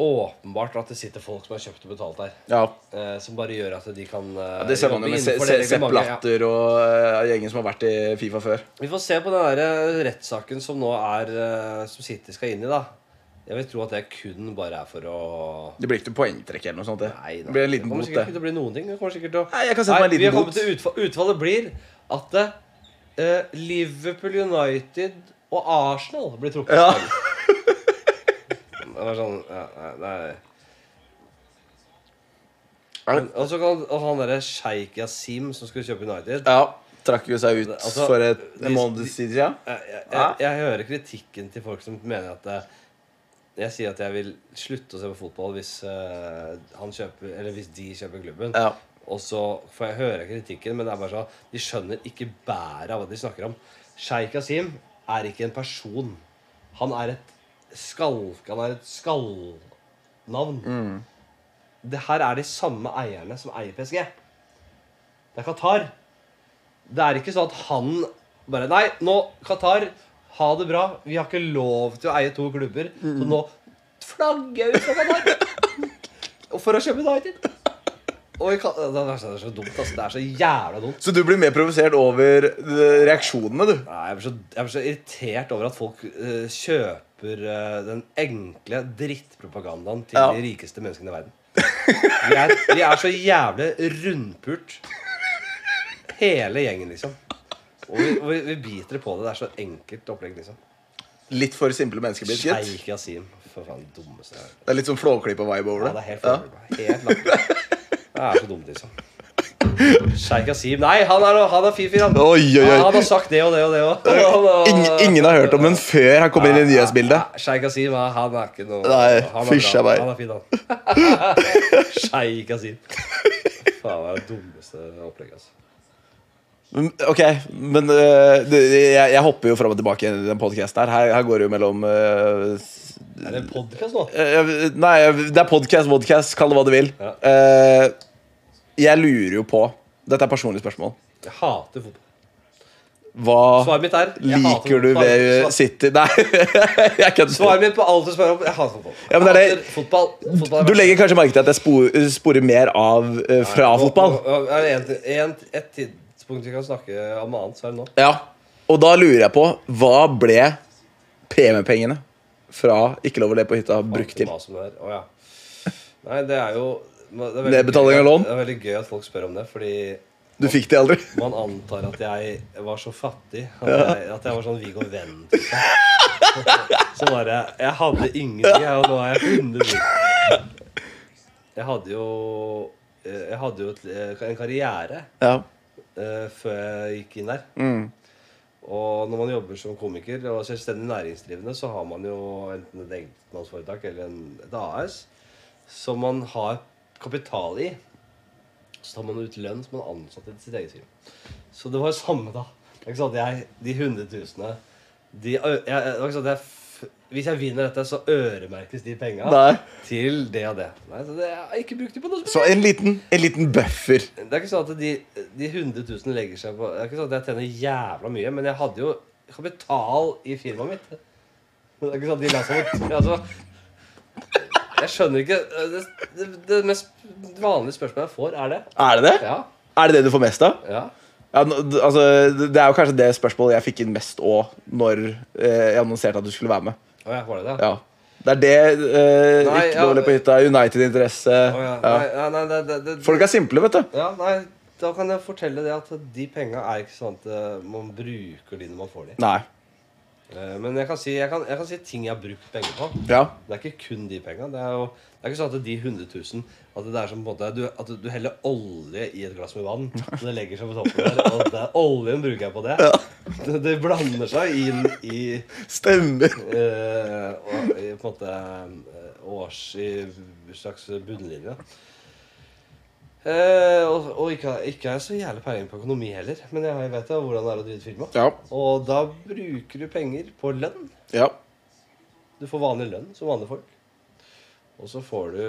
åpenbart at det sitter folk som er kjøpt og betalt der. ja. Eh, som bare gjør at de kan eh, Det ser man jo jobbe med Se- innenfor Se- det Sepp reglementet, ja. Blatter og eh, gjengen som har vært i Fifa før. Vi får se på den der eh, rettssaken som nå er eh, Som City skal inn i, da. Jeg vil tro at det kun bare er for å Det blir ikke noe poengtrekk eller noe sånt. Det, Nei da. det blir en liten kommer bot, sikkert ikke det. til å bli noen ting. Det kommer sikkert til å Nei, jeg kan sette meg en vi har liten kommet bot. til utfall, Utfallet blir at eh, Liverpool United og Arsenal blir trukket. Ja. Det var sånn ja, nei, det er- Men- Og så kan og han derre Sheikh Yasim som skulle kjøpe United Ja, trakk jo seg ut Altså, for et, de- en måned siden. Ja. jeg, jeg, jeg, jeg hører kritikken til folk som mener at eh, jeg sier at jeg vil slutte å se på fotball hvis, eh, han kjøper, eller hvis de kjøper klubben. Ja. Og så får jeg høre kritikken, men det er bare sånn de skjønner ikke bæret av hva de snakker om. Sheikh Asim er ikke en person. Han er et skalk... Han er et skallnavn. Det her er de samme eierne som eier PSG. Det er Qatar. Det er ikke sånn at han bare Nei, nå, Qatar, ha det bra. Vi har ikke lov til å eie to klubber, så nå flagger jeg ut fra Qatar! Og for å kjøpe United. Og i Qa- det er så- det er så dumt, altså. Det er så jævla dumt. Så du blir mer provosert over eh, reaksjonene, du? Nei, jeg, blir så, jeg blir så irritert over at folk eh, kjøper eh, den enkle drittpropagandaen til Ja. de rikeste menneskene i verden. De er, de er så jævlig rundpult. Hele gjengen, liksom. Og vi, og vi, vi biter på det. Det er så enkelt opplegg, liksom. Litt for simple mennesker blitt, gitt. Sheikh Yasim. For faen, det dummeste jeg har hørt. Det er litt sånn Flåklypa-vibe over Ja, det. det er helt forferdelig. Helt latterlig. Det er så dumt, liksom. Sheikh Yasim Nei, han er, han er fin fyr, han. Oi, oi, oi. Ja, Han har sagt det og det og det og- Han- Ingen, ingen har hørt om den før han kommer inn i nyhetsbildet. Sheikh Asim, ja, han er ikke noe Nei, han fysj, jeg bra. bare. Han er fin, han. Sheikh Asim. Faen, det er det dummeste opplegget, altså. Men, Ok, men eh, det, jeg, jeg hopper jo fram og tilbake i den podkasten her. her. Her går det jo mellom eh, s- Er det en podkast nå? eh, Nei, det er podkast, vodkast, kall det hva du vil. Ja. Eh, jeg lurer jo på Dette er personlige spørsmål. Jeg hater fotball. Hva Svaret mitt er jeg hater liker du fotball. ved Svar- City? Nei, [laughs] jeg kødder. Svaret mitt på alt du spør om, jeg hater fotball. Ja, men det er det- Jeg hater fotball. fotball Du legger kanskje merke til at jeg spor, sporer mer av eh, fra fotball? Er det en, en, et tidspunkt vi kan snakke om annet, så er det nå. Ja. Og da lurer jeg på hva ble premiepengene fra Ikke lov å le på hytta brukt til? Hva som er. Å, ja. Nei, det er jo det er veldig Nedbetaling av gøy- lån? Det er veldig gøy at folk spør om det, fordi Du fikk de aldri? [laughs] Man antar at jeg var så fattig at jeg, at jeg var sånn Viggo Venn-type. Så bare Jeg hadde ingenting, jeg, og nå er jeg 100 000. Jeg hadde jo eh, Jeg hadde jo et, en karriere Ja. eh, før jeg gikk inn der. Og når man jobber som komiker og selvstendig næringsdrivende, så har man jo enten et enkeltmannsforetak eller en, et AS som man har kapital i. Så tar man ut lønn som man ansatte til sitt eget firma. Så det var jo samme, da. Det er ikke sånn at jeg, De hundretusene de, ø- jeg, det var ikke sånn at jeg, f- Hvis jeg vinner dette, så øremerkes de penga Nei. til det og det. Nei, så det, Jeg har ikke brukt de på noe som Så en liten, en liten buffer. det er ikke sånn at de, de 100 000 legger seg på Det er ikke sånn at jeg tjener jævla mye, men jeg hadde jo kapital i firmaet mitt. Det er ikke sånn at de la seg bort. [laughs] Altså, jeg skjønner ikke øh, Det, det, det mest vanlige spørsmålet jeg får, er det. Er det det? Ja. Er det det du får mest av? ja. Ja, nå- d- altså, det- det er jo kanskje det spørsmålet jeg fikk inn mest òg når eh, jeg annonserte at du skulle være med. Å ja, var det det? Ja. Det er det eh, Nei, Ikke ja. lov å le på hytta, United-interesse Å ja. ja. Nei, nei, nei, det, det, det, Folk er simple, vet du. ja, nei, da kan jeg fortelle det at de penga er ikke sånn at eh, man bruker de når man får de. Nei. Eh, Men jeg kan si, jeg kan, jeg kan si ting jeg har brukt penger på. Ja. Det er ikke kun de pengene. Det er jo det er ikke sånn at de 100 000 At det er som på en måte du, At du heller olje i et glass med vann, og det legger seg på toppen der. Og det er oljen bruker jeg på det. Det, det blander seg inn i Stemmer. eh, og, i på en måte eh, års I slags bunnlinje. Eh, og og ikke, ikke har jeg så jævlig peiling på økonomi heller, men jeg vet jo hvordan det er å drive firma. Ja. Og da bruker du penger på lønn. ja. Du får vanlig lønn som vanlige folk. Og så får du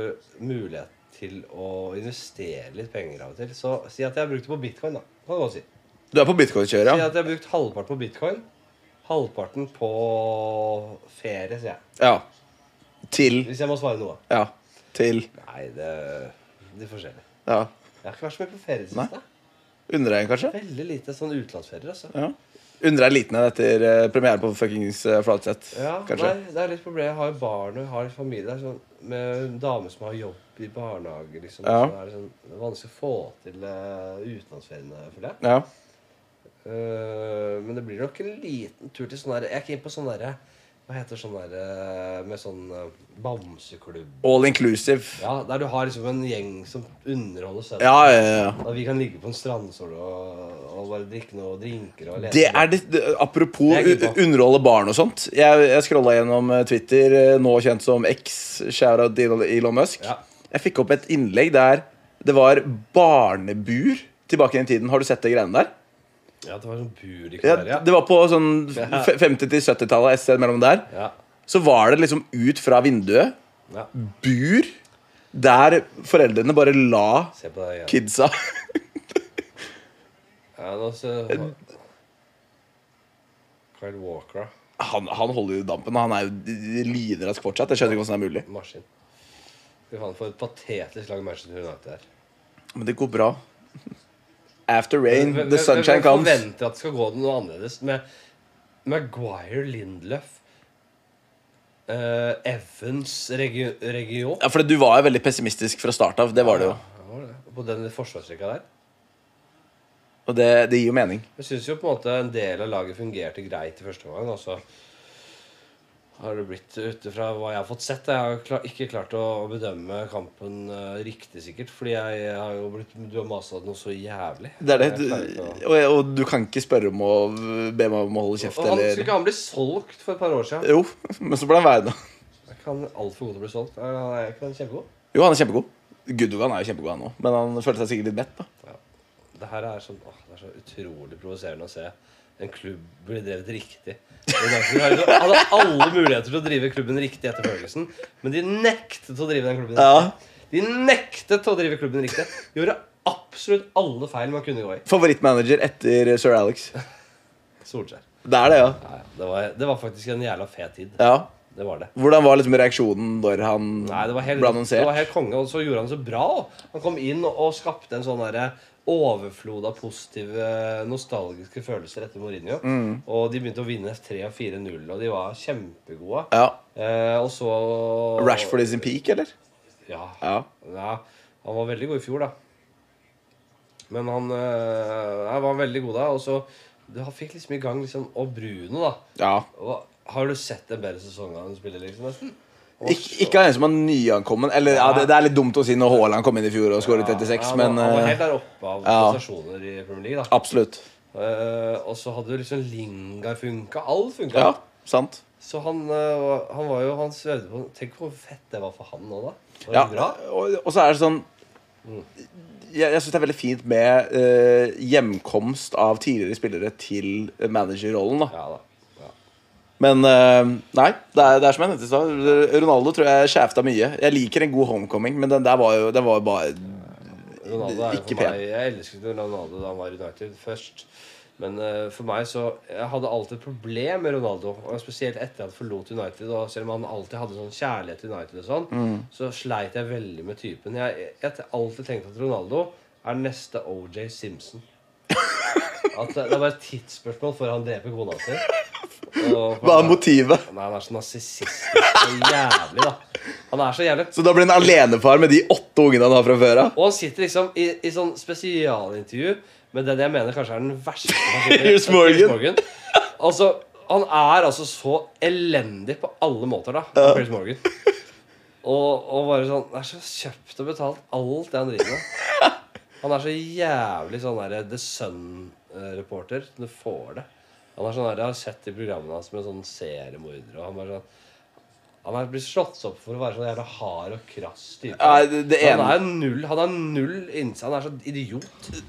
mulighet til å investere litt penger av og til. Så si at jeg brukte på bitcoin, da. Kan du godt si. Du er på bitcoin-kjøret, Si ja? at jeg har brukt halvparten på bitcoin. Halvparten på ferie, sier jeg. Ja. Til Hvis jeg må svare noe. Ja. Til Nei, det De forskjellige. Ja. Jeg har ikke vært så mye på ferie i det siste. Undereien, kanskje? Veldig lite sånn utenlandsferier, altså. Ja. Undereien liten en etter eh, premieren på fuckings eh, Flatseth, Ja, kanskje? nei, det er litt problemet. Jeg har jo barn og jeg har familie. Det er sånn med en dame som har jobb i barnehage, liksom. Ja. Så er det sånn, det er vanskelig å få til uh, utenlandsferiene, føler jeg. Ja. Eh, men det blir nok en liten tur til sånn der Jeg er ikke inne på sånn derre Hva heter sånn der eh, med sånn eh, bamseklubb All inclusive. Ja, der du har liksom en gjeng som underholder sønnen. Ja, ja, ja. Da vi kan ligge på en strandsole og, og bare drikke noe drinker og lese. Det er det, det- apropos Det er jeg keen på. u- underholde barn og sånt. Jeg, jeg scrolla gjennom eh, Twitter, eh, nå kjent som X, shoutout til Elon Musk. Ja. Jeg fikk opp et innlegg der det var barnebur tilbake i den tiden. Har du sett det greiene der? Ja, det var sånn bur i Ja, klær, ja. det var på [laughs] sånn f- 50- til 70-tallet, et sted mellom der. Ja, Så var det liksom ut fra vinduet, ja. bur, der foreldrene bare la Se på deg igjen. kidsa [laughs] Ja, nå så... Kyle Walker, da. han, han holder jo dampen, og han er jo lynrask fortsatt. Jeg skjønner ikke hvordan det er mulig. maskin. Fy faen, for et patetisk lag Manchester United er. Men det går bra. After rain, Hvem- the hvem- sunshine hvem comes. forventer at det skal gå noe annerledes med Maguire, Lindlöf, eh, Evans, Regi Region? Ja, for Du var jo veldig pessimistisk fra start av. Det var det jo. var det. På den forsvarsrekka der. Og det, det gir jo mening. Jeg syns jo på en måte en del av laget fungerte greit i første omgang. Og så har det blitt ut ifra hva jeg har fått sett. Jeg har jo kla- ikke klart å bedømme kampen eh, riktig sikkert. Fordi jeg har jo blitt Du har masa noe så jævlig. Det er det. Jeg Du, klarer ikke å- og, og du kan ikke spørre om å be meg om å holde kjeft, Og han skulle eller ikke han bli solgt for et par år siden? Jo, [laughs] men så ble han værende. Jeg kan altfor god til å bli solgt. Er han er ikke han kjempegod? Jo, han er kjempegod. Gudogan er jo kjempegod, han òg. Men han følte seg sikkert litt mett. da Det her er sånn, åh, det er så utrolig provoserende å se en klubb bli drevet riktig. Og derfor har de- Han hadde alle muligheter til å drive klubben riktig etter Ferguson, men de nektet å drive den klubben Ja. riktig. De nektet å drive klubben riktig. Gjorde absolutt alle feil man kunne gå i. Favorittmanager etter sir Alex. Solskjær. Det er det, ja. Ja, ja. Det, var, det var faktisk en jævla fet tid. ja. Det var det. Hvordan var liksom reaksjonen når han Nei, det var helt, ble det Mm. annonsert? var helt konge, og så gjorde han det så bra. også. Han kom inn og, og skapte en sånn derre overflod av positive, nostalgiske følelser etter Mourinho. Mm. Og de begynte å vinne 3 og 4-0, og de var kjempegode. Ja. Eh, og så Rashford is in peak, eller? Ja, Ja. ja. Han var veldig god i fjor, da. Men han eh, han var veldig god da, og så det- Han fikk liksom i gang liksom Og Bruno, da. ja. Og, har du sett en bedre sesong av han spiller, liksom? nesten? Og Ik ikke av en som er nyankommen. Eller ja, det, det er litt dumt å si når Haaland kom inn i fjor og skåret 36, ja, han, men var- Han var eh, helt der oppe av ja. prestasjoner i Premier League. da absolutt. Eh, Og så hadde jo liksom Linga funka. Alt funka. Ja, sant. Så han, eh, var- han var jo han svevde på Tenk hvor fett det var for han nå, da. Var Ja, det bra? og, og så er det sånn Jeg, jeg syns det er veldig fint med eh, hjemkomst av tidligere spillere til managerrollen. da Ja da. Ja. Men eh, nei, det er, det er som jeg nevnte i stad. Ronaldo tror jeg skjefta mye. Jeg liker en god homecoming, men den der var jo den var bare Ronaldo er jo Ikke for meg Jeg elsket jo Ronaldo da han var i United først. Men eh, for meg så Jeg hadde alltid et problem med Ronaldo. Og Spesielt etter at han forlot United. Og selv om han alltid hadde sånn kjærlighet til United, og sånn Mm. så sleit jeg veldig med typen. Jeg jeg har alltid tenkt at Ronaldo er neste [laughs] OJ Simpson. At det det er bare et tidsspørsmål før han dreper kona si. Og- Hva er motivet? Nei, Han er så narsissistisk og jævlig, da. Han er så jævlig Så da blir han alenefar med de åtte ungene han har fra før av? [laughs] og han sitter liksom i, i sånn spesialintervju med den jeg mener kanskje er den verste personen. Piers Morgan. Altså, han er altså så elendig på alle måter, da. Ja. Piers Morgan. Og, og bare sånn Det er så kjøpt og betalt, alt det han driver med. Han er så jævlig sånn derre The Sun-reporter. Du får det. Han er sånn der, Jeg har sett de programmene hans med sånn seriemordere, og han bare sånn Han er blitt slått opp for å være sånn jævla hard og krass type. Nei, det- det han ene- er null Han er null innsats. Han er så idiot.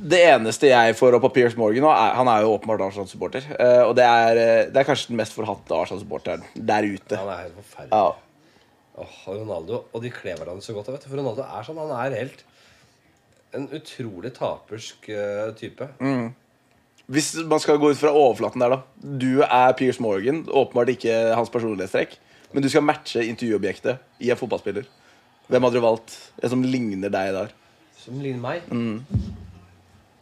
Det eneste jeg får opp av Piers Morgan nå, er, han er jo åpenbart Arsenal-supporter. eh, og det er, eh, det er kanskje den mest forhatte Arsenal-supporteren der ute. Han er helt forferdelig. Ja. Åh, og Ronaldo, og de kler hverandre så godt. Vet du, for Ronaldo er sånn, han er helt en utrolig tapersk eh, type. Hvis man skal gå ut fra overflaten der, da. Du er Piers Morgan, åpenbart ikke hans personlighetstrekk. Men du skal matche intervjuobjektet i en fotballspiller. Hvem hadde du valgt? En som ligner deg der. Som ligner meg.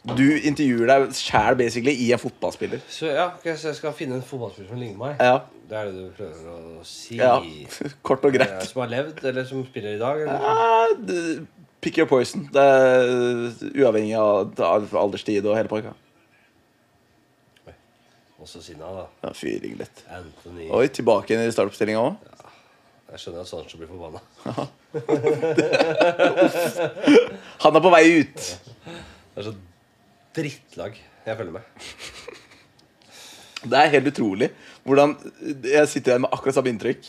Du intervjuer deg sjæl basically i en fotballspiller. Så ja, ok, så jeg skal finne en fotballspiller som ligner meg. Ja. Det er det du prøver å si. ja. [laughs] Kort og Eh, greit. Som har levd, eller som spiller i dag. Eller? Eh, d- Pick your poison. Det er uavhengig av av alderstid og hele pakka. Og Også Sinna, da. Ja, fyring litt. Anthony. Oi, tilbake inn i startoppstillinga òg. Jeg skjønner at Sancho blir forbanna. Han er på vei ut. Det er så drittlag jeg følger med. Det er helt utrolig hvordan jeg sitter igjen med akkurat samme inntrykk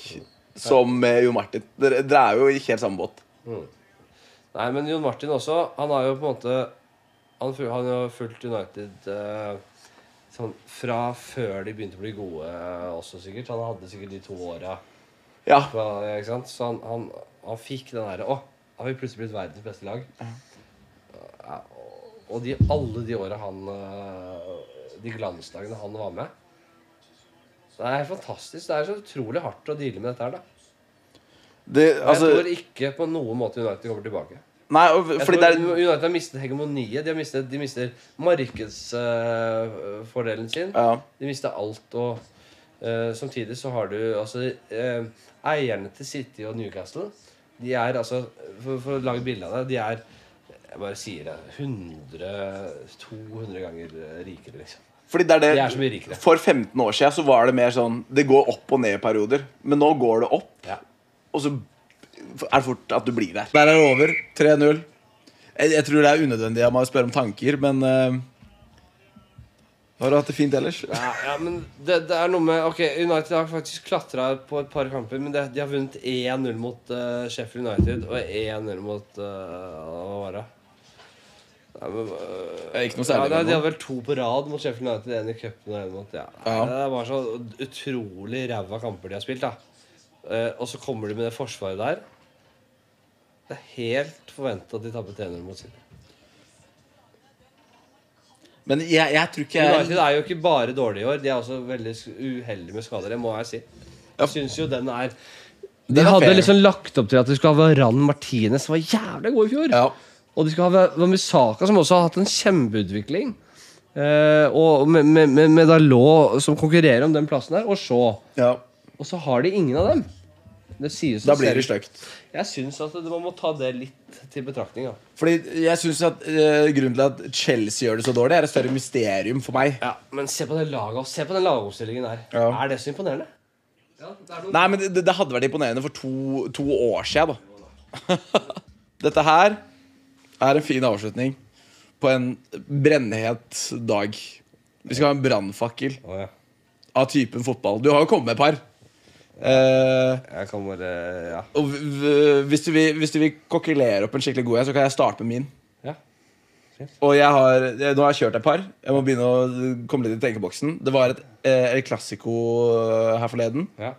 som med Jo Martin. Dere, dere er jo i helt samme båt. Nei, men Jon Martin også. Han har jo på en måte Han, fu- han har jo fulgt United eh, sånn, fra før de begynte å bli gode eh, også, sikkert. Han hadde sikkert de to åra. Ja, Ikke sant? Så han, han, han fikk den derre Å, har vi plutselig blitt verdens beste lag? Ja, og- og de, alle de åra han eh, De glansdagene han var med Det er helt fantastisk. Det er så utrolig hardt å deale med dette her, da. det, Men altså jeg tror ikke på noen måte United kommer tilbake. Nei, og, Jeg fordi det tror er United har mistet hegemoniet. De, har mistet, de mister markedsfordelen sin. ja, De mister alt. Og eh, samtidig så har du altså eh, Eierne til City og Newcastle De er altså For, for å lage et bilde av det De er jeg bare sier det 100-200 ganger rikere, liksom. Fordi det De er er så det mye rikere. For 15 år siden så var det mer sånn Det går opp og ned i perioder. Men nå går det opp, Ja. og så er det fort at du blir der. Der er det over. 3-0. Jeg, jeg tror det er unødvendig av meg å spørre om tanker, men eh, Har du hatt det fint ellers? Ja, ja, men det, det er noe med Ok, United har faktisk klatra på et par kamper, men det, de har vunnet 1-0 mot eh, Sheffield United og 1-0 mot eh, Hva var det? Nei, men, eh, Ikke noe særlig, Ja, nei, men de hadde vel to på rad mot Sheffield United. En i cupen og en mot ja. Ja. Det var så utrolig ræva kamper de har spilt. da Eh, Og så kommer de med det forsvaret der. Det er helt forventa at de tapper 3-0 mot City. Men jeg, jeg tror ikke jeg United er jo ikke bare dårlige i år. De er også veldig sk- uheldige med skader. Det må jeg si. Jeg syns jo den er De Den er hadde fair. liksom lagt opp til at de skulle ha Varan Martinez, som var jævlig god i fjor. ja. Og de skulle ha Va- Wamisaka, som også har hatt en kjempeutvikling. Eh, og med, med, med, med Dalot som konkurrerer om den plassen der. Og så ja. Og så har de ingen av dem. Det sier seg Da blir selv. det stygt. Jeg syns at man må ta det litt til betraktning. Da. Fordi jeg synes at eh, Grunnen til at Chelsea gjør det så dårlig, er et større mysterium for meg. Ja, Men se på det laget og se på den lagoppstillingen her. Ja. Er det så imponerende? Ja, det er noe Nei, men det, det hadde vært imponerende for to, to år siden, da. [laughs] Dette her er en fin avslutning på en brennhet dag. Vi skal ha en brannfakkel Å, ja. av typen fotball. Du har jo kommet med et par. Eh, Jeg kan bare Ja. og v- v- hvis du, vil, hvis du vil kokkelere opp en skikkelig god en, så kan jeg starte med min. Ja. Og jeg har, jeg, Nå har jeg kjørt et par. Jeg må begynne å komme litt i tenkeboksen. Det var et eh, El Clasico eh, her forleden. ja.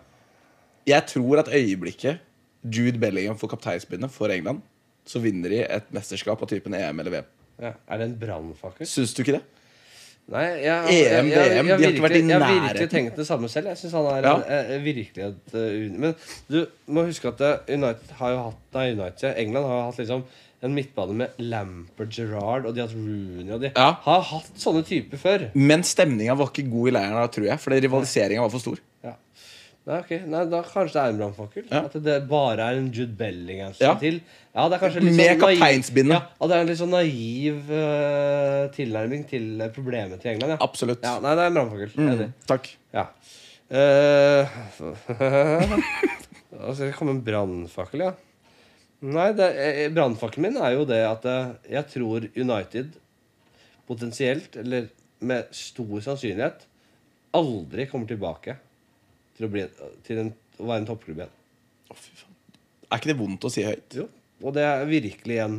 Jeg tror at øyeblikket Jude Bellingham får kapteinspinnet for England, så vinner de et mesterskap av typen EM eller VM. Er det en brannfakkel? Syns du ikke det? Nei, jeg, EM, VM, jeg, jeg, de har jeg, ikke virkelig- vært i Jeg har virkelig nærheten. tenkt det samme selv. Jeg syns han er Ja. en, eh, virkelig et eh, uni- Men du må huske at eh, United har jo hatt Nei, United, ja, England har jo hatt liksom en midtbane med Lampard, Gerrard og de har hatt Rooney og de Ja. har hatt sånne typer før. Men stemninga var ikke god i leiren da, tror jeg. Fordi rivaliseringa var for stor. Ja. Nei, ok. Nei, da kanskje det er en brannfakkel. Ja. At det bare er en Jude Bellingham som Ja. skal til. Ja, det er kanskje litt sånn Med naiv- kapteinsbindet. Ja, at det er en litt sånn naiv eh, tilnærming til eh, problemet til England. Ja. Absolutt. ja nei, det er en brannfakkel. Enig. Mm, takk. Ja. Eh, [laughs] altså, det kom en brannfakkel, ja. Nei, det- eh, brannfakkelen min er jo det at eh, jeg tror United potensielt, eller med stor sannsynlighet, aldri kommer tilbake til å, bli, til en, å være en toppklubb igjen. Er ikke det vondt å si høyt? Jo. Og det er virkelig en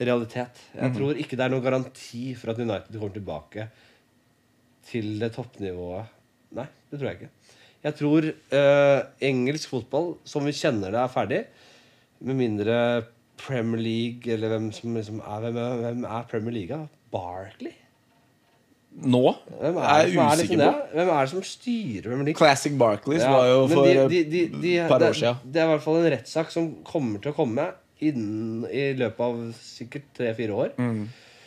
realitet. Mhm. Jeg tror ikke det er noen garanti for at United kommer tilbake til det toppnivået. Nei, det tror jeg ikke. Jeg tror eh, engelsk fotball, som vi kjenner det, er ferdig. Med mindre Premier League eller hvem som liksom er Hvem er, hvem er Premier League? da? Barkley? Nå Hvem er, er det jeg som er liksom usikker på. det? Hvem er det som styrer Premier League? Classic Barclays Ja, var jo men for eh, et de, de, de, de, par det, år siden. Det er i hvert fall en rettssak som kommer til å komme innen, i løpet av sikkert tre-fire år. Mm,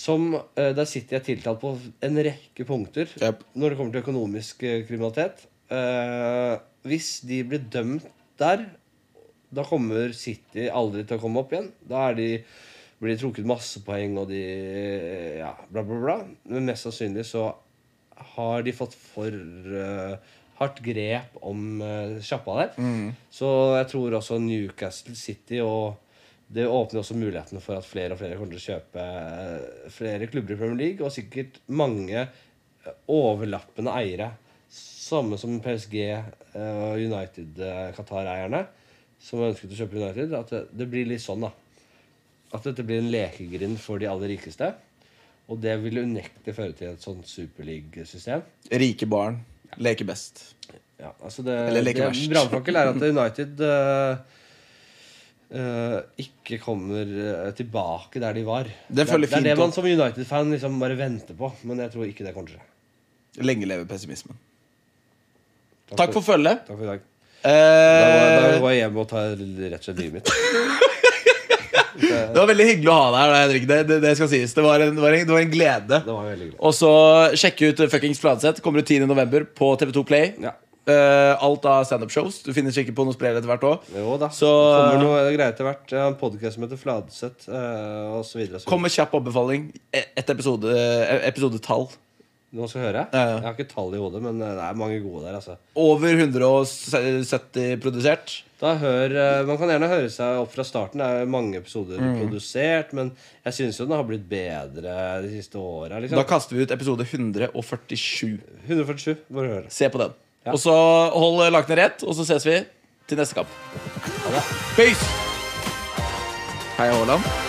Som, eh, der sitter jeg tiltalt på en rekke punkter Jep. når det kommer til økonomisk eh, kriminalitet. Eh, hvis de blir dømt der, da kommer City aldri til å komme opp igjen. Da er de, eh, blir de trukket masse poeng, og de Ja, bla, bla, bla. Men mest sannsynlig så har de fått for eh, hardt grep om eh, sjappa der. Mm. Så jeg tror også Newcastle City og det åpner også mulighetene for at flere og flere kommer til å kjøpe eh, flere klubber i Premier League, og sikkert mange eh, overlappende eiere. Samme som PSG eh, og United eh, Qatar-eierne, som ønsket å kjøpe United. At det, det blir litt sånn, da. At dette blir en lekegrind for de aller rikeste. Og det vil unektelig føre til et sånt superleague-system. Rike barn leker best. Ja, altså det, Eller leker det verst. Brannfakkel er at United eh, eh, ikke kommer eh, tilbake der de var. Det føler det er fint det man opp. som United-fan liksom bare venter på, men jeg tror ikke det kommer til å skje. Lenge leve pessimismen. Takk Takk for følget. Takk for i dag. Da går, jeg- da Eh, går jeg hjem og tar rett og slett [laughs] livet mitt. Eh, det var veldig hyggelig å ha deg her. da, Henrik. Det, det, det skal sies. Det var en, det var en, det var en glede. Det var veldig hyggelig. Og så sjekke ut Fuckings Fladseth. Kommer ut 10. november på TV2 Play. Ja. Eh, alt av standup-shows. Du finner sikkert på noe sprer etter hvert òg. Jo da. Så det kommer noe greier etter hvert. Jeg har en podkast som heter Fladseth, uh, osv. kom med kjapp anbefaling. E- Et episode, eh, episodetall. Nå skal jeg høre. Ja, ja. Jeg har ikke tall i hodet, men eh, det er mange gode der, altså. Over 170 produsert. Da hør, eh, Man kan gjerne høre seg opp fra starten. Det er jo mange episoder produsert. Men jeg syns jo den har blitt bedre de siste åra. Da Liksom. kaster vi ut episode 147. 147. Bare hør. Se på den. Ja. Og så hold lakene rett, og så ses vi til neste kamp. Peace! Hei, Haaland.